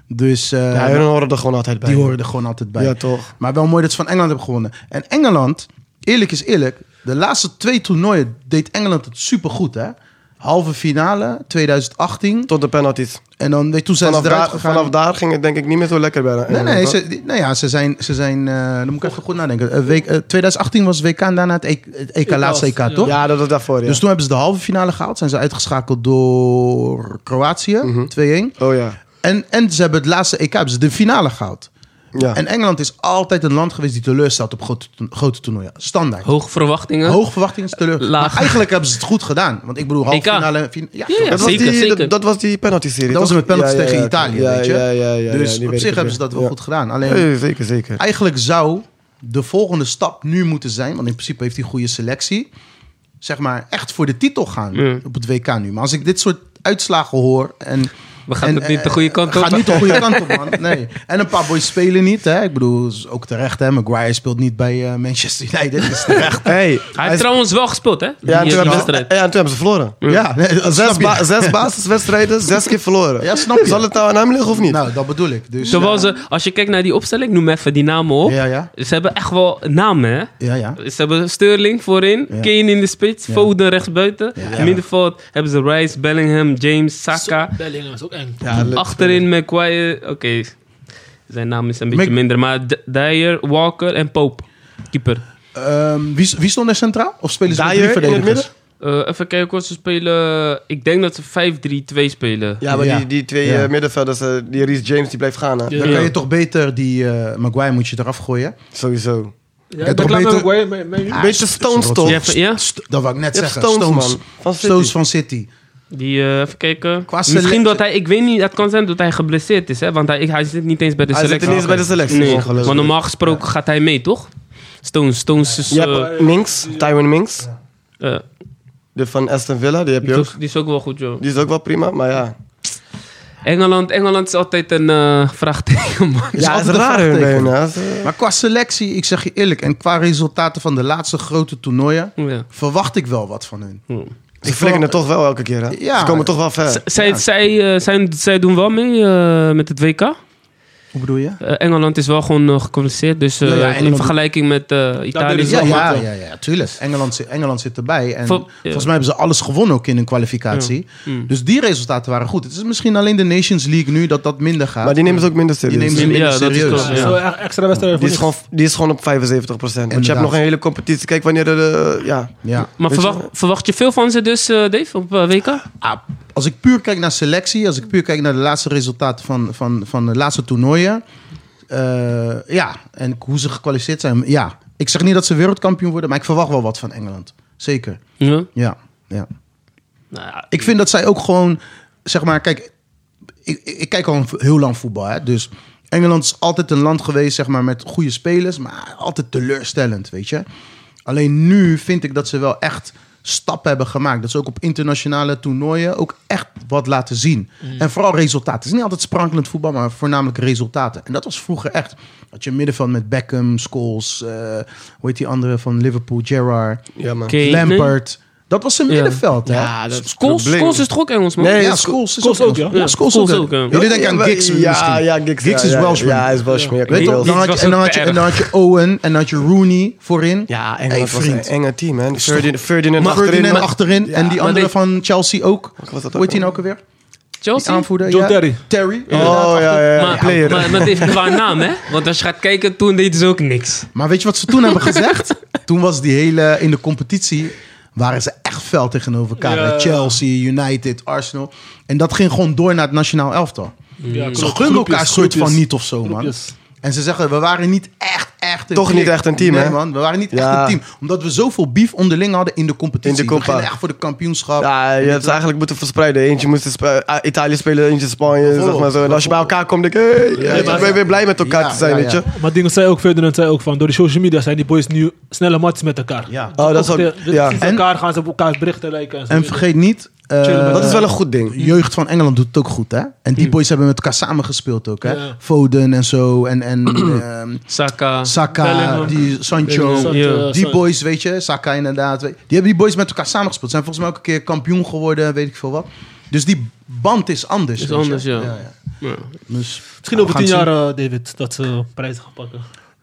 [SPEAKER 3] Dus eh,
[SPEAKER 5] ja, hun horen er gewoon altijd bij.
[SPEAKER 3] die horen er gewoon altijd bij.
[SPEAKER 5] Ja, toch.
[SPEAKER 3] Maar wel mooi dat ze van Engeland hebben gewonnen. En Engeland, eerlijk is eerlijk, de laatste twee toernooien deed Engeland het supergoed, hè? Halve finale 2018.
[SPEAKER 5] Tot de penalties.
[SPEAKER 3] En dan, weet je, toen zijn
[SPEAKER 5] Vanaf
[SPEAKER 3] ze eruit
[SPEAKER 5] daar,
[SPEAKER 3] gegaan.
[SPEAKER 5] vanaf daar ging het denk ik niet meer zo lekker bij.
[SPEAKER 3] Nee, nee, ze, die- nou ja, ze zijn, ze zijn eh, dan moet ik even goed nadenken. Eh, week, eh, 2018 was WK en daarna het EK, het EK laatste EK,
[SPEAKER 4] ja.
[SPEAKER 3] toch?
[SPEAKER 5] Ja, dat was daarvoor, ja.
[SPEAKER 3] Dus toen hebben ze de halve finale gehaald. Zijn ze uitgeschakeld door Kroatië, 2-1.
[SPEAKER 5] oh ja.
[SPEAKER 3] En, en ze hebben het laatste EK, hebben ze de finale gehaald.
[SPEAKER 5] ja.
[SPEAKER 3] En Engeland is altijd een land geweest die teleurstelt op grote, to- grote toernooien. Standaard.
[SPEAKER 2] Hoge verwachtingen.
[SPEAKER 3] Hoog verwachtingstelleur.
[SPEAKER 2] Laag.
[SPEAKER 3] Maar eigenlijk hebben ze het goed gedaan. Want ik bedoel, halve
[SPEAKER 2] EK.
[SPEAKER 3] finale... fin- ja,
[SPEAKER 2] Ja,
[SPEAKER 3] toch?
[SPEAKER 5] dat, was
[SPEAKER 2] zeker,
[SPEAKER 5] die,
[SPEAKER 2] zeker.
[SPEAKER 5] Dat, dat was die penalty-serie,
[SPEAKER 3] Dat was
[SPEAKER 5] toch?
[SPEAKER 3] met penalties
[SPEAKER 5] Ja, ja,
[SPEAKER 3] tegen
[SPEAKER 5] ja,
[SPEAKER 3] Italië,
[SPEAKER 5] ja,
[SPEAKER 3] weet je.
[SPEAKER 5] Ja, ja, ja. ja,
[SPEAKER 3] dus
[SPEAKER 5] die
[SPEAKER 3] op
[SPEAKER 5] weet
[SPEAKER 3] zich
[SPEAKER 5] ik
[SPEAKER 3] hebben ze
[SPEAKER 5] weer.
[SPEAKER 3] dat wel
[SPEAKER 5] Ja.
[SPEAKER 3] goed gedaan. Alleen,
[SPEAKER 5] Nee, zeker, zeker.
[SPEAKER 3] eigenlijk zou de volgende stap nu moeten zijn... want in principe heeft hij een goede selectie... zeg maar, echt voor de titel gaan
[SPEAKER 2] Ja.
[SPEAKER 3] op het WK nu. Maar als ik dit soort uitslagen hoor... en
[SPEAKER 2] We gaan
[SPEAKER 3] en,
[SPEAKER 2] het niet de
[SPEAKER 3] eh,
[SPEAKER 2] goede kant op.
[SPEAKER 3] Gaat niet de goede kant op, man. Nee. En een paar boys spelen niet. Hè. Ik bedoel, is ook terecht. Hè. Maguire speelt niet bij eh, Manchester United. Is
[SPEAKER 5] (laughs)
[SPEAKER 3] terecht.
[SPEAKER 5] Hey,
[SPEAKER 2] Hij heeft trouwens wel gespeeld, hè? Die-
[SPEAKER 5] ja, en
[SPEAKER 2] die
[SPEAKER 5] toen hebben ze, ja,
[SPEAKER 2] wedstrijd.
[SPEAKER 5] en toen hebben ze verloren.
[SPEAKER 3] Ja, nee, dat
[SPEAKER 5] Zes,
[SPEAKER 3] snap je.
[SPEAKER 5] ba- zes basiswedstrijden, zes keer verloren.
[SPEAKER 3] Ja, snap je.
[SPEAKER 5] Zal het nou aan hem liggen of niet?
[SPEAKER 3] Nou, dat bedoel ik. Dus,
[SPEAKER 2] Terwijl
[SPEAKER 3] ja.
[SPEAKER 2] ze, als je kijkt naar die opstelling, noem even die namen op.
[SPEAKER 3] Ja, ja.
[SPEAKER 2] Ze hebben echt wel namen, hè?
[SPEAKER 3] Ja, ja.
[SPEAKER 2] Ze hebben Sterling voorin,
[SPEAKER 3] Ja.
[SPEAKER 2] Kane in de spits,
[SPEAKER 3] Ja.
[SPEAKER 2] Foden rechtsbuiten.
[SPEAKER 3] Ja.
[SPEAKER 2] In middenveld hebben ze Rice, Bellingham, James, Saka.
[SPEAKER 4] Bellingham is ook eng.
[SPEAKER 5] Ja, leuk.
[SPEAKER 2] Achterin Maguire, oké. Zijn naam is een beetje
[SPEAKER 3] Mc-
[SPEAKER 2] minder, maar D- Dyer, Walker en Pope. Keeper.
[SPEAKER 3] Ehm, wie, wie stond er centraal? Of spelen ze met
[SPEAKER 5] Dyer
[SPEAKER 3] drie
[SPEAKER 5] in het
[SPEAKER 3] verdedigers?
[SPEAKER 5] midden?
[SPEAKER 2] Eh, even kijken hoor, ze spelen... Ik denk dat ze 5-3-2 spelen.
[SPEAKER 5] Ja, maar
[SPEAKER 3] Ja.
[SPEAKER 5] Die, die twee
[SPEAKER 3] Ja.
[SPEAKER 5] eh, middenvelders, eh, die Reece James, die blijft gaan. Hè?
[SPEAKER 4] Ja.
[SPEAKER 3] Dan kan je toch beter die eh, Maguire moet je eraf gooien.
[SPEAKER 5] Sowieso.
[SPEAKER 4] Ja,
[SPEAKER 3] toch
[SPEAKER 4] ik ben klaar met
[SPEAKER 3] beter- Ah,
[SPEAKER 4] Maguire, maar- maar-
[SPEAKER 5] Een beetje Stones
[SPEAKER 3] Rot-
[SPEAKER 5] toch?
[SPEAKER 2] Je
[SPEAKER 5] Je
[SPEAKER 2] hebt- ja?
[SPEAKER 3] St- dat wou ik net
[SPEAKER 5] hebt
[SPEAKER 3] zeggen.
[SPEAKER 5] Stones, man. Van City.
[SPEAKER 3] Stones van City.
[SPEAKER 2] Die, eh, even kijken.
[SPEAKER 3] Qua
[SPEAKER 2] Misschien
[SPEAKER 3] selectie-
[SPEAKER 2] dat hij, ik weet niet, het kan zijn dat hij geblesseerd is, hè? Want hij, hij zit niet eens bij de
[SPEAKER 5] Hij zit
[SPEAKER 2] selectie.
[SPEAKER 5] ineens bij de selectie.
[SPEAKER 2] Nee,
[SPEAKER 5] Ongelooflijk.
[SPEAKER 2] maar normaal gesproken gaat hij mee, toch? Stones, Stones is...
[SPEAKER 5] Je
[SPEAKER 2] eh,
[SPEAKER 5] hebt Minks, Tywin Minks.
[SPEAKER 2] eh,
[SPEAKER 5] De van Aston Villa, die heb
[SPEAKER 2] die,
[SPEAKER 5] je
[SPEAKER 2] is
[SPEAKER 5] ook.
[SPEAKER 2] ook, die is ook wel goed, joh.
[SPEAKER 5] Die is ook wel prima, maar ja.
[SPEAKER 2] Engeland, Engeland is altijd een eh, (laughs) vraagteken, man.
[SPEAKER 3] Is
[SPEAKER 5] Ja,
[SPEAKER 3] altijd
[SPEAKER 5] het is
[SPEAKER 3] een
[SPEAKER 5] raar hun bij
[SPEAKER 3] vraagteken.
[SPEAKER 5] hun, hè. Ze-
[SPEAKER 3] Maar qua selectie, ik zeg je eerlijk, en qua resultaten van de laatste grote toernooien,
[SPEAKER 2] Ja.
[SPEAKER 3] verwacht ik wel wat van hun.
[SPEAKER 5] Ze flikken het toch wel elke keer, hè?
[SPEAKER 3] Ja.
[SPEAKER 5] Ze komen toch wel ver.
[SPEAKER 2] Z- Zij, zij, eh, zijn, zij doen wel mee eh, met het WK?
[SPEAKER 3] Hoe bedoel je?
[SPEAKER 2] Eh, Engeland is wel gewoon eh, gekwalificeerd. Dus eh,
[SPEAKER 3] Ja, ja,
[SPEAKER 2] in
[SPEAKER 3] Engeland-
[SPEAKER 2] vergelijking met eh, Italië.
[SPEAKER 4] deden
[SPEAKER 2] is
[SPEAKER 4] ze
[SPEAKER 3] Ja,
[SPEAKER 2] wel-
[SPEAKER 4] wel
[SPEAKER 3] ja,
[SPEAKER 4] goed,
[SPEAKER 3] ja, ja, tuurlijk. Engeland, zi- Engeland zit erbij. En
[SPEAKER 2] Vol- ja.
[SPEAKER 3] volgens mij hebben ze alles gewonnen ook in hun kwalificatie.
[SPEAKER 2] Mm.
[SPEAKER 3] Dus die resultaten waren goed. Het is misschien alleen de Nations League nu dat dat minder gaat.
[SPEAKER 5] Maar die nemen ze ook minder
[SPEAKER 3] Die
[SPEAKER 5] serieus.
[SPEAKER 3] nemen ze
[SPEAKER 2] Ja,
[SPEAKER 3] minder
[SPEAKER 2] dat is
[SPEAKER 3] serieus.
[SPEAKER 2] klopt, ja.
[SPEAKER 4] Zo echt extra wedstrijden
[SPEAKER 5] die,
[SPEAKER 4] voor
[SPEAKER 5] is
[SPEAKER 4] niks.
[SPEAKER 5] gewoon, die is gewoon op 75%. Want je hebt
[SPEAKER 3] Inderdaad.
[SPEAKER 5] nog een hele competitie. Kijk wanneer de... de- ja.
[SPEAKER 3] Ja.
[SPEAKER 2] Maar
[SPEAKER 5] Weet je
[SPEAKER 2] verwacht, verwacht je veel van ze dus, eh, Dave, op eh, WK?
[SPEAKER 3] Ah, Als ik puur kijk naar selectie, als ik puur kijk naar de laatste resultaten van, van, van de laatste toernooien. eh, ja, en hoe ze gekwalificeerd zijn. Ja, ik zeg niet dat ze wereldkampioen worden, maar ik verwacht wel wat van Engeland. Zeker.
[SPEAKER 2] Ja.
[SPEAKER 3] Ja, ja.
[SPEAKER 2] Nou ja,
[SPEAKER 3] Ik vind dat zij ook gewoon, zeg maar, kijk, ik, ik ik kijk al heel lang voetbal, hè, dus Engeland is altijd een land geweest, zeg maar, met goede spelers, maar altijd teleurstellend, weet je. Alleen nu vind ik dat ze wel echt stappen hebben gemaakt. Dat ze ook op internationale toernooien ook echt wat laten zien. En vooral resultaten. Het is niet altijd sprankelend voetbal, maar voornamelijk resultaten. En dat was vroeger echt. Had je middenveld met Beckham, Scholes, eh, hoe heet die andere van Liverpool, Gerrard,
[SPEAKER 5] ja, man.
[SPEAKER 2] Kane.
[SPEAKER 3] Lampard. Dat was zijn
[SPEAKER 2] Ja.
[SPEAKER 3] middenveld, hè?
[SPEAKER 5] Ja, dat
[SPEAKER 2] Scholes,
[SPEAKER 5] probleem.
[SPEAKER 2] Scholes is toch ook Engels, man?
[SPEAKER 5] Nee,
[SPEAKER 3] ja,
[SPEAKER 5] Scho-
[SPEAKER 3] Scholes is
[SPEAKER 4] Scholes
[SPEAKER 3] ook,
[SPEAKER 4] ook,
[SPEAKER 3] Engels.
[SPEAKER 4] ja.
[SPEAKER 3] Scholes,
[SPEAKER 2] Scholes
[SPEAKER 3] ook.
[SPEAKER 2] ook, ja.
[SPEAKER 3] Jullie denken aan
[SPEAKER 5] Ja,
[SPEAKER 3] Giggs
[SPEAKER 5] ja,
[SPEAKER 3] misschien.
[SPEAKER 5] Ja, Giggs,
[SPEAKER 3] Giggs
[SPEAKER 5] ja,
[SPEAKER 3] is
[SPEAKER 5] ja,
[SPEAKER 3] Welshman.
[SPEAKER 5] Ja, hij is Welshman. Ja, ik
[SPEAKER 3] Weet je,
[SPEAKER 5] weet
[SPEAKER 3] wel,
[SPEAKER 5] wel.
[SPEAKER 3] dan had je,
[SPEAKER 2] was
[SPEAKER 3] en, dan
[SPEAKER 2] ook
[SPEAKER 3] had je,
[SPEAKER 2] erg.
[SPEAKER 3] en dan had je Owen en dan had je Rooney voorin.
[SPEAKER 5] Ja,
[SPEAKER 3] Hey,
[SPEAKER 5] Engeland was een
[SPEAKER 3] vriend.
[SPEAKER 5] enge team, man. Ferdinand, Ferdinand
[SPEAKER 3] Maar
[SPEAKER 5] achterin,
[SPEAKER 3] Ferdinand
[SPEAKER 5] man.
[SPEAKER 3] achterin en die
[SPEAKER 2] maar
[SPEAKER 3] andere
[SPEAKER 2] dit-
[SPEAKER 3] van Chelsea ook.
[SPEAKER 5] was dat
[SPEAKER 3] Hoe heet
[SPEAKER 5] ook
[SPEAKER 3] die nou ook alweer? Die
[SPEAKER 2] Chelsea?
[SPEAKER 3] aanvoerder?
[SPEAKER 4] John
[SPEAKER 3] ja.
[SPEAKER 4] Terry.
[SPEAKER 3] Terry. inderdaad,
[SPEAKER 5] Oh, ja,
[SPEAKER 3] achter-
[SPEAKER 5] ja, ja.
[SPEAKER 2] maar,
[SPEAKER 5] Player.
[SPEAKER 2] maar, maar het heeft
[SPEAKER 3] (laughs)
[SPEAKER 2] qua naam, hè? Want als je gaat kijken, toen deden ze ook niks.
[SPEAKER 3] Maar weet je wat ze toen hebben gezegd? Toen was die hele, in de competitie waren ze echt fel tegenover elkaar.
[SPEAKER 4] Ja.
[SPEAKER 3] Chelsea, United, Arsenal. En dat ging gewoon door naar het nationaal elftal.
[SPEAKER 4] Ja,
[SPEAKER 3] Ze
[SPEAKER 4] klopt.
[SPEAKER 3] gunnen elkaar een
[SPEAKER 4] Groepjes,
[SPEAKER 3] soort van
[SPEAKER 4] groepjes.
[SPEAKER 3] niet of zo, man.
[SPEAKER 4] Groepjes.
[SPEAKER 3] En ze zeggen, we waren niet echt, echt... een
[SPEAKER 5] Toch niet echt een team,
[SPEAKER 3] nee,
[SPEAKER 5] hè?
[SPEAKER 3] man, we waren niet echt
[SPEAKER 5] Ja.
[SPEAKER 3] een team. Omdat we zoveel beef onderling hadden in de competitie.
[SPEAKER 5] In de compa.
[SPEAKER 3] We gingen echt voor de kampioenschap.
[SPEAKER 5] Ja, je hebt ze eigenlijk moeten verspreiden. Eentje moest in Spa- eh, Italië spelen, eentje in Spanje. Zeg maar zo. En als je bij elkaar komt, denk ik, hey, weet je,
[SPEAKER 3] ja.
[SPEAKER 5] ik ben weer blij met elkaar
[SPEAKER 3] Ja,
[SPEAKER 5] te zijn,
[SPEAKER 3] ja,
[SPEAKER 5] weet je.
[SPEAKER 3] ja.
[SPEAKER 4] Maar dingen zei ook Ferdinand zei ook van door de social media zijn die boys nu snelle matjes met elkaar.
[SPEAKER 3] Ja.
[SPEAKER 5] Oh, dat is ook- ja.
[SPEAKER 4] En
[SPEAKER 3] En-
[SPEAKER 4] elkaar gaan ze op elkaar berichten lijken. zo.
[SPEAKER 3] En vergeet niet... eh,
[SPEAKER 4] Chillen met- Hm.
[SPEAKER 5] Dat is wel een goed ding.
[SPEAKER 3] de jeugd van Engeland doet het ook goed, hè? En die boys hebben met elkaar samengespeeld ook, hè?
[SPEAKER 4] Ja.
[SPEAKER 3] Foden en zo. En,
[SPEAKER 4] (clears throat)
[SPEAKER 3] en ehm,
[SPEAKER 2] Saka.
[SPEAKER 3] Saka,
[SPEAKER 4] Bellingham.
[SPEAKER 3] die Sancho.
[SPEAKER 4] Bellingham. Zat,
[SPEAKER 2] Ja.
[SPEAKER 4] eh,
[SPEAKER 3] Die
[SPEAKER 4] zat-
[SPEAKER 3] boys, weet je, Saka inderdaad. weet- Die hebben die boys met elkaar samengespeeld. Zijn volgens mij ook een keer kampioen geworden, weet ik veel wat. Dus die band is anders.
[SPEAKER 2] Is
[SPEAKER 3] weet je.
[SPEAKER 2] anders, ja. Ja.
[SPEAKER 3] Dus,
[SPEAKER 4] Misschien
[SPEAKER 3] ja,
[SPEAKER 4] over
[SPEAKER 3] we gaan
[SPEAKER 4] tien
[SPEAKER 3] het
[SPEAKER 4] jaar,
[SPEAKER 3] zien.
[SPEAKER 4] eh, David, dat ze prijzen gaan pakken.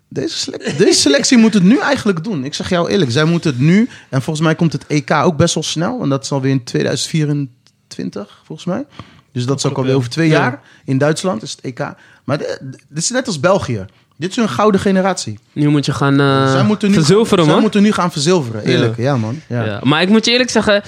[SPEAKER 3] Deze selectie, deze selectie moet het nu eigenlijk doen. Ik zeg jou eerlijk, zij moeten het nu. En volgens mij komt het EK ook best wel snel. En dat is alweer in 2024, volgens mij. Dus dat is ook
[SPEAKER 4] Klopt,
[SPEAKER 3] alweer
[SPEAKER 4] ja.
[SPEAKER 3] over twee
[SPEAKER 4] Ja.
[SPEAKER 3] jaar. In Duitsland is het EK. Maar dit- dit is net als België. Dit is hun gouden generatie.
[SPEAKER 2] Nu moet je gaan
[SPEAKER 3] zij
[SPEAKER 2] eh
[SPEAKER 3] moeten nu,
[SPEAKER 2] verzilveren,
[SPEAKER 3] zij
[SPEAKER 2] man.
[SPEAKER 3] moeten nu gaan verzilveren. Eerlijk, ja, man. Ja.
[SPEAKER 2] Ja. Maar ik moet je eerlijk zeggen,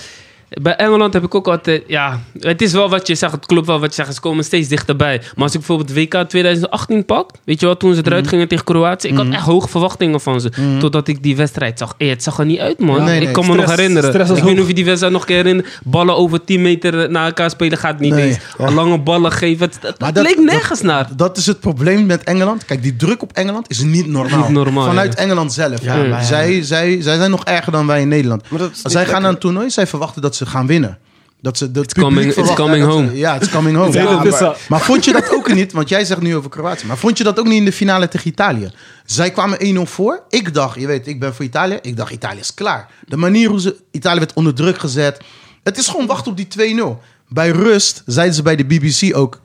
[SPEAKER 2] bij Engeland heb ik ook altijd... Ja, het is wel wat je zegt, het klopt wel wat je zegt. Ze komen steeds dichterbij. Maar als ik bijvoorbeeld WK 2018 pak... Weet je wel, toen ze eruit
[SPEAKER 3] Mhm.
[SPEAKER 2] gingen tegen Kroatië... Ik had echt hoge verwachtingen van ze. Totdat ik die wedstrijd zag. Eh, het zag er niet uit, man.
[SPEAKER 3] Nee,
[SPEAKER 2] ik
[SPEAKER 3] nee,
[SPEAKER 2] kan me
[SPEAKER 4] stress-
[SPEAKER 2] nog herinneren. Ik
[SPEAKER 4] stress was
[SPEAKER 2] weet niet
[SPEAKER 4] hoog.
[SPEAKER 2] of je die wedstrijd nog kan herinneren. Ballen over 10 meter naar elkaar spelen gaat niet
[SPEAKER 3] Nee. Oh.
[SPEAKER 2] eens. Lange ballen geven. Het, het-
[SPEAKER 3] Maar
[SPEAKER 2] het
[SPEAKER 3] dat-
[SPEAKER 2] leek nergens naar.
[SPEAKER 3] Dat is het probleem met Engeland. Kijk, die druk op Engeland is niet normaal.
[SPEAKER 2] Niet normaal,
[SPEAKER 3] Vanuit
[SPEAKER 2] ja.
[SPEAKER 3] Engeland zelf.
[SPEAKER 5] Ja,
[SPEAKER 3] Ja,
[SPEAKER 5] maar ja.
[SPEAKER 3] Zij, zij, zij zijn nog erger dan wij in Nederland.
[SPEAKER 5] Maar dat is
[SPEAKER 3] Als
[SPEAKER 5] niet
[SPEAKER 3] zij gaan
[SPEAKER 5] lekker.
[SPEAKER 3] naar een toernooi, zij verwachten dat ze gaan winnen. Dat ze, dat it's
[SPEAKER 2] coming- it's coming home.
[SPEAKER 3] ja, it's coming
[SPEAKER 2] (laughs)
[SPEAKER 3] home.
[SPEAKER 4] It's
[SPEAKER 3] Ja,
[SPEAKER 4] coming.
[SPEAKER 3] maar, maar vond je dat ook niet? Want jij zegt nu over Kroatië. Maar vond je dat ook niet in de finale tegen Italië? Zij kwamen 1-0 voor. Ik dacht, je weet, ik ben voor Italië. Ik dacht, Italië is klaar. De manier hoe ze... Italië werd onder druk gezet. Het is gewoon wachten op die 2-0. Bij rust zeiden ze bij de BBC ook...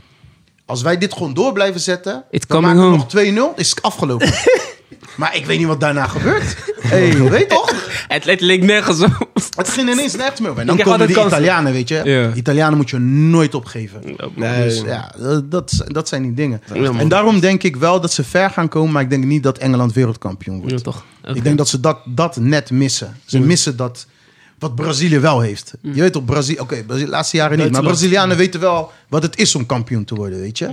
[SPEAKER 3] Als wij dit gewoon door blijven zetten...
[SPEAKER 2] It's
[SPEAKER 3] dan
[SPEAKER 2] coming
[SPEAKER 3] maken we nog 2-0. Is
[SPEAKER 2] (laughs)
[SPEAKER 3] het afgelopen. maar ik weet niet wat daarna gebeurt. hey, weet toch?
[SPEAKER 2] Het, het leek nergens op. (laughs)
[SPEAKER 3] Het ging ineens nergens meer op. En dan
[SPEAKER 4] Ik heb
[SPEAKER 3] komen
[SPEAKER 4] altijd
[SPEAKER 3] die
[SPEAKER 4] kansen.
[SPEAKER 3] Italianen, weet je.
[SPEAKER 2] Ja.
[SPEAKER 3] Italianen moet je nooit opgeven.
[SPEAKER 5] Nee,
[SPEAKER 3] Dus ja, dat, dat- dat zijn die dingen.
[SPEAKER 2] Ja, man.
[SPEAKER 3] en daarom denk ik wel dat ze ver gaan komen. Maar ik denk niet dat Engeland wereldkampioen wordt.
[SPEAKER 2] Ja, toch.
[SPEAKER 3] Ik denk dat ze dat, dat net missen. Ze missen dat wat Brazilië wel heeft. Je weet toch, Brazilië... Oké, Brazilië- laatste jaren niet. Maar
[SPEAKER 4] Duitsland.
[SPEAKER 3] Brazilianen weten wel wat het is om kampioen te worden, weet je.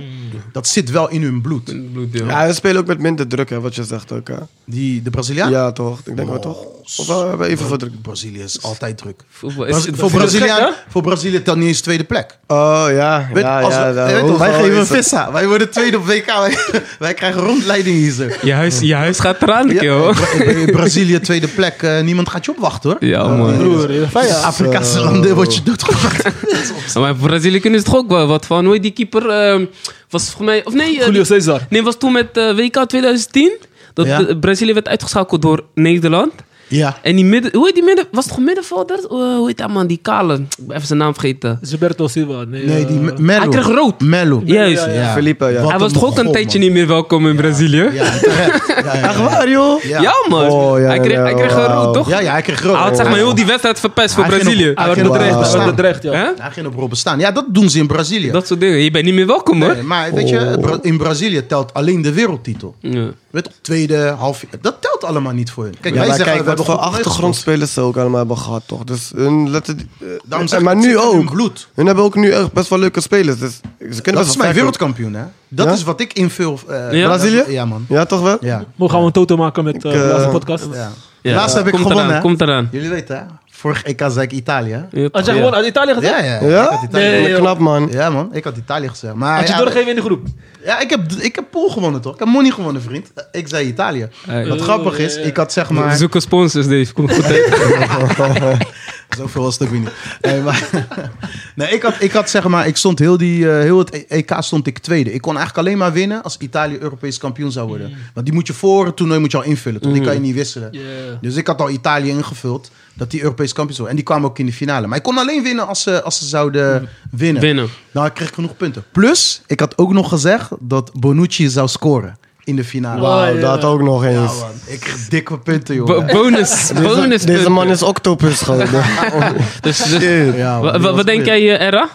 [SPEAKER 3] Dat zit wel in hun bloed.
[SPEAKER 2] Bloeddeel.
[SPEAKER 5] Ja, we spelen ook met minder druk, hè, wat je zegt ook. Hè.
[SPEAKER 3] Die, de
[SPEAKER 5] Ja?
[SPEAKER 3] Brazilianen?
[SPEAKER 5] toch? Ik denk wel, toch?
[SPEAKER 3] Oh,
[SPEAKER 5] Of wel, we hebben even voor druk.
[SPEAKER 3] Brazilië is altijd druk.
[SPEAKER 2] Voetbal is-
[SPEAKER 3] Braz- voor,
[SPEAKER 4] dat is gek,
[SPEAKER 3] Braziliaan,
[SPEAKER 4] hè?
[SPEAKER 3] voor Brazilië telt niet eens tweede plek.
[SPEAKER 5] Oh, ja.
[SPEAKER 3] Weet-
[SPEAKER 5] ja,
[SPEAKER 3] als
[SPEAKER 5] ja,
[SPEAKER 3] we-
[SPEAKER 5] ja, oh.
[SPEAKER 3] weet
[SPEAKER 5] hoe-
[SPEAKER 3] toch, wij
[SPEAKER 5] hoe
[SPEAKER 3] geven een
[SPEAKER 5] is het?
[SPEAKER 3] vissa. Wij worden tweede op WK. Wij, wij krijgen rondleiding hier zo.
[SPEAKER 2] Je huis, je huis gaat eraan,
[SPEAKER 3] Ja,
[SPEAKER 2] joh.
[SPEAKER 3] Bra- Bra- Brazilië tweede plek. eh, niemand gaat je opwachten hoor.
[SPEAKER 2] Ja, man.
[SPEAKER 4] Broer, je
[SPEAKER 3] Bij
[SPEAKER 4] fijn,
[SPEAKER 3] Afrikaanse landen word je doodgemaakt.
[SPEAKER 2] Maar Brazilië kunnen ze toch ook wel wat van. Hoe heet die keeper? ehm, was volgens mij... Of nee, eh,
[SPEAKER 4] Julio Cesar.
[SPEAKER 2] nee, was toen met eh, WK 2010. Dat
[SPEAKER 3] Ja.
[SPEAKER 2] eh, Brazilië werd uitgeschakeld door Nederland.
[SPEAKER 3] Ja.
[SPEAKER 2] En die midden... Hoe heet die midden... Was het gewoon middenvelder? Eh, hoe heet dat man? Die kale. Ik ben Even zijn naam vergeten.
[SPEAKER 4] Gilberto Silva. Nee,
[SPEAKER 3] Nee, die
[SPEAKER 4] eh,
[SPEAKER 3] Me- Melo.
[SPEAKER 2] hij kreeg rood.
[SPEAKER 3] Melo.
[SPEAKER 2] Ja, Juist.
[SPEAKER 4] ja,
[SPEAKER 5] ja. Felipe, ja.
[SPEAKER 3] Wat
[SPEAKER 2] Hij was
[SPEAKER 3] een
[SPEAKER 2] toch ook een
[SPEAKER 3] god,
[SPEAKER 2] tijdje
[SPEAKER 3] man.
[SPEAKER 2] niet meer welkom in Brazilië? Ja,
[SPEAKER 3] Ja, terecht. ja, ja,
[SPEAKER 5] Echt
[SPEAKER 3] ja.
[SPEAKER 5] waar, joh?
[SPEAKER 3] Ja.
[SPEAKER 2] man.
[SPEAKER 5] Oh, ja,
[SPEAKER 2] hij kreeg,
[SPEAKER 5] ja,
[SPEAKER 2] hij kreeg een
[SPEAKER 5] wauw.
[SPEAKER 2] rood, toch?
[SPEAKER 3] Ja, ja, hij kreeg rood.
[SPEAKER 2] Hij had zeg maar
[SPEAKER 3] Hij
[SPEAKER 2] heel die wedstrijd verpest voor
[SPEAKER 3] Hij ging
[SPEAKER 2] Brazilië.
[SPEAKER 3] op-
[SPEAKER 4] Hij
[SPEAKER 3] hij
[SPEAKER 4] wordt
[SPEAKER 3] ging op
[SPEAKER 4] bedreigd, hij
[SPEAKER 3] staan.
[SPEAKER 4] wordt bedreigd, ja.
[SPEAKER 2] Hè?
[SPEAKER 3] Hij ging op Robben staan. Ja, dat doen ze in Brazilië.
[SPEAKER 2] Dat soort dingen. Je bent niet meer welkom, hoor.
[SPEAKER 3] Nee, maar weet je, het Bra- in Brazilië telt alleen de wereldtitel.
[SPEAKER 2] Ja.
[SPEAKER 3] Weet je, tweede, half... Dat telt allemaal niet voor hun. Kijk,
[SPEAKER 5] Ja,
[SPEAKER 3] wij
[SPEAKER 5] maar
[SPEAKER 3] zeggen,
[SPEAKER 5] kijk,
[SPEAKER 3] we
[SPEAKER 5] wat
[SPEAKER 3] hebben
[SPEAKER 5] voor
[SPEAKER 3] goed meegespeeld.
[SPEAKER 5] achtergrondspelers ze ook allemaal hebben gehad, toch? Dus hun letten... eh,
[SPEAKER 3] Daarom
[SPEAKER 5] en-
[SPEAKER 3] zeg ik,
[SPEAKER 5] maar
[SPEAKER 3] het
[SPEAKER 5] nu
[SPEAKER 3] zit in hun
[SPEAKER 5] ook.
[SPEAKER 3] bloed.
[SPEAKER 5] Hun hebben ook nu echt best wel leuke spelers. Dus ze kunnen
[SPEAKER 3] Dat
[SPEAKER 5] best
[SPEAKER 3] is
[SPEAKER 5] wel
[SPEAKER 3] mijn
[SPEAKER 5] ver komen.
[SPEAKER 3] wereldkampioen, hè? Dat
[SPEAKER 5] Ja?
[SPEAKER 3] is wat ik invul. eh,
[SPEAKER 2] Ja?
[SPEAKER 5] Brazilië?
[SPEAKER 3] Ja, man.
[SPEAKER 5] Ja, toch wel?
[SPEAKER 3] Ja.
[SPEAKER 4] Mogen we een toto maken met eh,
[SPEAKER 5] Ik, eh,
[SPEAKER 4] de laatste podcast?
[SPEAKER 3] ja.
[SPEAKER 2] Ja.
[SPEAKER 3] Laatst heb ik
[SPEAKER 2] Komt
[SPEAKER 3] gewonnen,
[SPEAKER 2] eraan,
[SPEAKER 3] hè?
[SPEAKER 2] Komt eraan.
[SPEAKER 3] Jullie weten, hè? Vorig EK zei ik Italië. hè?
[SPEAKER 2] Ja,
[SPEAKER 4] Had jij
[SPEAKER 2] ja.
[SPEAKER 4] gewoon uit Italië gezegd?
[SPEAKER 3] Ja, ja.
[SPEAKER 5] Ja?
[SPEAKER 3] Ik had Italië.
[SPEAKER 4] Nee, joh.
[SPEAKER 5] knap, man.
[SPEAKER 3] Ja, man. Ik had Italië gezegd. Maar
[SPEAKER 4] Had je
[SPEAKER 3] ja,
[SPEAKER 4] doorgegeven in de groep?
[SPEAKER 3] Ja, ik heb, ik heb Pool gewonnen, toch? Ik heb Money gewonnen, vriend. Eh, Ik zei Italië.
[SPEAKER 2] Hey.
[SPEAKER 3] Wat grappig is, ik had zeg
[SPEAKER 2] We
[SPEAKER 3] maar...
[SPEAKER 2] zoeken sponsors, Dave. Kom goed uit.
[SPEAKER 3] (laughs) Zoveel was het ook weer niet. Nee, maar, (laughs) nee, ik, had, ik had zeg maar... Ik stond heel, die, eh, heel het EK stond ik tweede. Ik kon eigenlijk alleen maar winnen als Italië Europees kampioen zou worden. Want die moet je voor het toernooi moet je al invullen. Toch? Die
[SPEAKER 2] Mm.
[SPEAKER 3] kan je niet wisselen. Dus ik had al Italië ingevuld dat die Europees kampioen zou worden. En die kwamen ook in de finale. Maar ik kon alleen winnen als ze, als ze zouden winnen.
[SPEAKER 2] Winnen.
[SPEAKER 3] Nou, ik kreeg genoeg punten. Plus, ik had ook nog gezegd dat Bonucci zou scoren in de finale.
[SPEAKER 4] Wauw,
[SPEAKER 5] Wauw,
[SPEAKER 4] ja.
[SPEAKER 5] Oh, dat ook nog
[SPEAKER 3] Ja,
[SPEAKER 5] eens.
[SPEAKER 3] man. Ik kreeg dikke punten,
[SPEAKER 2] Bo-
[SPEAKER 3] joh.
[SPEAKER 2] bonus. bonus.
[SPEAKER 5] Deze, deze man is octopus Oh, geworden.
[SPEAKER 2] Dus, dus-
[SPEAKER 3] Ja,
[SPEAKER 2] Wa-
[SPEAKER 3] man.
[SPEAKER 2] wa- wat denk jij, eh, Era?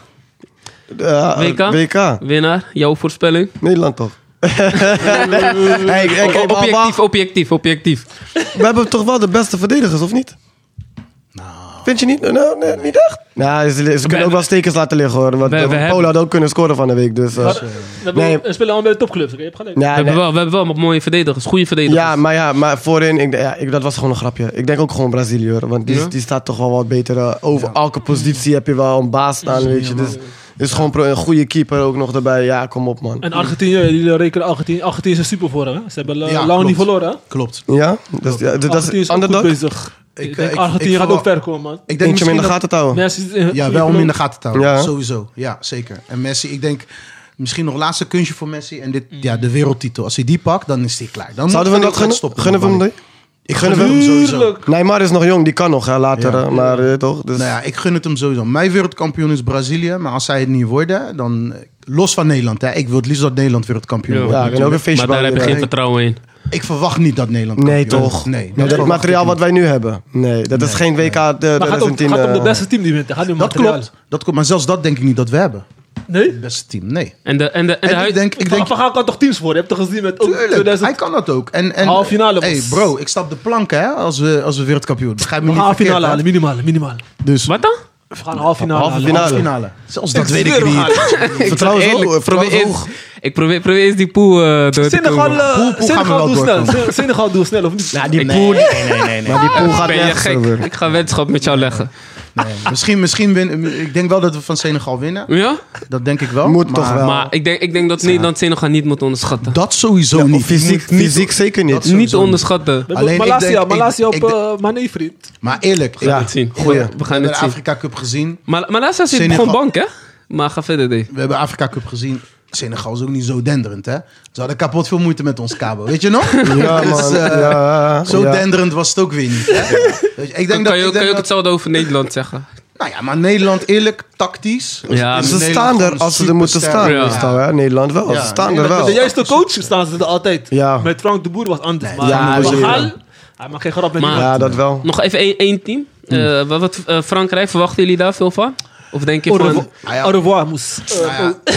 [SPEAKER 5] Ja,
[SPEAKER 2] WK?
[SPEAKER 5] WK.
[SPEAKER 2] Winnaar, jouw voorspelling?
[SPEAKER 5] Nederland toch? (laughs) hey, hey,
[SPEAKER 2] O-
[SPEAKER 5] kijk, maar
[SPEAKER 2] objectief,
[SPEAKER 5] wacht.
[SPEAKER 2] objectief, objectief.
[SPEAKER 5] we hebben toch wel de beste verdedigers, of niet? Vind je niet? Nou, nee, niet echt. Nou, ze, ze kunnen ook wel stekers laten liggen hoor. Want eh,
[SPEAKER 2] We- we
[SPEAKER 5] Polen
[SPEAKER 2] hebben-
[SPEAKER 5] had ook kunnen scoren van de week. Dus, eh,
[SPEAKER 4] Had- dan
[SPEAKER 5] Nee.
[SPEAKER 4] we- we spelen allemaal bij de topclubs, oké? je hebt gelijk.
[SPEAKER 2] we,
[SPEAKER 5] ja, nee.
[SPEAKER 2] hebben wel, we hebben wel mooie verdedigers, goede verdedigers.
[SPEAKER 5] ja, maar ja, maar voorin, ik, ja, ik, dat was gewoon een grapje. Ik denk ook gewoon Brazilië hoor. Want die,
[SPEAKER 2] Ja?
[SPEAKER 5] die staat toch wel wat beter. eh, over elke positie heb je wel een baas staan, weet je. Dus is gewoon pro- een goede keeper ook nog erbij. Ja, kom op man.
[SPEAKER 4] En Argentinië, jullie rekenen Argentinië. Argentinië is super voor hem, hè? Ze hebben eh,
[SPEAKER 3] Ja,
[SPEAKER 4] lang
[SPEAKER 3] klopt.
[SPEAKER 4] niet verloren, hè?
[SPEAKER 3] Klopt.
[SPEAKER 5] Ja, dus, ja, dat
[SPEAKER 4] Argentinië
[SPEAKER 5] is
[SPEAKER 4] is ook goed
[SPEAKER 5] underdog.
[SPEAKER 4] bezig. Ik,
[SPEAKER 3] eh,
[SPEAKER 4] denk
[SPEAKER 3] ik-
[SPEAKER 4] Argentinië
[SPEAKER 3] ik
[SPEAKER 4] gaat
[SPEAKER 3] verwacht-
[SPEAKER 4] ook ver komen, man.
[SPEAKER 3] Ik denk
[SPEAKER 5] Eentje
[SPEAKER 3] misschien
[SPEAKER 5] meer in de
[SPEAKER 3] dat-
[SPEAKER 5] gaten te houden.
[SPEAKER 4] Messi is in-
[SPEAKER 3] Ja, wel om in de gaten te houden.
[SPEAKER 5] Ja.
[SPEAKER 3] Sowieso. Ja, zeker. En Messi, ik denk misschien nog laatste kunstje voor Messi. En dit, ja, de wereldtitel. Als hij die pakt, dan is hij klaar. Dan
[SPEAKER 5] Mm. Zouden we hem
[SPEAKER 3] moet
[SPEAKER 5] dat gunnen?
[SPEAKER 3] stoppen.
[SPEAKER 5] Gunnen we hem
[SPEAKER 3] man.
[SPEAKER 5] dat?
[SPEAKER 3] Ik gun
[SPEAKER 5] Gunnen
[SPEAKER 3] het
[SPEAKER 5] we
[SPEAKER 3] hem sowieso.
[SPEAKER 4] Tuurlijk.
[SPEAKER 5] Neymar is nog jong, die kan nog hè, later.
[SPEAKER 3] Ja.
[SPEAKER 5] hè, Maar eh, toch? Dus,
[SPEAKER 3] Nou ja, ik gun het hem sowieso. Mijn wereldkampioen is Brazilië. Maar als zij het niet worden, dan... eh, Los van Nederland, hè. Ik wil het liefst dat Nederland wereldkampioen
[SPEAKER 2] Ja.
[SPEAKER 3] wordt.
[SPEAKER 5] ja, ik ben ook een feestje
[SPEAKER 2] maar daar heb
[SPEAKER 5] bouwen,
[SPEAKER 2] je
[SPEAKER 5] ja.
[SPEAKER 2] geen vertrouwen in.
[SPEAKER 3] Ik verwacht niet dat Nederland
[SPEAKER 5] Nee,
[SPEAKER 3] kampioen
[SPEAKER 5] toch?
[SPEAKER 3] wordt. Nee,
[SPEAKER 5] Met het
[SPEAKER 3] verwacht
[SPEAKER 5] materiaal
[SPEAKER 3] ik
[SPEAKER 5] wat wij nu hebben. Nee, dat is geen eh, WK de,
[SPEAKER 4] Maar gaat om,
[SPEAKER 5] 2010.
[SPEAKER 4] gaat om de
[SPEAKER 5] eh,
[SPEAKER 4] beste team die wint. Gaat om
[SPEAKER 3] niet. Dat
[SPEAKER 4] materiaal.
[SPEAKER 3] klopt. dat klopt. Maar zelfs dat denk ik niet dat we hebben.
[SPEAKER 4] Nee?
[SPEAKER 3] Het beste team, nee.
[SPEAKER 2] En de, en de, en de
[SPEAKER 3] En ik
[SPEAKER 2] huid-
[SPEAKER 3] denk... Ik
[SPEAKER 4] Ik
[SPEAKER 3] denk
[SPEAKER 4] Van Gaal kan toch teams voor? Je hebt toch gezien met ook
[SPEAKER 3] Tuurlijk,
[SPEAKER 4] 2000...
[SPEAKER 3] hij kan dat ook. En, en,
[SPEAKER 4] Halve finale was-
[SPEAKER 3] Hey bro, ik stap de plank hè, als we, als we wereldkampioen. Begrijp me
[SPEAKER 4] We
[SPEAKER 3] niet
[SPEAKER 4] gaan halve
[SPEAKER 3] verkeerd,
[SPEAKER 4] Ah, finale
[SPEAKER 3] hè?
[SPEAKER 4] halen, minimaal, minimaal.
[SPEAKER 3] Dus
[SPEAKER 2] Wat dan?
[SPEAKER 4] We gaan halve finale
[SPEAKER 5] Halve
[SPEAKER 4] halen.
[SPEAKER 5] finale.
[SPEAKER 3] halve finale. Zelfs dat weet ik niet. (laughs)
[SPEAKER 5] Vertrouwen is
[SPEAKER 2] Ik zeg
[SPEAKER 5] hoog,
[SPEAKER 2] eerlijk,
[SPEAKER 5] vertrouwen is
[SPEAKER 2] probeer
[SPEAKER 5] hoog.
[SPEAKER 2] eerst- Ik probeer, probeer eens die poel eh, door te
[SPEAKER 4] Senegal,
[SPEAKER 2] komen.
[SPEAKER 4] eh,
[SPEAKER 3] Poel- poel gaan we
[SPEAKER 4] Senegal
[SPEAKER 3] wel
[SPEAKER 4] doe snel.
[SPEAKER 3] doorkomen.
[SPEAKER 4] Sen- (laughs) Senegal doe snel, of niet?
[SPEAKER 5] Nou, die pool. Nee, nee, nee, Maar die pool gaat
[SPEAKER 2] Ben je
[SPEAKER 5] nergens
[SPEAKER 2] gek?
[SPEAKER 5] over.
[SPEAKER 2] Ik ga wedschap met jou leggen.
[SPEAKER 3] Nee, misschien, misschien winnen. Ik denk wel dat we van Senegal winnen.
[SPEAKER 2] Ja?
[SPEAKER 3] Dat denk ik wel.
[SPEAKER 5] Moet
[SPEAKER 3] maar
[SPEAKER 5] toch wel.
[SPEAKER 2] Maar ik denk, ik denk dat Nederland Senegal niet moet onderschatten.
[SPEAKER 3] Dat sowieso
[SPEAKER 5] Ja,
[SPEAKER 3] niet.
[SPEAKER 5] fysiek,
[SPEAKER 3] Moet-
[SPEAKER 5] fysiek zeker niet.
[SPEAKER 3] sowieso
[SPEAKER 2] niet onderschatten.
[SPEAKER 4] We
[SPEAKER 3] Alleen
[SPEAKER 4] hebben
[SPEAKER 3] ik
[SPEAKER 4] Malaysia,
[SPEAKER 3] denk- ik-
[SPEAKER 4] Malaysia op
[SPEAKER 3] ik denk-
[SPEAKER 4] eh, Mané, vriend.
[SPEAKER 3] Maar eerlijk,
[SPEAKER 5] Ja.
[SPEAKER 2] het zien.
[SPEAKER 5] Goeie.
[SPEAKER 2] We- We
[SPEAKER 3] we
[SPEAKER 2] gaan
[SPEAKER 3] hebben
[SPEAKER 2] het
[SPEAKER 3] de
[SPEAKER 2] zien.
[SPEAKER 3] Afrika Cup gezien.
[SPEAKER 2] Maar Malassa zit
[SPEAKER 3] Senegal-
[SPEAKER 2] gewoon bank, hè? Maar ga verder, D.
[SPEAKER 3] We hebben Afrika Cup gezien. Senegal is ook niet zo denderend, hè? Ze hadden kapot veel moeite met ons Cabo. Weet je nog?
[SPEAKER 5] Ja,
[SPEAKER 3] (laughs) Dus,
[SPEAKER 5] man.
[SPEAKER 3] eh,
[SPEAKER 5] Ja,
[SPEAKER 3] Zo
[SPEAKER 5] Ah, ja.
[SPEAKER 3] denderend was het ook weer niet. hè? Weet je, Ik
[SPEAKER 2] Dan
[SPEAKER 3] denk
[SPEAKER 2] kan
[SPEAKER 3] dat-
[SPEAKER 2] je ook,
[SPEAKER 3] ik
[SPEAKER 2] kan
[SPEAKER 3] denk
[SPEAKER 2] je ook
[SPEAKER 3] dat
[SPEAKER 2] hetzelfde over Nederland zeggen.
[SPEAKER 3] Nou ja, maar Nederland eerlijk, tactisch.
[SPEAKER 2] Ja,
[SPEAKER 3] is
[SPEAKER 5] Ze
[SPEAKER 3] Nederland
[SPEAKER 5] staan er
[SPEAKER 3] gewoon
[SPEAKER 5] als ze er moeten staan.
[SPEAKER 3] supersterk.
[SPEAKER 2] Ja.
[SPEAKER 5] Dus dan, hè, Nederland wel.
[SPEAKER 3] Ja.
[SPEAKER 5] Ze staan er
[SPEAKER 4] Met
[SPEAKER 5] wel.
[SPEAKER 4] de juiste coach staan ze er altijd.
[SPEAKER 5] Ja.
[SPEAKER 4] Met Frank de Boer was anders. Maar
[SPEAKER 5] ja,
[SPEAKER 4] Van
[SPEAKER 5] zeker.
[SPEAKER 4] Gaal, hij maakt geen grap met
[SPEAKER 2] Maar-
[SPEAKER 4] niemand.
[SPEAKER 5] Ja, dat wel.
[SPEAKER 2] (laughs) Nog even één, één team. Eh, wat, wat, eh, Frankrijk, verwachten jullie daar veel van? Of denk je
[SPEAKER 4] Au
[SPEAKER 2] van...
[SPEAKER 4] revoir-
[SPEAKER 3] Ah, ja.
[SPEAKER 4] Au revoir, moes. Eh,
[SPEAKER 3] Nou ja,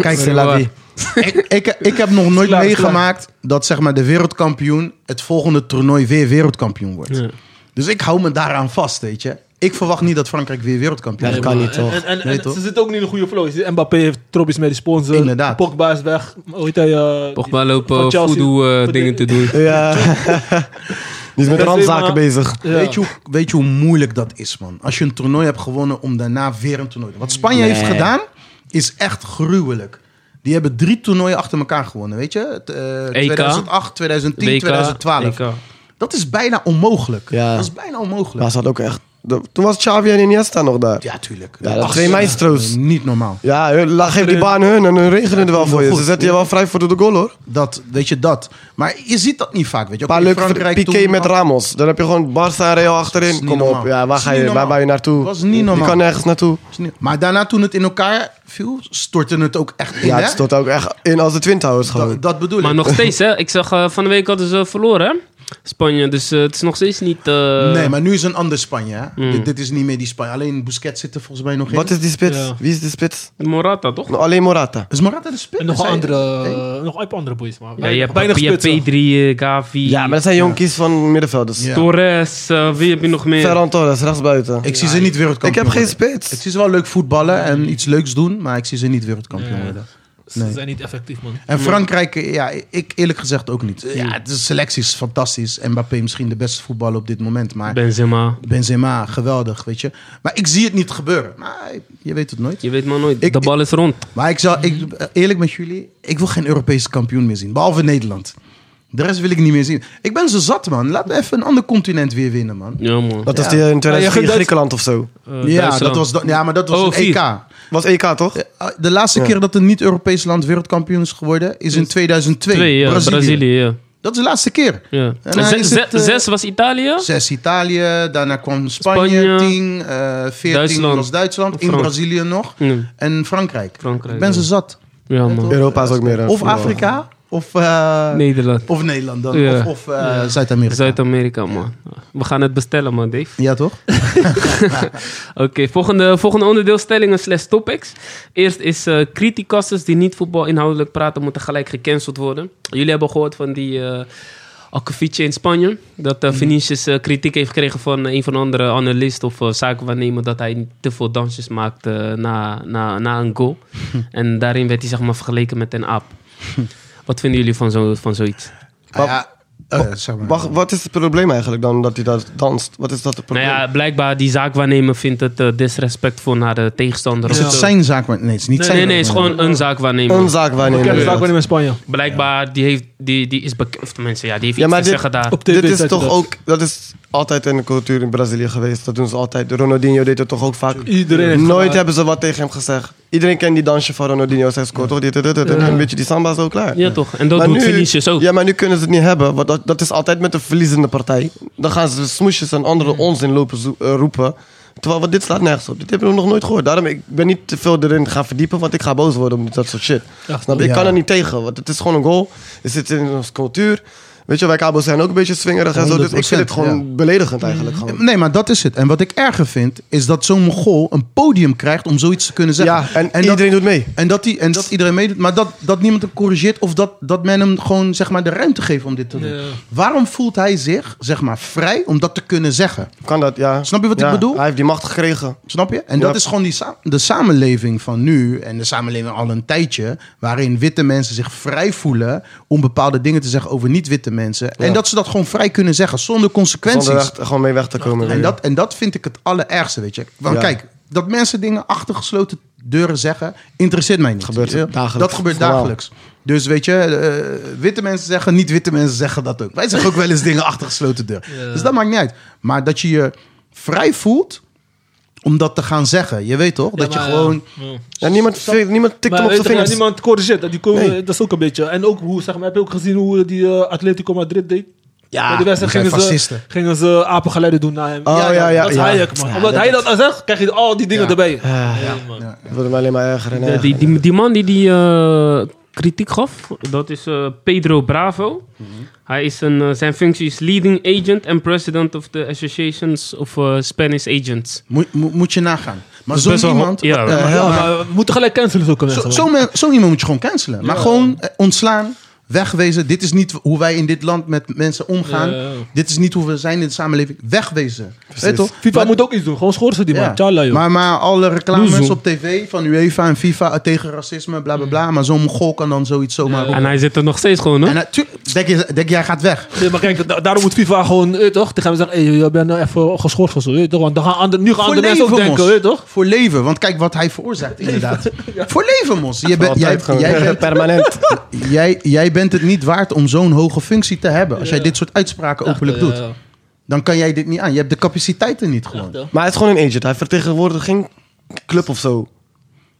[SPEAKER 3] Kijk,
[SPEAKER 2] C'est la vie.
[SPEAKER 3] ik, ik, ik heb nog nooit
[SPEAKER 4] Klaar,
[SPEAKER 3] meegemaakt dat zeg maar, de wereldkampioen het volgende toernooi weer wereldkampioen wordt.
[SPEAKER 2] Ja.
[SPEAKER 3] Dus ik hou me daaraan vast, weet je. Ik verwacht niet dat Frankrijk weer wereldkampioen
[SPEAKER 5] Nee,
[SPEAKER 3] wordt.
[SPEAKER 5] kan
[SPEAKER 4] maar-
[SPEAKER 5] niet, toch?
[SPEAKER 4] En, en, en
[SPEAKER 3] Nee, toch?
[SPEAKER 4] ze zitten ook niet in een goede flow. Je ziet Mbappé heeft trophies mee, die sponsor.
[SPEAKER 3] Inderdaad.
[SPEAKER 4] Pogba is weg. Hoe heet hij? eh,
[SPEAKER 2] Pogba
[SPEAKER 4] van
[SPEAKER 2] lopen
[SPEAKER 4] Chelsea.
[SPEAKER 2] voodoo eh,
[SPEAKER 4] Voor
[SPEAKER 2] dingen
[SPEAKER 4] de-
[SPEAKER 2] te doen.
[SPEAKER 5] Ja. (laughs) Die is met
[SPEAKER 4] Benzema.
[SPEAKER 5] randzaken bezig.
[SPEAKER 4] Ja.
[SPEAKER 3] Weet, je hoe, weet je hoe moeilijk dat is, man? Als je een toernooi hebt gewonnen om daarna weer een toernooi te Wat Spanje heeft gedaan, is echt gruwelijk. Die hebben drie toernooien achter elkaar gewonnen, weet je? Het,
[SPEAKER 5] E
[SPEAKER 3] eh,
[SPEAKER 2] EK,
[SPEAKER 3] 2008, 2010,
[SPEAKER 2] WK,
[SPEAKER 3] 2012.
[SPEAKER 2] EK.
[SPEAKER 3] Dat is bijna onmogelijk.
[SPEAKER 5] Ja.
[SPEAKER 3] Dat is bijna onmogelijk.
[SPEAKER 5] Maar ze had ook echt De- toen was Xavi en Iniesta nog daar.
[SPEAKER 3] Ja, tuurlijk.
[SPEAKER 5] Ja, dat twee maestro's.
[SPEAKER 3] Niet normaal.
[SPEAKER 5] Ja, hun, la- geef die baan hun en hun regelen het wel voor je.
[SPEAKER 3] goed.
[SPEAKER 5] Ze zetten je wel vrij voor door de goal hoor. Een
[SPEAKER 3] Dat, weet je, dat. Maar je ziet dat niet vaak, weet je. Ook
[SPEAKER 5] paar
[SPEAKER 3] in
[SPEAKER 5] leuke
[SPEAKER 3] Frankrijk
[SPEAKER 5] Piqué
[SPEAKER 3] toen-
[SPEAKER 5] met Ramos. Dan heb je gewoon Barça en Real
[SPEAKER 3] Dat is
[SPEAKER 5] achterin.
[SPEAKER 3] niet
[SPEAKER 5] Kom op,
[SPEAKER 3] normaal.
[SPEAKER 5] ja,
[SPEAKER 3] Dat
[SPEAKER 5] waar,
[SPEAKER 3] is
[SPEAKER 5] ga
[SPEAKER 3] niet
[SPEAKER 5] je, waar
[SPEAKER 3] normaal.
[SPEAKER 5] ben je naartoe?
[SPEAKER 3] Dat is niet
[SPEAKER 5] Je
[SPEAKER 3] normaal.
[SPEAKER 5] kan nergens naartoe.
[SPEAKER 3] Maar daarna toen het in elkaar viel, stortte het ook echt in,
[SPEAKER 5] Ja,
[SPEAKER 3] hè?
[SPEAKER 5] het stond ook echt in als de Twin Towers gewoon.
[SPEAKER 3] dat, dat bedoel
[SPEAKER 2] (laughs)
[SPEAKER 3] ik.
[SPEAKER 2] Maar nog steeds, hè? Ik zag eh, van de week hadden ze verloren, hè? Spanje. Dus eh, het is nog steeds niet. eh,
[SPEAKER 3] nee, maar nu is een ander Spanje, hè?
[SPEAKER 2] Mm.
[SPEAKER 3] Dit, dit is niet meer die Spanje. Alleen Busquets zit er volgens mij nog in.
[SPEAKER 5] Wat is die spits?
[SPEAKER 4] Ja.
[SPEAKER 5] Wie is die spits? Nou,
[SPEAKER 2] Morata, toch?
[SPEAKER 5] Alleen Morata.
[SPEAKER 3] Is Morata de spits?
[SPEAKER 4] En nog
[SPEAKER 3] Zij-
[SPEAKER 4] andere,
[SPEAKER 5] eh,
[SPEAKER 4] eh,
[SPEAKER 3] Hey?
[SPEAKER 4] nog een paar andere boys. Maar
[SPEAKER 2] Ja, je hebt,
[SPEAKER 4] weinig
[SPEAKER 2] je hebt
[SPEAKER 4] spitsen.
[SPEAKER 2] P3, eh, Gavi,
[SPEAKER 5] Ja, maar dat zijn jonkies van middenvelders.
[SPEAKER 3] Ja.
[SPEAKER 2] Torres. eh, wie heb je nog meer?
[SPEAKER 5] Ferran Torres, rechtsbuiten.
[SPEAKER 3] Ik zie ze niet
[SPEAKER 5] Ik
[SPEAKER 3] wereldkampioen
[SPEAKER 5] heb geen
[SPEAKER 3] worden. Ik
[SPEAKER 5] spits.
[SPEAKER 3] zie ze wel leuk voetballen en iets leuks doen, maar ik zie ze niet wereldkampioen
[SPEAKER 4] Nee.
[SPEAKER 3] worden.
[SPEAKER 4] Ze
[SPEAKER 3] Nee.
[SPEAKER 4] zijn niet effectief, man.
[SPEAKER 3] En Frankrijk, eh, ja, ik eerlijk gezegd ook niet. Eh, Ja, de selectie is fantastisch. Mbappé misschien de beste voetballer op dit moment, maar
[SPEAKER 2] Benzema.
[SPEAKER 3] Benzema, geweldig, weet je. Maar ik zie het niet gebeuren. Maar je weet het nooit.
[SPEAKER 2] Je weet maar nooit.
[SPEAKER 3] Ik-
[SPEAKER 2] de bal is rond.
[SPEAKER 3] Maar ik zal, ik, eerlijk met jullie, ik wil geen Europese kampioen meer zien. Behalve Nederland. De rest wil ik niet meer zien. Ik ben zo zat, man. Laat me even een ander continent weer winnen, man.
[SPEAKER 2] Ja, man.
[SPEAKER 5] Dat
[SPEAKER 3] Ja.
[SPEAKER 5] was die in
[SPEAKER 4] Ja, je
[SPEAKER 5] 2004
[SPEAKER 4] gunt dat-
[SPEAKER 5] Griekenland of zo.
[SPEAKER 2] Eh,
[SPEAKER 3] ja,
[SPEAKER 2] Duitsland.
[SPEAKER 3] dat was, dat- ja, maar dat was
[SPEAKER 2] Oh,
[SPEAKER 3] een
[SPEAKER 2] vier.
[SPEAKER 3] EK.
[SPEAKER 5] Was EK toch?
[SPEAKER 3] De laatste
[SPEAKER 5] Ja.
[SPEAKER 3] keer dat een niet-Europees land wereldkampioen is geworden, is in 2002.
[SPEAKER 2] Twee, ja. Brazilië. ja.
[SPEAKER 3] Dat is de laatste keer.
[SPEAKER 2] ja.
[SPEAKER 3] En dan
[SPEAKER 2] Zes-
[SPEAKER 3] is
[SPEAKER 2] zes-
[SPEAKER 3] het, eh,
[SPEAKER 2] zes was Italië.
[SPEAKER 3] Zes Italië, daarna kwam Spanje,
[SPEAKER 2] Spanje,
[SPEAKER 3] 10, eh 14
[SPEAKER 2] Duitsland,
[SPEAKER 3] was Duitsland, in
[SPEAKER 2] Fran-
[SPEAKER 3] Brazilië nog
[SPEAKER 2] Nee,
[SPEAKER 3] en Frankrijk.
[SPEAKER 2] Frankrijk.
[SPEAKER 3] Ik ben ze
[SPEAKER 2] ja.
[SPEAKER 3] zat.
[SPEAKER 2] Ja, man.
[SPEAKER 5] Europa is ook meer. eh,
[SPEAKER 3] Of
[SPEAKER 5] voetbal.
[SPEAKER 3] Afrika, of, eh,
[SPEAKER 2] Nederland.
[SPEAKER 3] of Nederland dan,
[SPEAKER 2] Ja.
[SPEAKER 3] of, of eh, Zuid-Amerika.
[SPEAKER 2] Zuid-Amerika, man. We gaan het bestellen, man, Dave.
[SPEAKER 3] ja, toch?
[SPEAKER 2] Oké, volgende, volgende onderdeel stellingen slash topics. Eerst is eh criticassers die niet voetbal inhoudelijk praten moeten gelijk gecanceld worden. Jullie hebben gehoord van die eh Akkefietje in Spanje. Dat eh
[SPEAKER 3] Mhm.
[SPEAKER 2] Vinicius eh, kritiek heeft gekregen van eh, een van de andere analisten of eh, zakenwaarnemer dat hij te veel dansjes maakt eh, na, na, na een
[SPEAKER 3] (laughs)
[SPEAKER 2] goal. en daarin werd hij zeg maar vergeleken met een aap. Wat vinden jullie van, zo, van zoiets? Nou
[SPEAKER 3] Ah, ja, eh, zeg maar.
[SPEAKER 5] Wacht, wat is het probleem eigenlijk dan dat hij daar danst? Wat is dat het
[SPEAKER 2] Nou
[SPEAKER 5] probleem?
[SPEAKER 2] ja, blijkbaar die zaakwaarnemer vindt het eh, disrespectvol naar de tegenstander.
[SPEAKER 3] Is
[SPEAKER 2] of
[SPEAKER 3] het
[SPEAKER 2] zo.
[SPEAKER 3] zijn zaak? maar- Nee, het is niet
[SPEAKER 2] Nee,
[SPEAKER 3] zijn
[SPEAKER 2] nee, nee, het is
[SPEAKER 3] zaak, maar-
[SPEAKER 2] gewoon een zaakwaarnemer.
[SPEAKER 5] Een zaak
[SPEAKER 4] Ik heb
[SPEAKER 5] waarnemen.
[SPEAKER 4] het vaak
[SPEAKER 5] inderdaad.
[SPEAKER 4] wel in Spanje.
[SPEAKER 2] Blijkbaar, die, heeft, die, die is bekend. Of tenminste, ja, die heeft
[SPEAKER 5] Ja,
[SPEAKER 2] iets
[SPEAKER 5] maar
[SPEAKER 2] te
[SPEAKER 5] dit-
[SPEAKER 2] zeggen daar.
[SPEAKER 4] Op
[SPEAKER 5] Dit
[SPEAKER 4] TV
[SPEAKER 5] is
[SPEAKER 4] zei
[SPEAKER 5] toch
[SPEAKER 4] hij dat.
[SPEAKER 5] ook, dat is altijd in de cultuur in Brazilië geweest. Dat doen ze altijd. Ronaldinho deed het toch ook vaak.
[SPEAKER 4] Iedereen heeft
[SPEAKER 5] Nooit
[SPEAKER 4] gemaakt.
[SPEAKER 5] hebben ze wat tegen hem gezegd. Iedereen kent die dansje van Ronaldinho. Zij scoort toch? dit, dit, dit, dit. En Een beetje die samba zo klaar.
[SPEAKER 2] Ja, toch? En dat
[SPEAKER 5] Maar
[SPEAKER 2] doet
[SPEAKER 5] nu-
[SPEAKER 2] Vinicius ook.
[SPEAKER 5] Ja, maar nu kunnen ze het niet hebben. Want dat, dat is altijd met de verliezende partij. Dan gaan ze smoesjes en andere onzin lopen zo- eh, roepen. Terwijl wat dit slaat nergens op. Dit heb ik nog nooit gehoord. Daarom ik ben niet te veel erin gaan verdiepen, want ik ga boos worden om dat soort shit.
[SPEAKER 4] Ja,
[SPEAKER 5] Snap je? Ik
[SPEAKER 3] ja.
[SPEAKER 5] kan er niet tegen, want het is gewoon een goal. Het zit in onze cultuur. Weet je, wij kabels zijn ook een beetje swingerig en zo. Dus ik vind
[SPEAKER 3] 100%,
[SPEAKER 5] het gewoon beledigend eigenlijk. Gewoon.
[SPEAKER 3] Nee, maar dat is het. En wat ik erger vind, is dat zo'n Mogol een podium krijgt om zoiets te kunnen zeggen.
[SPEAKER 5] Ja, en, iedereen
[SPEAKER 3] dat,
[SPEAKER 5] doet mee.
[SPEAKER 3] en, dat die, en dat iedereen meedoet, maar dat, dat niemand hem corrigeert of dat, dat men hem gewoon zeg maar, de ruimte geeft om dit te doen.
[SPEAKER 4] Ja.
[SPEAKER 3] Waarom voelt hij zich zeg maar, vrij om dat te kunnen zeggen?
[SPEAKER 5] Kan dat, ja.
[SPEAKER 3] Snap je wat ik
[SPEAKER 5] Ja,
[SPEAKER 3] bedoel?
[SPEAKER 5] Hij heeft die macht gekregen.
[SPEAKER 3] Snap je? En
[SPEAKER 5] Ja.
[SPEAKER 3] dat is gewoon die sa- de samenleving van nu en de samenleving al een tijdje, waarin witte mensen zich vrij voelen om bepaalde dingen te zeggen over niet-witte mensen. En dat ze dat gewoon vrij kunnen zeggen zonder consequenties.
[SPEAKER 5] Zonder echt gewoon mee weg te komen.
[SPEAKER 3] En dat, en dat vind ik het allerergste, weet je. Want
[SPEAKER 5] Ja.
[SPEAKER 3] kijk, dat mensen dingen achter gesloten deuren zeggen, interesseert mij niet.
[SPEAKER 5] Gebeurt
[SPEAKER 3] Weet je?
[SPEAKER 5] dagelijks.
[SPEAKER 3] Dat gebeurt
[SPEAKER 5] Normaal.
[SPEAKER 3] dagelijks. Dus weet je, eh, witte mensen zeggen, niet-witte mensen zeggen dat ook. Wij zeggen ook wel eens dingen achter gesloten deuren.
[SPEAKER 4] Ja.
[SPEAKER 3] Dus dat maakt niet uit. Maar dat je je vrij voelt om dat te gaan zeggen. Je weet toch?
[SPEAKER 4] Ja,
[SPEAKER 3] dat je
[SPEAKER 4] maar,
[SPEAKER 3] gewoon...
[SPEAKER 4] ja. Ja.
[SPEAKER 5] Ja, niemand, niemand tikt
[SPEAKER 4] Maar
[SPEAKER 5] hem op
[SPEAKER 4] weet je,
[SPEAKER 5] zijn
[SPEAKER 4] maar
[SPEAKER 5] vingers.
[SPEAKER 4] niemand corrigeert. dat. Die komen,
[SPEAKER 5] Nee.
[SPEAKER 4] Dat is ook een beetje. En ook hoe, zeg maar, heb je ook gezien hoe die eh, Atletico Madrid deed? Bij de wedstrijd
[SPEAKER 3] zijn
[SPEAKER 4] gingen ze,
[SPEAKER 3] fascisten.
[SPEAKER 4] gingen ze apengeluiden doen naar hem.
[SPEAKER 5] Oh, ja, ja,
[SPEAKER 4] dat is
[SPEAKER 5] ja.
[SPEAKER 4] Hayek, man.
[SPEAKER 5] Ja,
[SPEAKER 4] Omdat
[SPEAKER 5] dat
[SPEAKER 4] hij dat al zegt, krijg je al die dingen
[SPEAKER 3] Ja.
[SPEAKER 4] erbij.
[SPEAKER 5] Ah,
[SPEAKER 4] Nee, man.
[SPEAKER 5] Het wordt me alleen maar erger en
[SPEAKER 2] De-
[SPEAKER 5] erger.
[SPEAKER 2] Eh, die, die, die man die die eh, kritiek gaf, dat is eh, Pedro Bravo. Hij is een, eh, zijn functie is leading agent en president of the associations of eh, Spanish agents.
[SPEAKER 3] Moet, moet, moet je nagaan. Maar
[SPEAKER 2] is
[SPEAKER 3] zo'n
[SPEAKER 2] best wel-
[SPEAKER 3] iemand...
[SPEAKER 2] ja,
[SPEAKER 3] eh,
[SPEAKER 2] wel.
[SPEAKER 3] maar-
[SPEAKER 4] Ja, maar we moeten gelijk cancelen zulke
[SPEAKER 3] Zo,
[SPEAKER 4] mensen.
[SPEAKER 3] zo, men- zo iemand moet je gewoon cancelen. Maar gewoon eh, ontslaan, wegwezen. Dit is niet hoe wij in dit land met mensen omgaan.
[SPEAKER 4] Ja, ja, ja.
[SPEAKER 3] Dit is niet hoe we zijn in de samenleving. Wegwezen. Weet je toch?
[SPEAKER 4] FIFA
[SPEAKER 3] Maar-
[SPEAKER 4] moet ook iets doen. Gewoon schorsen die
[SPEAKER 3] ja.
[SPEAKER 4] man. Tjalla, joh.
[SPEAKER 3] maar, maar alle reclames
[SPEAKER 2] Doezoe.
[SPEAKER 3] op tv van UEFA en FIFA eh, tegen racisme, bla bla bla. Maar zo'n Mongool kan dan zoiets zomaar.
[SPEAKER 2] En hij zit er nog steeds gewoon, hè?
[SPEAKER 3] En natuurlijk, denk, je- denk jij gaat weg.
[SPEAKER 4] Nee, maar kijk, da- daarom moet FIFA gewoon, eh, toch? Tegen hem zeggen, hey, je bent nou even geschorst of zo. eh, toch? Want dan gaan andere, nu gaan andere mensen ook denken,
[SPEAKER 3] Mos.
[SPEAKER 4] eh, toch?
[SPEAKER 3] Voor leven, want kijk wat hij
[SPEAKER 4] (laughs)
[SPEAKER 3] veroorzaakt, inderdaad. Voor leven, Mos. Je bent- jij,
[SPEAKER 5] Altijd gewoon.
[SPEAKER 3] jij bent
[SPEAKER 5] (laughs) permanent.
[SPEAKER 3] jij, jij bent het niet waard om zo'n hoge functie te hebben. Als jij dit soort uitspraken openlijk
[SPEAKER 4] Ja,
[SPEAKER 3] doet.
[SPEAKER 4] ja.
[SPEAKER 3] Dan kan jij dit niet aan. Je hebt de capaciteiten niet gewoon.
[SPEAKER 4] Echt, hè?
[SPEAKER 5] Maar hij is gewoon een agent. Hij vertegenwoordigt geen club of zo.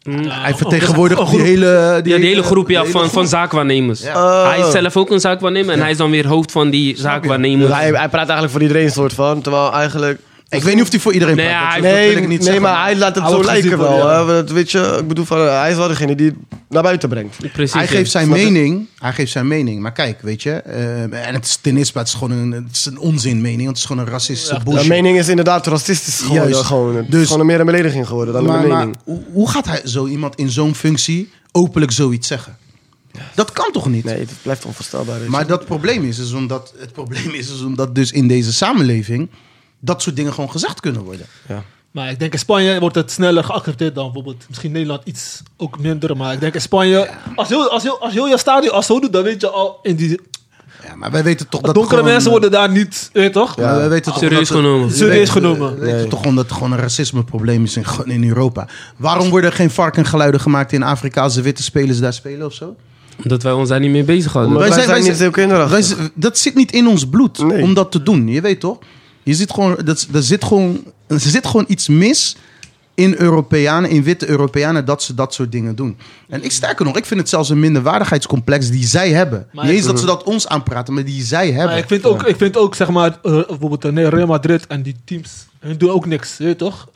[SPEAKER 2] Oh,
[SPEAKER 3] Hij vertegenwoordigt die hele...
[SPEAKER 2] Mhm. Ja, die hele groep ja,
[SPEAKER 3] hele
[SPEAKER 2] van,
[SPEAKER 3] groep.
[SPEAKER 2] van zaakwaarnemers.
[SPEAKER 5] Oh.
[SPEAKER 2] Hij is zelf ook een zaakwaarnemer en hij is dan weer hoofd van die
[SPEAKER 5] Dus
[SPEAKER 2] zaakwaarnemers.
[SPEAKER 5] hij, hij praat eigenlijk voor iedereen soort van. Terwijl eigenlijk...
[SPEAKER 3] Ik weet niet of die voor iedereen
[SPEAKER 2] Nee,
[SPEAKER 3] praat.
[SPEAKER 2] hij-
[SPEAKER 3] dat wil
[SPEAKER 5] Nee,
[SPEAKER 3] ik niet
[SPEAKER 5] nee
[SPEAKER 3] zeggen.
[SPEAKER 5] maar hij laat het
[SPEAKER 4] Hij
[SPEAKER 5] zo
[SPEAKER 4] wordt gezien
[SPEAKER 5] lijken
[SPEAKER 4] voor
[SPEAKER 5] wel.
[SPEAKER 4] de-
[SPEAKER 5] hè. Want Weet je, ik bedoel, van, eh, hij is wel degene die het naar buiten brengt.
[SPEAKER 2] Precies.
[SPEAKER 3] Hij
[SPEAKER 2] ja.
[SPEAKER 3] geeft zijn
[SPEAKER 5] Snap je?
[SPEAKER 3] mening. Hij geeft zijn mening. Maar kijk, weet je. eh, en het is ten eerste, het is gewoon een, het is een onzin mening. Want het is gewoon een racistische
[SPEAKER 5] Mijn
[SPEAKER 3] bullshit.
[SPEAKER 5] mening is inderdaad racistisch geworden.
[SPEAKER 3] Juist.
[SPEAKER 5] Gewoon. Het
[SPEAKER 3] Dus-
[SPEAKER 5] is gewoon meer een belediging geworden dan
[SPEAKER 3] maar
[SPEAKER 5] een
[SPEAKER 3] maar
[SPEAKER 5] mening.
[SPEAKER 3] hoe, hoe gaat hij zo iemand in zo'n functie openlijk zoiets zeggen? Dat kan toch niet?
[SPEAKER 5] Nee, het blijft onvoorstelbaar. weet je.
[SPEAKER 3] Maar dat probleem is, is omdat, het probleem is, is omdat dus in deze samenleving dat soort dingen gewoon gezegd kunnen worden.
[SPEAKER 4] Maar ik denk in Spanje wordt het sneller geaccepteerd dan bijvoorbeeld misschien Nederland iets ook minder. Maar ik denk in Spanje, als heel, als heel, als heel je stadion als zo doet, dan weet je al, in die
[SPEAKER 3] Ja, maar wij weten toch dat
[SPEAKER 4] donkere
[SPEAKER 3] gewoon, eh,
[SPEAKER 4] mensen worden daar niet, weet je toch?
[SPEAKER 3] Ja, wij weten toch
[SPEAKER 2] Serieus
[SPEAKER 3] dat het-
[SPEAKER 2] genomen.
[SPEAKER 3] we
[SPEAKER 4] Serieus
[SPEAKER 3] weten-
[SPEAKER 4] genomen.
[SPEAKER 3] We weten toch gewoon dat het gewoon een racismeprobleem is in, gewoon in Europa. Waarom worden er geen varkengeluiden gemaakt in Afrika als de witte spelers daar spelen of zo?
[SPEAKER 2] Omdat wij ons daar niet mee bezig hadden.
[SPEAKER 5] Omdat- Wij zijn niet zo kinderachtig.
[SPEAKER 3] wij zijn- dat zit niet in ons bloed
[SPEAKER 5] Nee.
[SPEAKER 3] om dat te doen. Je weet toch? Je ziet gewoon, dat, er, zit gewoon, er zit gewoon iets mis in Europeanen, in witte Europeanen, dat ze dat soort dingen doen. En ik sterker nog, ik vind het zelfs een minderwaardigheidscomplex die zij hebben.
[SPEAKER 4] Maar
[SPEAKER 3] niet
[SPEAKER 4] ik-
[SPEAKER 3] eens dat ze dat ons aanpraten, maar die zij hebben.
[SPEAKER 4] Maar ik vind ook, ik vind ook zeg maar, eh, bijvoorbeeld eh, Real Madrid en die teams, hun doen ook niks, weet je toch?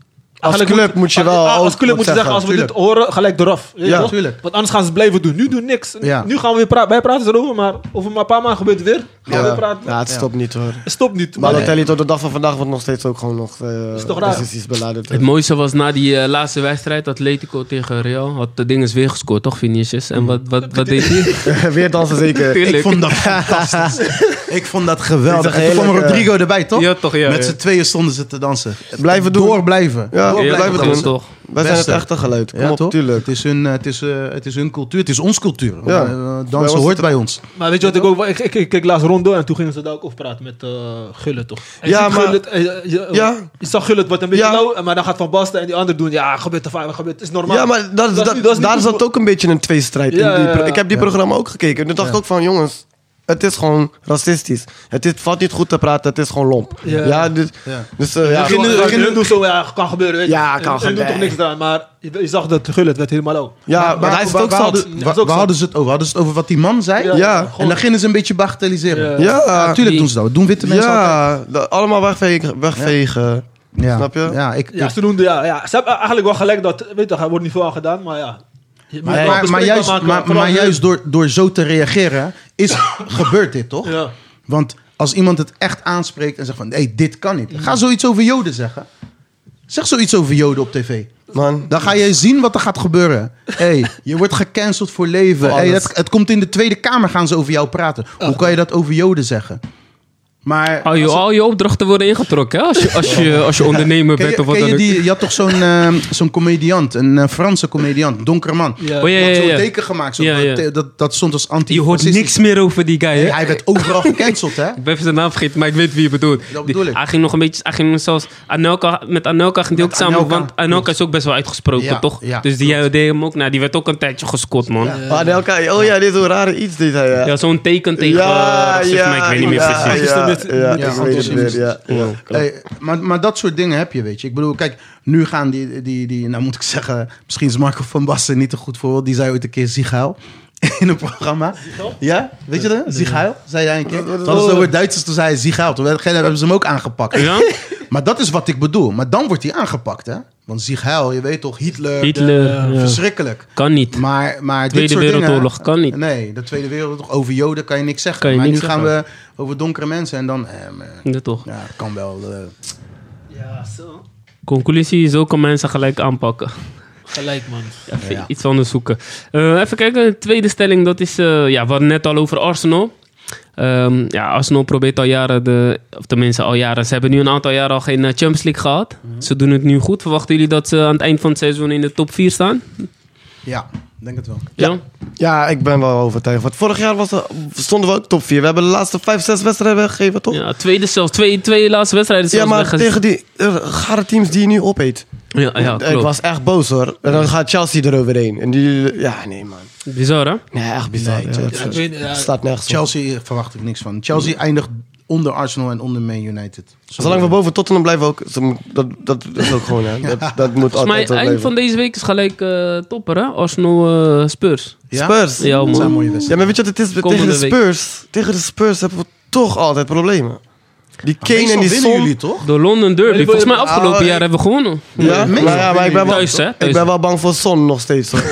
[SPEAKER 5] club moet je wel
[SPEAKER 4] eh, Als,
[SPEAKER 5] ook
[SPEAKER 4] club moet je
[SPEAKER 5] zeggen,
[SPEAKER 4] zeggen, als we
[SPEAKER 3] tuurlijk.
[SPEAKER 4] dit horen, gelijk eraf. weet je
[SPEAKER 5] Ja,
[SPEAKER 4] toch?
[SPEAKER 3] tuurlijk.
[SPEAKER 4] Want anders gaan ze het blijven doen. Nu doen niks.
[SPEAKER 3] Ja.
[SPEAKER 4] Nu gaan we weer praten. Wij praten erover, maar over een paar maanden gebeurt het weer. Gaan we weer
[SPEAKER 5] ja.
[SPEAKER 4] praten.
[SPEAKER 5] ja, het
[SPEAKER 3] Ja.
[SPEAKER 5] stopt niet hoor.
[SPEAKER 4] Stop niet. Maar
[SPEAKER 5] Balotelli tot de dag van vandaag wordt nog steeds ook gewoon nog eh,
[SPEAKER 4] Is toch raar?
[SPEAKER 5] racistisch beladen.
[SPEAKER 3] (laughs)
[SPEAKER 2] Het mooiste was na die eh, laatste wedstrijd, Atletico tegen Real, had de dinges weer gescoord, toch, Vinicius? En wat, wat, wat deed (laughs) hij?
[SPEAKER 5] (laughs) Weer dansen
[SPEAKER 3] (laughs)
[SPEAKER 5] zeker.
[SPEAKER 2] Tuurlijk.
[SPEAKER 3] Ik vond dat fantastisch. ik vond dat geweldig.
[SPEAKER 5] Dit
[SPEAKER 3] En
[SPEAKER 5] is een
[SPEAKER 3] toen kwam
[SPEAKER 5] heerlijke-
[SPEAKER 3] Rodrigo erbij, toch?
[SPEAKER 2] Ja, toch, ja.
[SPEAKER 3] Met
[SPEAKER 2] ja.
[SPEAKER 3] z'n tweeën stonden ze te dansen.
[SPEAKER 5] Blijven doen.
[SPEAKER 3] Door blijven.
[SPEAKER 5] Ja,
[SPEAKER 3] Door
[SPEAKER 5] ja,
[SPEAKER 2] Ja,
[SPEAKER 5] blijven
[SPEAKER 2] dat
[SPEAKER 5] doen.
[SPEAKER 2] is toch.
[SPEAKER 5] Wij zijn het
[SPEAKER 3] Beste.
[SPEAKER 5] echte geluid. Kom
[SPEAKER 3] Ja,
[SPEAKER 5] op,
[SPEAKER 3] toch?
[SPEAKER 5] tuurlijk.
[SPEAKER 3] Het is, hun, eh, het, is, eh, het is hun cultuur, het is ons cultuur.
[SPEAKER 5] Ja.
[SPEAKER 3] Eh, dansen
[SPEAKER 5] Bij ons is
[SPEAKER 3] hoort
[SPEAKER 5] het-
[SPEAKER 3] bij ons.
[SPEAKER 4] Maar weet je wat ik ook... Ik, ik, ik keek laatst rond door en toen gingen ze daar ook over praten met eh Gullit, toch? En je
[SPEAKER 5] Ja,
[SPEAKER 4] ziet
[SPEAKER 5] maar-
[SPEAKER 4] Gullit, eh, eh, je,
[SPEAKER 5] Ja.
[SPEAKER 4] je zag Gullit wordt een beetje
[SPEAKER 5] Ja.
[SPEAKER 4] lauw, maar dan gaat Van Basten en die anderen doen... Ja, gebeurt er vaak, gebeurt... is normaal.
[SPEAKER 5] Ja, maar dat,
[SPEAKER 4] is
[SPEAKER 5] dat,
[SPEAKER 4] niet- dat is niet
[SPEAKER 5] daar
[SPEAKER 4] goed
[SPEAKER 5] zat
[SPEAKER 4] voor-
[SPEAKER 5] ook een beetje een tweestrijd. in
[SPEAKER 4] Ja,
[SPEAKER 5] die
[SPEAKER 4] ja, ja.
[SPEAKER 5] pro- Ik heb die programma ook gekeken. En toen dacht
[SPEAKER 3] Ja.
[SPEAKER 5] ik ook van, jongens, het is gewoon racistisch. Het is, valt niet goed te praten, het is gewoon lomp.
[SPEAKER 4] Ja.
[SPEAKER 5] Ja, dus...
[SPEAKER 3] Ja.
[SPEAKER 5] dus eh, ja.
[SPEAKER 4] Kinderen, kinderen, doen zo, ja, kan gebeuren. Weet je.
[SPEAKER 5] Ja, kan
[SPEAKER 4] En- en
[SPEAKER 5] gebeuren.
[SPEAKER 4] doen toch niks aan, maar je, je zag dat Gullit werd helemaal ook.
[SPEAKER 5] Ja, maar, hij is het ook
[SPEAKER 3] we,
[SPEAKER 5] zat.
[SPEAKER 3] hadden,
[SPEAKER 4] Dat is
[SPEAKER 3] we,
[SPEAKER 4] ook
[SPEAKER 3] we
[SPEAKER 4] zat.
[SPEAKER 3] hadden ze het over. We hadden ze het over wat die man zei.
[SPEAKER 4] Ja.
[SPEAKER 5] Ja.
[SPEAKER 3] En dan gingen ze een beetje bagatelliseren.
[SPEAKER 4] Ja.
[SPEAKER 5] Ja,
[SPEAKER 3] Natuurlijk
[SPEAKER 2] Die-
[SPEAKER 3] doen ze dat. Dat Doen witte mensen altijd.
[SPEAKER 5] ja dat- allemaal wegvegen. wegvegen.
[SPEAKER 3] Ja.
[SPEAKER 5] Snap je?
[SPEAKER 3] Ja, ik,
[SPEAKER 4] Ja,
[SPEAKER 3] ik-
[SPEAKER 4] ze doen, de- ja, ja. Ze hebben eigenlijk wel gelijk dat... Weet je, er wordt niet veel aan gedaan, maar ja. Je moet
[SPEAKER 3] maar,
[SPEAKER 4] wel
[SPEAKER 3] maar, maar
[SPEAKER 4] bespreekbaar
[SPEAKER 3] juist,
[SPEAKER 4] maken,
[SPEAKER 3] maar,
[SPEAKER 4] vooral-
[SPEAKER 3] maar juist door, door zo te reageren, is, (coughs) gebeurt dit toch?
[SPEAKER 4] Ja.
[SPEAKER 3] Want als iemand het echt aanspreekt en zegt van... nee, dit kan niet. Ga zoiets over Joden zeggen. Zeg zoiets over Joden op tv.
[SPEAKER 5] Man.
[SPEAKER 3] Dan ga je zien wat er gaat gebeuren. Hey, je wordt gecanceld voor leven.
[SPEAKER 5] Voor
[SPEAKER 3] hey,
[SPEAKER 5] alles.
[SPEAKER 3] dat, het komt in de Tweede Kamer, gaan ze over jou praten. Hoe kan je dat over Joden zeggen? Maar
[SPEAKER 2] Al je, al je opdrachten worden ingetrokken, hè? Als je, als je, als je ondernemer
[SPEAKER 3] ken
[SPEAKER 2] bent
[SPEAKER 3] je,
[SPEAKER 2] of wat dan
[SPEAKER 3] ken je,
[SPEAKER 2] ook.
[SPEAKER 3] die, je had toch zo'n eh, zo'n comediant, een eh, Franse comediant, donker man.
[SPEAKER 4] Ja.
[SPEAKER 2] Oh ja,
[SPEAKER 3] Die
[SPEAKER 2] ja,
[SPEAKER 3] had zo'n
[SPEAKER 2] ja.
[SPEAKER 3] teken gemaakt, zo'n-
[SPEAKER 2] Ja, ja.
[SPEAKER 3] Dat, dat, dat stond als anti
[SPEAKER 2] Je hoort niks meer over die guy, hè?
[SPEAKER 3] Hij werd overal
[SPEAKER 2] (laughs)
[SPEAKER 3] gecanceld, hè?
[SPEAKER 2] Ik ben even zijn naam vergeten, maar ik weet wie je bedoelt.
[SPEAKER 3] Dat bedoel
[SPEAKER 2] Die-
[SPEAKER 3] ik.
[SPEAKER 2] Hij ging nog een beetje, hij ging zelfs... Anelka, met Anelka ging hij ook
[SPEAKER 3] Met
[SPEAKER 2] samen,
[SPEAKER 3] Anelka,
[SPEAKER 2] want Anelka
[SPEAKER 3] klopt.
[SPEAKER 2] is ook best wel uitgesproken,
[SPEAKER 3] Ja,
[SPEAKER 2] toch?
[SPEAKER 3] ja,
[SPEAKER 2] dus die jij deed hem ook na. Die werd ook een tijdje gescot, man. Ja,
[SPEAKER 5] Ah, nee, elkaar- Oh ja, dit is een rare iets dit hij. Ja,
[SPEAKER 2] zo'n teken tegen eh, racisme, ik weet niet meer
[SPEAKER 5] ja,
[SPEAKER 2] precies.
[SPEAKER 5] Ja,
[SPEAKER 4] Met-
[SPEAKER 5] ja,
[SPEAKER 3] met-
[SPEAKER 5] ik weet het
[SPEAKER 3] antisemitisme.
[SPEAKER 5] weer. Ja, ja.
[SPEAKER 3] Hey, maar, maar dat soort dingen heb je, weet je. Ik bedoel, kijk, nu gaan die, die, die nou moet ik zeggen, misschien is Marco van Basten niet een goed voorbeeld. Die zei ooit een keer Zieghuil (laughs) in een programma. Ja, weet je dat? Zieghuil, zei hij een keer. Toen hadden ze het over Duitsers, toen zei hij Zieghuil. Toen werd- hebben ze hem ook aangepakt.
[SPEAKER 2] Ja?
[SPEAKER 3] (laughs) Maar dat is wat ik bedoel. Maar dan wordt hij aangepakt, hè? Want Zieghuil, je weet toch, Hitler, eh,
[SPEAKER 2] Hitler, ja.
[SPEAKER 3] verschrikkelijk.
[SPEAKER 2] Kan niet.
[SPEAKER 3] Maar, maar
[SPEAKER 2] Tweede
[SPEAKER 3] dit soort
[SPEAKER 2] Wereldoorlog
[SPEAKER 3] dingen,
[SPEAKER 2] kan niet.
[SPEAKER 3] Nee, de Tweede Wereldoorlog. Over Joden kan je niks zeggen.
[SPEAKER 2] Kan je
[SPEAKER 3] maar
[SPEAKER 2] niks
[SPEAKER 3] nu gaan
[SPEAKER 2] zeggen.
[SPEAKER 3] we over donkere mensen en dan... eh, maar-
[SPEAKER 2] Ja, toch.
[SPEAKER 3] ja, dat kan wel. eh.
[SPEAKER 4] Ja, zo.
[SPEAKER 2] Conclusie is ook mensen gelijk aanpakken.
[SPEAKER 4] Gelijk, man.
[SPEAKER 2] Even
[SPEAKER 3] Ja.
[SPEAKER 2] iets anders zoeken. Eh, even kijken, de tweede stelling, dat is... eh, ja, we hadden net al over Arsenal. Ehm, ja, Arsenal probeert al jaren, de, of tenminste al jaren... Ze hebben nu een aantal jaren al geen eh, Champions League gehad. Ze doen het nu goed. Verwachten jullie dat ze aan het eind van het seizoen in de top 4 staan?
[SPEAKER 3] Ja, ik denk het wel.
[SPEAKER 2] Ja.
[SPEAKER 5] Ja, ik ben wel overtuigd. Want vorig jaar was, er- stonden we ook top 4. We hebben de laatste 5, 6 wedstrijden weggegeven, toch? Ja,
[SPEAKER 2] Ja, tweede zelfs. Twee, twee laatste wedstrijden zelfs.
[SPEAKER 5] Oh. maar
[SPEAKER 2] wegge-
[SPEAKER 5] tegen die eh, gare teams die je nu opeet.
[SPEAKER 2] Ja, ja
[SPEAKER 5] ik
[SPEAKER 2] klopt.
[SPEAKER 5] was echt boos hoor. En dan gaat Chelsea eroverheen. En die. Ja, nee man.
[SPEAKER 2] Bizar, hè?
[SPEAKER 5] Nee, echt bizar.
[SPEAKER 3] Nee,
[SPEAKER 5] ja, dat
[SPEAKER 4] Ja, ik
[SPEAKER 5] is-
[SPEAKER 4] weet, ja,
[SPEAKER 5] staat nergens op.
[SPEAKER 3] eh, Chelsea verwacht ik niks van. Chelsea eindigt onder Arsenal en onder Man United. Zo-
[SPEAKER 5] Zolang we boven Tottenham blijven ook, ze- dat, dat is ook gewoon, hè. Dat, dat moet
[SPEAKER 2] Volgens mij,
[SPEAKER 5] altijd zo
[SPEAKER 2] eind
[SPEAKER 5] blijven.
[SPEAKER 2] van deze week is gelijk eh, topper, hè? Arsenal eh, Spurs.
[SPEAKER 3] Ja?
[SPEAKER 5] Spurs.
[SPEAKER 2] Ja,
[SPEAKER 3] Dat zijn
[SPEAKER 2] man.
[SPEAKER 3] mooie
[SPEAKER 5] Ja,
[SPEAKER 3] wedstrijden.
[SPEAKER 5] maar weet je wat het is?
[SPEAKER 2] Komende
[SPEAKER 5] tegen de
[SPEAKER 2] week.
[SPEAKER 5] Spurs, tegen de Spurs hebben we toch altijd problemen. Die
[SPEAKER 3] Maar
[SPEAKER 5] Kane en
[SPEAKER 3] meestal
[SPEAKER 5] die
[SPEAKER 3] winnen
[SPEAKER 5] Son.
[SPEAKER 3] jullie toch?
[SPEAKER 2] De London Derby. Volgens mij afgelopen
[SPEAKER 5] Ah, ik-
[SPEAKER 2] jaar hebben we gewonnen.
[SPEAKER 5] Ja, maar,
[SPEAKER 3] meestal
[SPEAKER 5] ja, maar ik ben wel,
[SPEAKER 2] Thuis, hè? Thuis.
[SPEAKER 5] Ik ben wel bang voor Son nog steeds. hoor.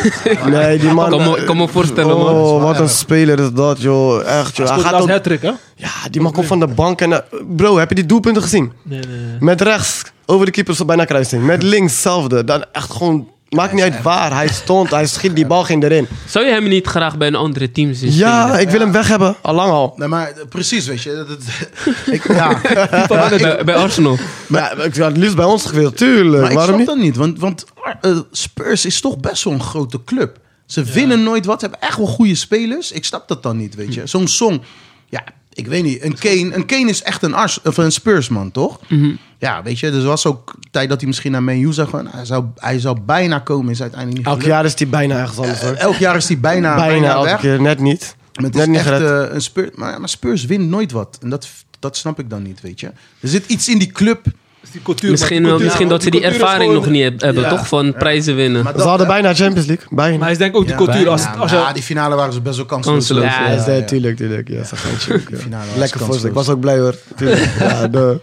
[SPEAKER 5] nee, die man.
[SPEAKER 2] Kan me, kan me voorstellen, man.
[SPEAKER 5] eh, Oh, wat een
[SPEAKER 3] erg.
[SPEAKER 5] speler is dat, joh. Echt, joh.
[SPEAKER 4] Hij
[SPEAKER 5] Hij
[SPEAKER 4] scoorde
[SPEAKER 5] gaat
[SPEAKER 4] laatst
[SPEAKER 5] ook,
[SPEAKER 4] hat-trick, hè?
[SPEAKER 5] ja, die man komt van de bank en... eh, Bro, heb je die doelpunten gezien?
[SPEAKER 4] Nee, nee, nee.
[SPEAKER 5] Met rechts, over de keeper, zo bijna kruising. Met links, hetzelfde. Dan echt gewoon... Maakt niet uit waar. Hij stond, hij schiet die bal ging erin.
[SPEAKER 2] Zou je hem niet graag bij een andere team zien?
[SPEAKER 5] Ja, ik wil hem weg hebben. Allang al.
[SPEAKER 3] Nee, maar eh, precies, weet je. Dat, (laughs) dat-
[SPEAKER 5] (laughs)
[SPEAKER 3] ik, ja.
[SPEAKER 2] spelen? bij, bij Arsenal.
[SPEAKER 5] Maar ja, ik zou het liefst bij ons gewild. Tuurlijk,
[SPEAKER 3] Maar ik
[SPEAKER 5] Eh, waarom
[SPEAKER 3] snap
[SPEAKER 5] niet?
[SPEAKER 3] dat niet, want, want eh, Spurs is toch best wel een grote club. Ze winnen nooit wat, hebben echt wel goede spelers. Ik snap dat dan niet, weet
[SPEAKER 5] Hm.
[SPEAKER 3] je. Zo'n song, ja, ik weet niet. Een Kane, een Kane is echt een, Ars, of een Spursman, toch?
[SPEAKER 5] Mhm.
[SPEAKER 3] Ja, weet je, dus er was ook tijd dat hij misschien naar Man U zou gaan. Hij zou, hij zou bijna komen, is uiteindelijk niet
[SPEAKER 5] Elk
[SPEAKER 3] gelukt.
[SPEAKER 5] jaar is die bijna ergens anders hoor.
[SPEAKER 3] Elk jaar is hij bijna, bijna,
[SPEAKER 5] (laughs) Bijna elke
[SPEAKER 3] weg.
[SPEAKER 5] keer, net niet.
[SPEAKER 3] Maar het is
[SPEAKER 5] Net niet
[SPEAKER 3] echt
[SPEAKER 5] gered.
[SPEAKER 3] eh, een Spurs, maar, maar Spurs wint nooit wat. En dat, dat snap ik dan niet, weet je. Er zit iets in die club.
[SPEAKER 4] Is die cultuur,
[SPEAKER 2] Misschien,
[SPEAKER 4] maar die
[SPEAKER 2] wel-
[SPEAKER 4] cultuur-
[SPEAKER 2] misschien dat ze die
[SPEAKER 4] cultuur is
[SPEAKER 2] ervaring
[SPEAKER 4] gewoon-
[SPEAKER 2] nog niet heb- hebben,
[SPEAKER 3] Ja.
[SPEAKER 2] toch? Van prijzen winnen.
[SPEAKER 3] Maar
[SPEAKER 5] Ze
[SPEAKER 3] dat,
[SPEAKER 5] hadden
[SPEAKER 3] hè?
[SPEAKER 5] bijna Champions League. Bijna.
[SPEAKER 4] Maar hij is denk ik ook die cultuur.
[SPEAKER 3] bijna,
[SPEAKER 4] Als, als je,
[SPEAKER 3] maar die finale waren ze best wel kansloos.
[SPEAKER 2] Kansloos,
[SPEAKER 5] Ja,
[SPEAKER 2] Ja,
[SPEAKER 5] is dat- tuurlijk, tuurlijk. Ja, zo gaan chill, ja.
[SPEAKER 3] finale was
[SPEAKER 5] Lekker voorstel.
[SPEAKER 3] kansloos.
[SPEAKER 5] Ik was ook blij hoor. Tuurlijk. Ja, de.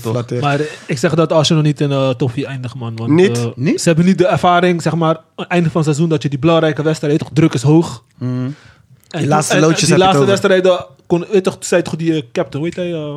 [SPEAKER 5] Flatteer.
[SPEAKER 4] Maar eh, ik zeg dat Arsenal niet in eh top 4 eindigt, man. Want,
[SPEAKER 5] Niet?
[SPEAKER 4] eh,
[SPEAKER 3] Niet?
[SPEAKER 4] Ze hebben niet de ervaring, zeg maar, aan het einde van het seizoen, dat je die belangrijke wedstrijden, weet toch, druk is hoog. En
[SPEAKER 5] Mm. Die laatste
[SPEAKER 4] en- en
[SPEAKER 5] loodjes
[SPEAKER 4] Die
[SPEAKER 5] heb je het
[SPEAKER 4] laatste
[SPEAKER 5] over.
[SPEAKER 4] wedstrijden, kon, weet toch, zei toch die eh, captain, weet hij, eh,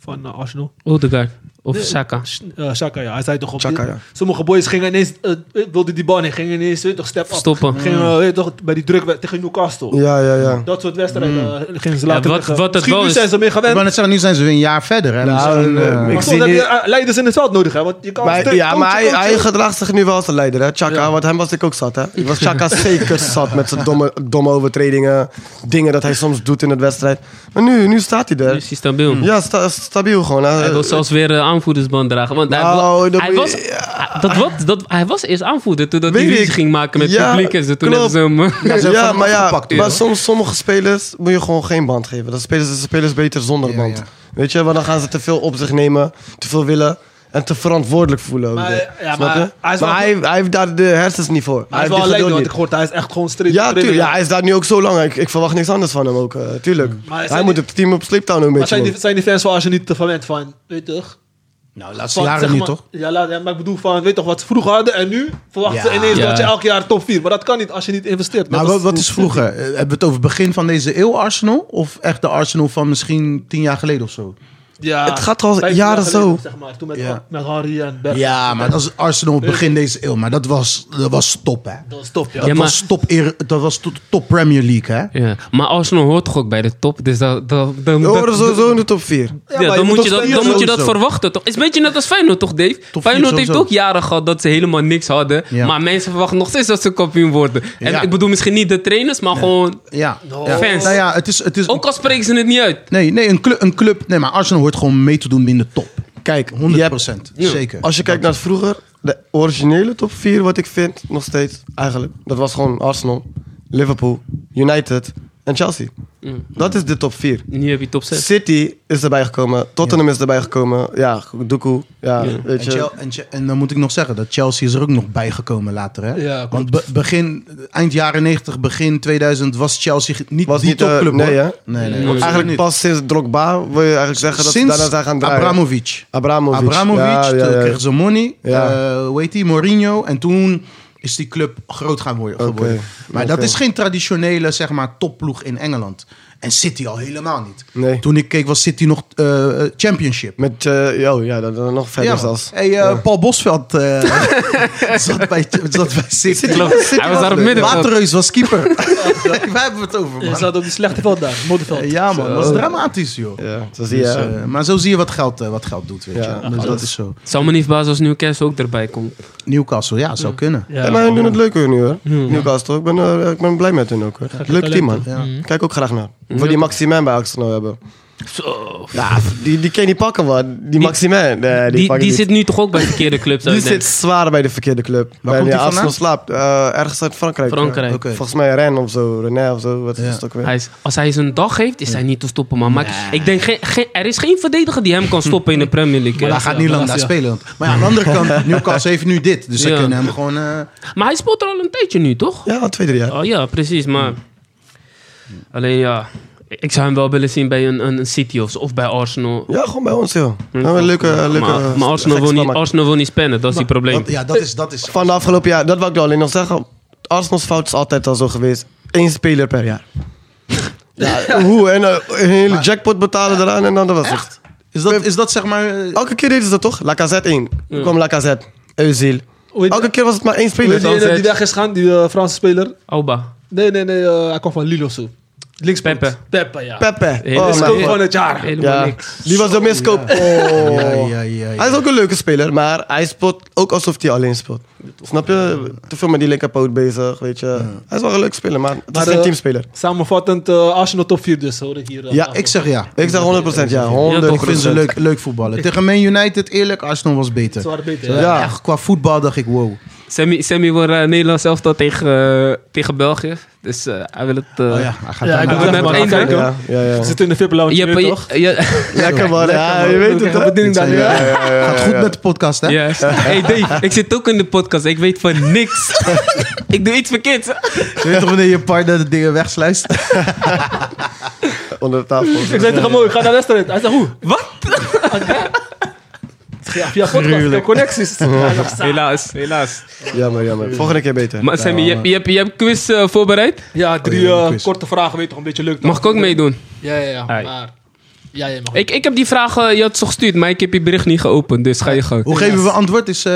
[SPEAKER 4] van eh, Arsenal?
[SPEAKER 2] Odegaard. Of
[SPEAKER 4] Nee.
[SPEAKER 2] Saka.
[SPEAKER 4] Eh Chaka, ja. Hij zei toch op
[SPEAKER 5] Chaka, ja.
[SPEAKER 4] Sommige boys gingen ineens, eh, wilden die bal niet, gingen ineens, weet toch, step up.
[SPEAKER 2] Stoppen. Mm.
[SPEAKER 4] Gingen, eh, weet toch, bij die druk tegen Newcastle.
[SPEAKER 5] Ja, ja, ja.
[SPEAKER 4] Dat soort wedstrijden
[SPEAKER 5] Hmm.
[SPEAKER 4] eh, gingen ze
[SPEAKER 2] Ja,
[SPEAKER 4] later
[SPEAKER 2] wat-
[SPEAKER 4] liggen.
[SPEAKER 2] wat het
[SPEAKER 4] Misschien
[SPEAKER 2] wel
[SPEAKER 4] nu
[SPEAKER 2] is-
[SPEAKER 4] zijn ze mee gewend.
[SPEAKER 3] Maar net zeggen, nu zijn ze weer een jaar verder. Hè?
[SPEAKER 5] Nou,
[SPEAKER 3] Dus dan,
[SPEAKER 5] eh,
[SPEAKER 3] eh,
[SPEAKER 4] Maar
[SPEAKER 5] ik-
[SPEAKER 4] soms
[SPEAKER 5] zie
[SPEAKER 4] heb je
[SPEAKER 5] niet-
[SPEAKER 4] eh, leiders in het veld nodig, hè? Want je kan
[SPEAKER 5] Maar,
[SPEAKER 4] sterk
[SPEAKER 5] ja,
[SPEAKER 4] coachen,
[SPEAKER 5] maar hij,
[SPEAKER 4] coachen.
[SPEAKER 5] hij gedraagt zich nu wel als een leider, hè, Chaka. Want hem was ik ook zat, hè. Ik was Chaka (laughs) zeker zat met zijn domme, domme overtredingen. Dingen dat hij soms doet in het wedstrijd. Maar nu, nu staat hij
[SPEAKER 2] Nu
[SPEAKER 5] er.
[SPEAKER 2] is hij stabiel.
[SPEAKER 5] Ja, sta- stabiel gewoon. hè.
[SPEAKER 2] Hij wil zelfs weer eh, aanvoerdersband dragen. Want hij,
[SPEAKER 5] Nou,
[SPEAKER 2] wa-
[SPEAKER 5] dat
[SPEAKER 2] hij
[SPEAKER 5] moet
[SPEAKER 2] was,
[SPEAKER 5] je- Ah.
[SPEAKER 2] dat, wat, dat, hij was eerst aanvoerder toen dat hij
[SPEAKER 5] Weet
[SPEAKER 2] ruzie
[SPEAKER 5] ik.
[SPEAKER 2] ging maken met
[SPEAKER 5] Ja,
[SPEAKER 2] het publiek. En ze toen
[SPEAKER 5] klopt.
[SPEAKER 2] hebben ze hem... (laughs) eh,
[SPEAKER 3] Ja, ze hebben
[SPEAKER 5] ja,
[SPEAKER 3] van hem
[SPEAKER 5] maar ja,
[SPEAKER 3] afgepakt,
[SPEAKER 5] maar
[SPEAKER 3] joh.
[SPEAKER 5] soms sommige spelers moet je gewoon geen band geven. Dan spelen ze de spelers beter zonder
[SPEAKER 3] Ja,
[SPEAKER 5] band.
[SPEAKER 3] ja.
[SPEAKER 5] Weet je, want dan gaan ze te veel op zich nemen, te veel willen en te verantwoordelijk voelen. ook
[SPEAKER 4] Maar,
[SPEAKER 5] weer.
[SPEAKER 4] ja,
[SPEAKER 5] Snap
[SPEAKER 4] maar
[SPEAKER 5] je?
[SPEAKER 4] hij is wel-
[SPEAKER 5] Maar hij, hij heeft daar de hersens niet voor.
[SPEAKER 4] Maar hij is
[SPEAKER 5] heeft
[SPEAKER 4] wel
[SPEAKER 5] dit
[SPEAKER 4] alleen,
[SPEAKER 5] geduld
[SPEAKER 4] want ik
[SPEAKER 5] niet.
[SPEAKER 4] hoort, hij is echt gewoon strikt.
[SPEAKER 5] Ja,
[SPEAKER 4] strikt-
[SPEAKER 5] tuurlijk. Ja, hij is daar nu ook zo lang. Ik, ik verwacht niks anders van hem ook, eh, tuurlijk.
[SPEAKER 2] Mm.
[SPEAKER 4] Maar
[SPEAKER 5] hij
[SPEAKER 4] zijn
[SPEAKER 5] moet
[SPEAKER 4] die-
[SPEAKER 5] het team op sleeptown een
[SPEAKER 4] Maar
[SPEAKER 5] beetje.
[SPEAKER 4] zijn die,
[SPEAKER 5] doen.
[SPEAKER 4] zijn die fans van Arsenal niet te verwend van, weet je toch?
[SPEAKER 3] nou, laatste
[SPEAKER 4] Van,
[SPEAKER 3] jaren
[SPEAKER 4] zeg
[SPEAKER 3] niet,
[SPEAKER 4] maar-
[SPEAKER 3] toch?
[SPEAKER 4] Ja, laat, ja, maar ik bedoel van, weet toch wat ze vroeger hadden en nu verwachten
[SPEAKER 3] Ja.
[SPEAKER 4] ze ineens
[SPEAKER 2] Ja.
[SPEAKER 4] dat je elk jaar top 4. Maar dat kan niet als je niet investeert.
[SPEAKER 3] Maar
[SPEAKER 4] Dat
[SPEAKER 3] Nou, wat, wat is vroeger? Eh, Hebben we het over begin van deze eeuw Arsenal? Of echt de Arsenal van misschien tien jaar geleden of zo?
[SPEAKER 4] Ja,
[SPEAKER 5] Het gaat al
[SPEAKER 4] vijf
[SPEAKER 5] jaren
[SPEAKER 4] geleden,
[SPEAKER 5] zo.
[SPEAKER 4] Zeg maar, toen met,
[SPEAKER 3] Ja.
[SPEAKER 4] met Harry en Bert.
[SPEAKER 3] Ja, maar dat is Arsenal begin deze eeuw. Maar dat was, dat was top, hè?
[SPEAKER 4] Dat is top, ja.
[SPEAKER 3] Dat
[SPEAKER 2] Ja, maar-
[SPEAKER 3] was top, eer- dat was to- top Premier League, hè?
[SPEAKER 2] Ja, maar Arsenal hoort toch ook bij de top? Dus dat, dat, dat,
[SPEAKER 5] We
[SPEAKER 2] dat-
[SPEAKER 5] horen sowieso in de top 4.
[SPEAKER 2] ja,
[SPEAKER 4] maar je
[SPEAKER 2] dan
[SPEAKER 4] moet
[SPEAKER 2] moet je
[SPEAKER 4] toch
[SPEAKER 2] dat,
[SPEAKER 4] spelen
[SPEAKER 2] dan moet je dat
[SPEAKER 3] sowieso.
[SPEAKER 2] verwachten, toch? Het is een beetje net als Feyenoord, toch, Dave?
[SPEAKER 3] vier
[SPEAKER 2] Feyenoord heeft
[SPEAKER 3] sowieso.
[SPEAKER 2] ook jaren gehad dat ze helemaal niks hadden.
[SPEAKER 3] Ja.
[SPEAKER 2] Maar mensen verwachten nog steeds dat ze kampioen worden. En
[SPEAKER 3] Ja.
[SPEAKER 2] ik bedoel misschien niet de trainers, maar gewoon...
[SPEAKER 3] Ja.
[SPEAKER 4] No.
[SPEAKER 3] ja.
[SPEAKER 2] Fans.
[SPEAKER 3] Nou ja, het is... Het is
[SPEAKER 2] Ook al spreken ze het niet uit.
[SPEAKER 3] nee, nee een, club, een club... Nee, maar Arsenal hoort gewoon mee te doen in de top.
[SPEAKER 5] Kijk,
[SPEAKER 3] 100
[SPEAKER 5] je hebt-
[SPEAKER 2] Ja.
[SPEAKER 3] Zeker.
[SPEAKER 5] Als je kijkt naar vroeger, de originele top 4, wat ik vind, nog steeds eigenlijk. Dat was gewoon Arsenal, Liverpool, United en Chelsea.
[SPEAKER 2] Mm.
[SPEAKER 5] Dat is de top 4.
[SPEAKER 2] Nu heb je top 6.
[SPEAKER 5] City is erbij gekomen, Tottenham is erbij gekomen. Ja, Doku. Ja,
[SPEAKER 2] Ja.
[SPEAKER 5] weet
[SPEAKER 3] En,
[SPEAKER 5] je.
[SPEAKER 3] Chel- en, Che- en dan moet ik nog zeggen dat Chelsea is er ook nog bijgekomen later. Hè?
[SPEAKER 4] Ja, klopt.
[SPEAKER 3] Want be- begin, eind jaren 90, begin 2000 was Chelsea ge- niet
[SPEAKER 5] Was
[SPEAKER 3] die
[SPEAKER 5] niet, eh,
[SPEAKER 3] topclub.
[SPEAKER 5] nee,
[SPEAKER 3] hoor.
[SPEAKER 5] hè?
[SPEAKER 3] nee, nee,
[SPEAKER 2] Nee.
[SPEAKER 3] absoluut
[SPEAKER 5] Eigenlijk
[SPEAKER 3] niet.
[SPEAKER 5] pas sinds Drogba wil je eigenlijk zeggen dat
[SPEAKER 3] Sinds
[SPEAKER 5] ze daarna zijn gaan draaien.
[SPEAKER 3] Abramovic.
[SPEAKER 5] Abramovic.
[SPEAKER 3] Abramovic,
[SPEAKER 5] Ja, ja,
[SPEAKER 3] toen
[SPEAKER 5] ja.
[SPEAKER 3] kreeg ze money.
[SPEAKER 5] Ja.
[SPEAKER 3] eh, hoe heet die? Mourinho. En toen is die club groot gaan worden.
[SPEAKER 5] Oké,
[SPEAKER 3] geworden. Maar dat
[SPEAKER 5] oké.
[SPEAKER 3] is geen traditionele zeg maar, topploeg in Engeland. En City al helemaal niet.
[SPEAKER 5] Nee.
[SPEAKER 3] Toen ik keek was City nog eh, championship.
[SPEAKER 5] Met, eh yo, ja, dat, dat nog verder
[SPEAKER 3] Ja, man.
[SPEAKER 5] zelfs.
[SPEAKER 3] Hey, eh, Paul Bosveld eh, zat, bij, zat bij City.
[SPEAKER 2] Klopt. Hij was daar op middenveld.
[SPEAKER 3] Waterreus was keeper. (laughs) Waar hebben we het over,
[SPEAKER 4] Je
[SPEAKER 3] man?
[SPEAKER 4] zat op die slechte veld daar, modderveld.
[SPEAKER 3] Eh, Ja, man. Dat was dramatisch, joh.
[SPEAKER 5] Ja, zo zie je.
[SPEAKER 3] Dus,
[SPEAKER 5] hè.
[SPEAKER 3] eh, maar zo zie je wat geld, eh, wat geld doet, weet
[SPEAKER 5] Ja,
[SPEAKER 3] je. Dus dat is zo.
[SPEAKER 2] Zou me niet verbazen als Newcastle ook erbij komt.
[SPEAKER 3] Newcastle, ja, zou kunnen.
[SPEAKER 4] Ja.
[SPEAKER 5] Ja, maar hun doen het leuk hoor nu hoor.
[SPEAKER 2] Hmm.
[SPEAKER 5] Newcastle, ik ben, eh, ik ben blij met hun ook hoor. Leuk team man.
[SPEAKER 3] Ja.
[SPEAKER 5] Kijk ook graag naar. Voor die Maximin bij Arsenal nou hebben.
[SPEAKER 2] Zo.
[SPEAKER 5] Ja, die, die kan je niet pakken, man. Die, Maximin, nee, die,
[SPEAKER 2] Die,
[SPEAKER 5] pak je
[SPEAKER 2] die
[SPEAKER 5] niet.
[SPEAKER 2] zit nu toch ook bij verkeerde clubs, zou
[SPEAKER 5] Die
[SPEAKER 2] ik
[SPEAKER 5] zit
[SPEAKER 2] denken.
[SPEAKER 5] zwaar bij de verkeerde club. Waar
[SPEAKER 3] komt die
[SPEAKER 5] Arsenal
[SPEAKER 3] vandaan?
[SPEAKER 5] slaapt. eh, ergens uit Frankrijk.
[SPEAKER 2] Frankrijk.
[SPEAKER 3] Oké.
[SPEAKER 5] Volgens mij Rennes of zo. René of zo. Wat
[SPEAKER 3] Ja.
[SPEAKER 5] is het ook weer?
[SPEAKER 2] Hij is, als hij zijn dag heeft, is hij niet te stoppen, man. Maar ik- ik denk, geen, geen- er is geen verdediger die hem kan stoppen
[SPEAKER 3] (laughs)
[SPEAKER 2] in de Premier League.
[SPEAKER 3] Maar
[SPEAKER 2] hè.
[SPEAKER 3] hij gaat niet lang daar
[SPEAKER 4] Malasia.
[SPEAKER 3] spelen. want- Maar ja, aan de andere kant, Newcastle heeft nu dit. Dus ze
[SPEAKER 2] Ja.
[SPEAKER 3] kunnen hem gewoon... eh,
[SPEAKER 2] Maar hij speelt er al een tijdje nu, toch?
[SPEAKER 5] Ja, twee, drie jaar.
[SPEAKER 2] Oh ja, precies. Maar alleen ja, ik zou hem wel willen zien bij een, een City of, zo, of bij Arsenal.
[SPEAKER 5] Ja, gewoon bij ons, joh. Ja, eh, een leuke, leuke
[SPEAKER 2] Hmm. maar, maar Arsenal,
[SPEAKER 5] gekke
[SPEAKER 2] wil
[SPEAKER 5] spel
[SPEAKER 2] niet,
[SPEAKER 5] maken.
[SPEAKER 2] Arsenal wil niet spannen, dat is die probleem.
[SPEAKER 3] want- ja, dat is... Dat is
[SPEAKER 5] Van de afgelopen jaar, dat wil ik wel alleen nog zeggen. Arsenal's fout is altijd al zo geweest. Eén speler per jaar. Ja, hoe? En eh, een hele jackpot betalen eraan en dan dat was het.
[SPEAKER 3] is, dat, is dat zeg maar... eh,
[SPEAKER 5] Elke keer deden ze dat toch? Lacazette 1.
[SPEAKER 2] Ja.
[SPEAKER 5] kwam Lacazette. Euziel.
[SPEAKER 4] Hoe heet-
[SPEAKER 5] Elke keer was het maar één
[SPEAKER 4] hoe
[SPEAKER 5] speler.
[SPEAKER 4] heet die ene die weg is gaan, die eh, Franse speler.
[SPEAKER 2] Alba.
[SPEAKER 4] Nee, nee, nee, eh, hij kwam van Lille of zo. Links
[SPEAKER 2] Pepe.
[SPEAKER 4] Pepe, ja.
[SPEAKER 5] Pepe.
[SPEAKER 2] Hele
[SPEAKER 5] Oh,
[SPEAKER 4] De
[SPEAKER 2] scoop
[SPEAKER 5] mijn
[SPEAKER 4] scoop
[SPEAKER 5] god.
[SPEAKER 4] van het jaar.
[SPEAKER 2] Helemaal
[SPEAKER 5] Ja.
[SPEAKER 2] niks.
[SPEAKER 5] Die was de miskoop. Oh.
[SPEAKER 3] Ja, ja, ja, ja.
[SPEAKER 5] Hij is ook een leuke speler, maar hij speelt ook alsof hij alleen speelt. Snap je? Te veel met die linkerpoot bezig, weet je. Hij is wel een leuke speler, maar het is
[SPEAKER 4] Maar,
[SPEAKER 5] geen
[SPEAKER 4] eh,
[SPEAKER 5] teamspeler.
[SPEAKER 4] Samenvattend, eh, Arsenal top 4 dus, hoor ik hier. eh,
[SPEAKER 5] Ja,
[SPEAKER 4] af.
[SPEAKER 3] Ik zeg ja.
[SPEAKER 5] Ik zeg 100% ja, 100%.
[SPEAKER 3] Ik vind ze leuk, leuk voetballen. Tegen Man United, eerlijk, Arsenal was beter.
[SPEAKER 4] Ze waren beter.
[SPEAKER 3] Ja.
[SPEAKER 4] hè?
[SPEAKER 5] Ja.
[SPEAKER 3] Echt, qua voetbal dacht ik, wow.
[SPEAKER 2] Sammy, Sammy wordt eh, Nederlands elftal tegen, eh, tegen België. Dus eh, hij wil het... eh,
[SPEAKER 3] Oh ja, hij gaat
[SPEAKER 4] Ja,
[SPEAKER 3] daar
[SPEAKER 4] ik
[SPEAKER 2] ben
[SPEAKER 3] naar-
[SPEAKER 2] met
[SPEAKER 4] wil
[SPEAKER 2] één
[SPEAKER 4] even kijken. hoor.
[SPEAKER 5] Ja, ja, ja.
[SPEAKER 4] We zitten in de vip lounge
[SPEAKER 2] Je hebt-
[SPEAKER 4] weer,
[SPEAKER 2] je-
[SPEAKER 4] toch?
[SPEAKER 2] je-
[SPEAKER 5] Lekker man, ja, je weet het
[SPEAKER 4] Lekker
[SPEAKER 5] hè.
[SPEAKER 4] bediening daar,
[SPEAKER 3] Ja,
[SPEAKER 4] ja.
[SPEAKER 3] Gaat goed met de podcast, hè?
[SPEAKER 2] Juist. Hey Dave, ik zit ook in de podcast. Ik weet van niks. (laughs) ik doe iets verkeerds.
[SPEAKER 3] Je weet toch wanneer je partner de dingen wegsluist?
[SPEAKER 5] Onder de tafel.
[SPEAKER 4] Ik zei tegen hem, ik ga naar de wedstrijd. Hij zei, hoe?
[SPEAKER 2] Wat?
[SPEAKER 4] Ik zeg, (laughs) Ja, via podcast, via connecties. Ja, nog steeds.
[SPEAKER 2] Helaas, helaas.
[SPEAKER 5] Jammer, jammer. Volgende keer beter.
[SPEAKER 2] Maar Sammy, je, hebt- je, hebt- je hebt quiz eh, voorbereid?
[SPEAKER 4] Ja, drie
[SPEAKER 3] Oh, ja,
[SPEAKER 4] eh,
[SPEAKER 3] quiz.
[SPEAKER 4] korte vragen, weet je toch, een beetje leuk. toch?
[SPEAKER 2] Mag ik ook meedoen?
[SPEAKER 4] Ja, ja, ja.
[SPEAKER 2] Hai.
[SPEAKER 4] Maar, ja, jij mag.
[SPEAKER 2] Ik, ik heb die vraag, eh, je had ze gestuurd, maar ik heb je bericht niet geopend, dus ga je gang.
[SPEAKER 3] Hoe geven we antwoord? Is, eh,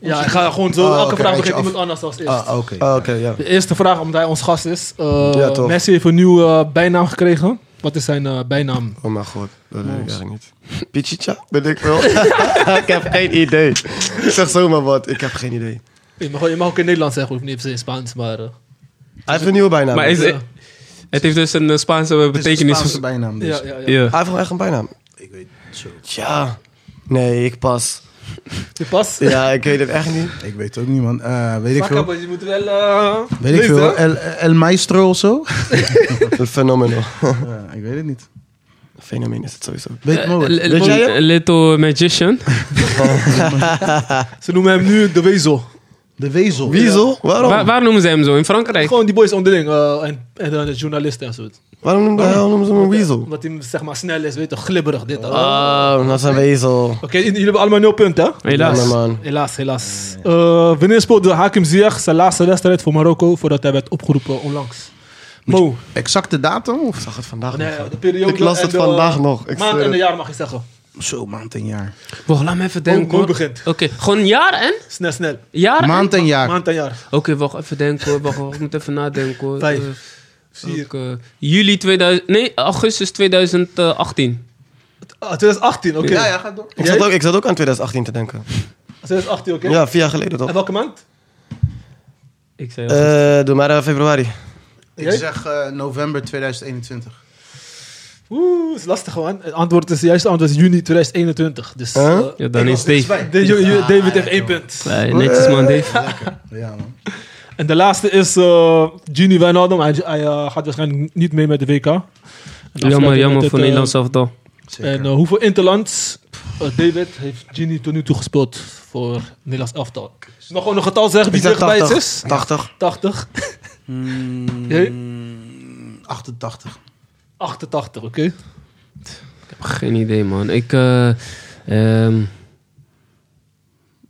[SPEAKER 4] ja, ik ga gewoon zo,
[SPEAKER 3] Oh,
[SPEAKER 4] elke
[SPEAKER 3] oké,
[SPEAKER 4] vraag
[SPEAKER 3] eentje
[SPEAKER 4] begint
[SPEAKER 3] af.
[SPEAKER 4] iemand anders als eerst.
[SPEAKER 3] Ah, oké.
[SPEAKER 5] Ah, Oké, ja.
[SPEAKER 4] De eerste vraag, omdat hij ons gast is. Eh,
[SPEAKER 5] Ja, toch.
[SPEAKER 4] Messi heeft een nieuwe eh, bijnaam gekregen. Wat is zijn eh, bijnaam?
[SPEAKER 5] Oh mijn god, dat weet ik eigenlijk niet. Pichicha? Ben ik wel? (laughs) ik heb geen idee. Ik zeg zomaar wat, ik heb geen idee.
[SPEAKER 4] Je mag, je mag ook in Nederlands zeggen, hoeft niet per se in Spaans, maar... eh,
[SPEAKER 5] Hij heeft een nieuwe bijnaam.
[SPEAKER 2] Maar is,
[SPEAKER 4] Ja.
[SPEAKER 2] het heeft dus een eh, Spaanse
[SPEAKER 3] Het is een
[SPEAKER 2] betekenis.
[SPEAKER 3] Spaanse bijnaam dus.
[SPEAKER 4] ja, ja, ja.
[SPEAKER 2] Ja.
[SPEAKER 5] Hij heeft gewoon echt een bijnaam.
[SPEAKER 3] Ik weet zo.
[SPEAKER 5] Tja. Nee, ik pas.
[SPEAKER 4] Je past.
[SPEAKER 5] Ja, ik weet het echt niet.
[SPEAKER 3] Ik weet ook niet, man. Eh, weet ik
[SPEAKER 4] Fuck up,
[SPEAKER 3] veel.
[SPEAKER 4] want je moet wel... eh,
[SPEAKER 3] Weet ik
[SPEAKER 4] lezen,
[SPEAKER 3] veel.
[SPEAKER 4] hè?
[SPEAKER 3] El, El Maestro of zo?
[SPEAKER 5] (laughs) Een fenomeen.
[SPEAKER 3] Ja, ik weet het niet.
[SPEAKER 5] Fenomeen is het sowieso.
[SPEAKER 3] Ah, Weet
[SPEAKER 2] Eh,
[SPEAKER 3] Moe.
[SPEAKER 2] li-
[SPEAKER 5] Weet jij hem?
[SPEAKER 2] Little Magician.
[SPEAKER 4] Ze noemen hem nu de Wezel.
[SPEAKER 3] De Wezel.
[SPEAKER 5] Wiezel? Waarom?
[SPEAKER 2] Waar, waar noemen ze hem zo? In Frankrijk?
[SPEAKER 4] Gewoon die boys onderling. eh, en en dan de journalisten en zo.
[SPEAKER 5] Waarom noemde hij noemen ze hem een wiezel?
[SPEAKER 4] Wat hij zeg maar snel is, weet je, glibberig dit. dat. Oké,
[SPEAKER 5] Oh, dat is een wezel.
[SPEAKER 4] jullie hebben allemaal nul punten, hè?
[SPEAKER 5] Ja,
[SPEAKER 2] Helaas.
[SPEAKER 5] man.
[SPEAKER 4] Helaas, helaas. Eh, wanneer speelde Hakim Ziyech zijn laatste wedstrijd voor Marokko voordat hij werd opgeroepen onlangs? Mo,
[SPEAKER 3] Exacte datum? Of?
[SPEAKER 5] Ik zag het vandaag nog.
[SPEAKER 4] nee, de periode
[SPEAKER 5] Ik las
[SPEAKER 4] en
[SPEAKER 5] het
[SPEAKER 4] de
[SPEAKER 5] vandaag nog. Ik
[SPEAKER 4] maand
[SPEAKER 5] zweer
[SPEAKER 4] en de
[SPEAKER 5] het.
[SPEAKER 4] jaar mag je zeggen.
[SPEAKER 3] Zo, maand en jaar.
[SPEAKER 2] Wacht, laat me even
[SPEAKER 4] Mo,
[SPEAKER 2] denken
[SPEAKER 4] Mo
[SPEAKER 2] hoor.
[SPEAKER 4] begint.
[SPEAKER 2] Oké, gewoon jaar en?
[SPEAKER 4] Snel, snel.
[SPEAKER 2] Jaar en?
[SPEAKER 3] Maand en jaar.
[SPEAKER 4] Maand en jaar.
[SPEAKER 2] Oké, wacht even denken hoor. Wacht, wacht, ik moet even nadenken hoor.
[SPEAKER 4] Vijf,
[SPEAKER 2] Eh,
[SPEAKER 4] Vier.
[SPEAKER 2] ook, eh, juli 2000... Nee, augustus 2018.
[SPEAKER 4] Ah, 2018, oké.
[SPEAKER 3] Ja, ja, ga door.
[SPEAKER 5] Ik zat, ook, ik zat ook aan 2018 te denken.
[SPEAKER 4] 2018, oké.
[SPEAKER 5] Ja, vier jaar geleden toch?
[SPEAKER 4] En welke maand?
[SPEAKER 2] Ik zei al.
[SPEAKER 5] Eh doe maar eh, februari.
[SPEAKER 3] Ik
[SPEAKER 4] Jij?
[SPEAKER 3] zeg eh, november 2021.
[SPEAKER 4] Oeh, is lastig man. Het antwoord is, het juiste antwoord is juni 2021. Dus
[SPEAKER 5] Huh?
[SPEAKER 4] eh,
[SPEAKER 2] ja, dan
[SPEAKER 3] Ik
[SPEAKER 2] is
[SPEAKER 3] was niks
[SPEAKER 2] Dave.
[SPEAKER 3] bij.
[SPEAKER 4] de- je- je-
[SPEAKER 3] Ah,
[SPEAKER 4] David heeft
[SPEAKER 3] ja,
[SPEAKER 4] één
[SPEAKER 3] joh.
[SPEAKER 4] punt.
[SPEAKER 2] Eh, netjes man, Dave.
[SPEAKER 3] Ja, man.
[SPEAKER 4] En de laatste is eh Gini Wijnaldum. Hij, hij eh, gaat waarschijnlijk niet mee met de WK. En
[SPEAKER 2] Jammer,
[SPEAKER 4] afsluiten met
[SPEAKER 2] jammer
[SPEAKER 4] het,
[SPEAKER 2] voor
[SPEAKER 4] eh,
[SPEAKER 2] Nederlands elftal.
[SPEAKER 3] Zeker.
[SPEAKER 4] En eh, hoeveel interlands eh, David heeft Gini tot nu toe gespeeld voor Nederlands elftal? Mag ik gewoon een getal zeggen die
[SPEAKER 5] Ik zeg
[SPEAKER 4] dichtbij
[SPEAKER 5] 80.
[SPEAKER 4] is?
[SPEAKER 5] 80.
[SPEAKER 4] 80,
[SPEAKER 3] Mm,
[SPEAKER 4] Jij?
[SPEAKER 3] 88.
[SPEAKER 4] 88, oké.
[SPEAKER 2] Geen idee, man. Ik, eh ehm,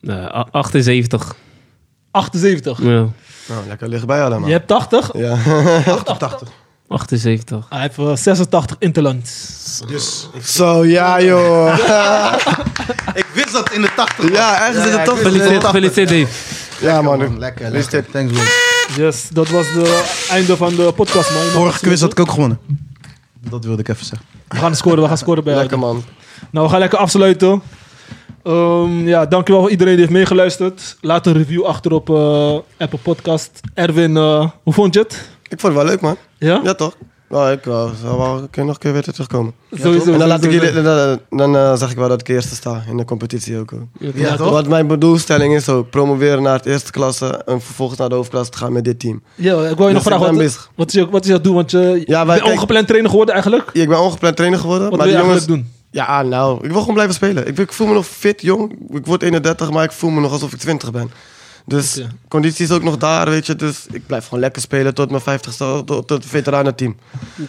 [SPEAKER 2] eh, a- 78.
[SPEAKER 4] 78.
[SPEAKER 2] Ja,
[SPEAKER 5] Nou, lekker dichtbij allemaal.
[SPEAKER 4] Je hebt 80.
[SPEAKER 5] Ja.
[SPEAKER 3] 88.
[SPEAKER 2] 78.
[SPEAKER 4] Hij heeft eh, 86 interlands.
[SPEAKER 3] Dus ik,
[SPEAKER 5] Zo, ja joh.
[SPEAKER 3] (laughs) ik wist dat in de 80. was.
[SPEAKER 5] Ja, ergens in de
[SPEAKER 3] ik
[SPEAKER 5] 80.
[SPEAKER 3] wist dat in
[SPEAKER 2] Gefeliciteerd,
[SPEAKER 3] de 80.
[SPEAKER 2] gefeliciteerd, Dave.
[SPEAKER 5] Ja man.
[SPEAKER 3] Man, lekker,
[SPEAKER 5] Wist
[SPEAKER 3] lekker. Thanks, man.
[SPEAKER 4] Yes, dat was het einde van de podcast, man. Je mag
[SPEAKER 3] Vorige quiz
[SPEAKER 4] afsluiten.
[SPEAKER 3] had ik ook gewonnen. Dat wilde ik even zeggen.
[SPEAKER 4] We gaan scoren, we gaan scoren bij
[SPEAKER 5] (laughs) Lekker man.
[SPEAKER 4] Nou, we gaan lekker afsluiten. Ehm, ja, dankjewel voor iedereen die heeft meegeluisterd. Laat een review achter op eh, Apple Podcast. Erwin, eh, hoe vond je het?
[SPEAKER 5] Ik vond het wel leuk man.
[SPEAKER 4] Ja?
[SPEAKER 5] Ja toch? Nou, ik eh, zou wel een keer- nog een keer weer terugkomen.
[SPEAKER 2] sowieso.
[SPEAKER 5] en dan, laat ik
[SPEAKER 2] sowieso.
[SPEAKER 5] jullie, dan, dan, dan, eh, zeg ik wel dat ik eerste sta in de competitie ook. hoor.
[SPEAKER 2] Ja,
[SPEAKER 3] Ja,
[SPEAKER 2] ja,
[SPEAKER 3] toch?
[SPEAKER 5] Want mijn doelstelling is ook promoveren naar het eerste klasse en vervolgens naar de hoofdklasse te gaan met dit team.
[SPEAKER 4] Ja, ik wil je nog
[SPEAKER 5] Dus ik
[SPEAKER 4] vragen,
[SPEAKER 5] ben
[SPEAKER 4] wat,
[SPEAKER 5] bezig.
[SPEAKER 4] wat is je, wat is je doel? Want je, je
[SPEAKER 5] wij-
[SPEAKER 4] bent
[SPEAKER 5] kijk-
[SPEAKER 4] ongepland trainer geworden eigenlijk.
[SPEAKER 5] Ja, Ik ben ongepland trainer geworden,
[SPEAKER 4] Wat
[SPEAKER 5] maar
[SPEAKER 4] wil je
[SPEAKER 5] de jongens...
[SPEAKER 4] eigenlijk doen?
[SPEAKER 5] Ja, nou, ik wil gewoon blijven spelen. Ik, ik voel me nog fit, jong. Ik word 31, maar ik voel me nog alsof ik 20 ben. Dus
[SPEAKER 4] Oké.
[SPEAKER 5] conditie is ook nog daar, weet je. Dus ik blijf gewoon lekker spelen tot mijn 50ste, tot het veteranenteam.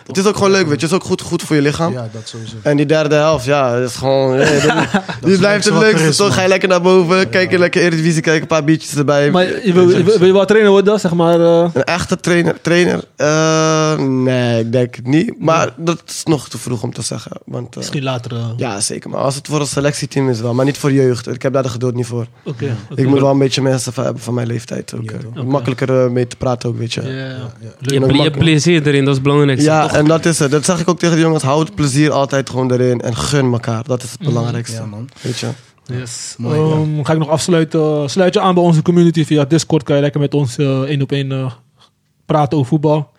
[SPEAKER 5] Het is ook gewoon leuk, weet je. Het is ook goed, goed voor je lichaam.
[SPEAKER 3] Ja, dat sowieso.
[SPEAKER 5] En die derde helft, ja, dat is
[SPEAKER 4] (laughs)
[SPEAKER 5] gewoon... eh, dat- die
[SPEAKER 3] het
[SPEAKER 5] blijft
[SPEAKER 3] leukste
[SPEAKER 5] het
[SPEAKER 3] wat er
[SPEAKER 5] leukste,
[SPEAKER 3] is,
[SPEAKER 5] toch?
[SPEAKER 3] man.
[SPEAKER 5] Ga je lekker naar boven, kijk je lekker Eredivisie, kijk een paar biertjes erbij.
[SPEAKER 4] Maar je wil, je wil, wil je wel trainer worden, zeg maar. eh,
[SPEAKER 5] Een echte trainer? trainer Eh, nee, ik denk het niet. Maar dat is nog te vroeg om te zeggen. Want, eh,
[SPEAKER 4] misschien later. eh,
[SPEAKER 5] ja, zeker. Maar als het voor een selectieteam is wel. Maar niet voor jeugd. Ik heb daar de geduld niet voor.
[SPEAKER 4] Oké. oké.
[SPEAKER 5] Ik moet wel een beetje mensen van hebben van mijn leeftijd. Ook, eh,
[SPEAKER 4] Oké.
[SPEAKER 5] Makkelijker eh, mee te praten ook, weet je.
[SPEAKER 4] Ja,
[SPEAKER 5] Ja,
[SPEAKER 2] je,
[SPEAKER 4] Leuk.
[SPEAKER 2] ple- je plezier erin, dat is het belangrijkste. toch?
[SPEAKER 5] en dat is het. Dat zeg ik ook tegen de jongens. Hou het plezier altijd gewoon erin. En gun elkaar. Dat is het belangrijkste.
[SPEAKER 3] Mhm. Ja, man.
[SPEAKER 5] Weet je.
[SPEAKER 4] Yes.
[SPEAKER 3] Mooi,
[SPEAKER 4] Ehm, ga ik nog afsluiten. Sluit je aan bij onze community via Discord. Kan je lekker met ons eh, één op één eh, praten over voetbal.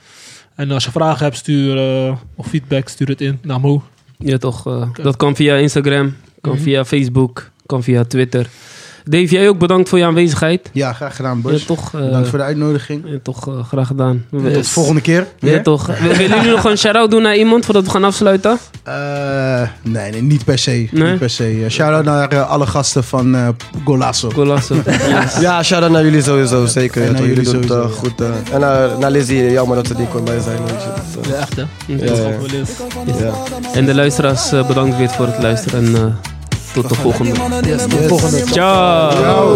[SPEAKER 4] En als je vragen hebt, stuur eh, of feedback, stuur het in naar Mo.
[SPEAKER 2] Ja, toch. eh, Dat kan via Instagram, kan
[SPEAKER 4] Mhm.
[SPEAKER 2] via Facebook, kan via Twitter. Dave, jij ook bedankt voor je aanwezigheid.
[SPEAKER 3] Ja, graag gedaan,
[SPEAKER 2] Ja,
[SPEAKER 3] boys.
[SPEAKER 2] toch. eh,
[SPEAKER 3] Bedankt voor de uitnodiging.
[SPEAKER 2] ja, toch, eh, graag gedaan. We-
[SPEAKER 3] Tot de volgende keer.
[SPEAKER 2] Ja,
[SPEAKER 3] weer.
[SPEAKER 2] toch. We- Willen jullie nog een shout-out doen naar iemand voordat we gaan afsluiten?
[SPEAKER 3] Eh, nee, nee, niet per se.
[SPEAKER 2] Nee?
[SPEAKER 3] Niet per se. Eh, Shout-out naar eh, alle gasten van eh Golasso.
[SPEAKER 2] Golasso. (laughs) Yes.
[SPEAKER 5] Ja, shout-out naar jullie sowieso. Zeker.
[SPEAKER 3] En
[SPEAKER 5] Ja,
[SPEAKER 3] naar
[SPEAKER 5] toch, jullie
[SPEAKER 3] jullie
[SPEAKER 5] doen het eh,
[SPEAKER 3] sowieso, ja.
[SPEAKER 5] goed. eh. en naar, naar Lizzie. Jammer dat ze niet kon bij zijn. Weet je. Dat, eh,
[SPEAKER 4] Ja, echt hè?
[SPEAKER 5] Ja,
[SPEAKER 4] Dat is
[SPEAKER 5] ja.
[SPEAKER 4] ook wel eens.
[SPEAKER 5] ja.
[SPEAKER 2] En de luisteraars, eh, bedankt weer voor het luisteren. En eh, tot de volgende.
[SPEAKER 3] Yes.
[SPEAKER 2] Ciao.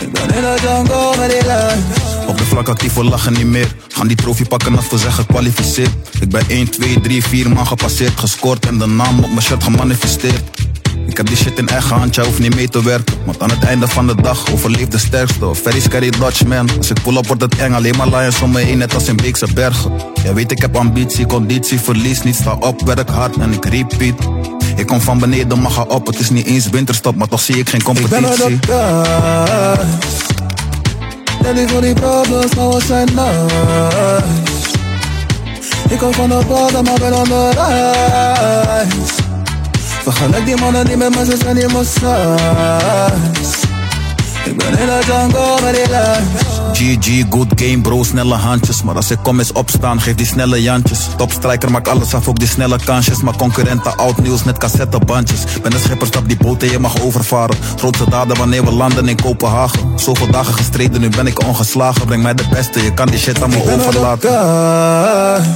[SPEAKER 1] Ik ben in het jongo met die lijn.
[SPEAKER 6] Op de vlak actief, we lachen niet meer. Gaan die trofee pakken als we zeggen kwalificeerd. Ik ben 1, 2, 3, 4 man gepasseerd. Gescoord en de naam op mijn shirt gemanifesteerd. Ik heb die shit in eigen hand, jij hoeft niet mee te werken. Want aan het einde van de dag overleef de sterkste. Ferry's carry Dutchman. Als ik pull up wordt het eng, alleen maar lions om me heen, net als in Beekse Bergen. Jij weet, ik heb ambitie, conditie, verlies niet. Sta op, werk hard en ik repeat. Ik kom van beneden, maar ga op. Het is niet eens winterstop, maar toch zie ik geen
[SPEAKER 1] Ik ben
[SPEAKER 6] competitie.
[SPEAKER 1] er op weg. Tel niet voor die problems, maar we zijn nice. Ik kom van de bodem, maar ben on the rise. Vergelijk die mannen die met mensen zijn, die must size. Ik ben in de jungle met die lijn.
[SPEAKER 6] GG, good game bro, snelle handjes Maar als ik kom is opstaan, geef die snelle jantjes Topstrijker, maak alles af, ook die snelle kansjes Maar concurrenten, oud nieuws, net cassettebandjes Ben een schipper, stap die boot en je mag overvaren Grootste daden wanneer we landen in Kopenhagen Zoveel dagen gestreden, nu ben ik ongeslagen Breng mij de beste, je kan die shit aan
[SPEAKER 1] Ik
[SPEAKER 6] me
[SPEAKER 1] ben er op
[SPEAKER 6] overlaten
[SPEAKER 1] weg.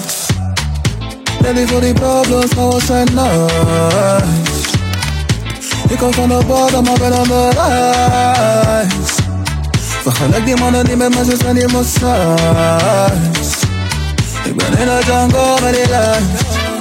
[SPEAKER 1] Tel niet voor die problems, maar we zijn nice. Ik kom van de bodem, maar ben on the rise. Vergelijk die mannen die met mensen zijn, die must size. Ik ben in de jungle met die lijn.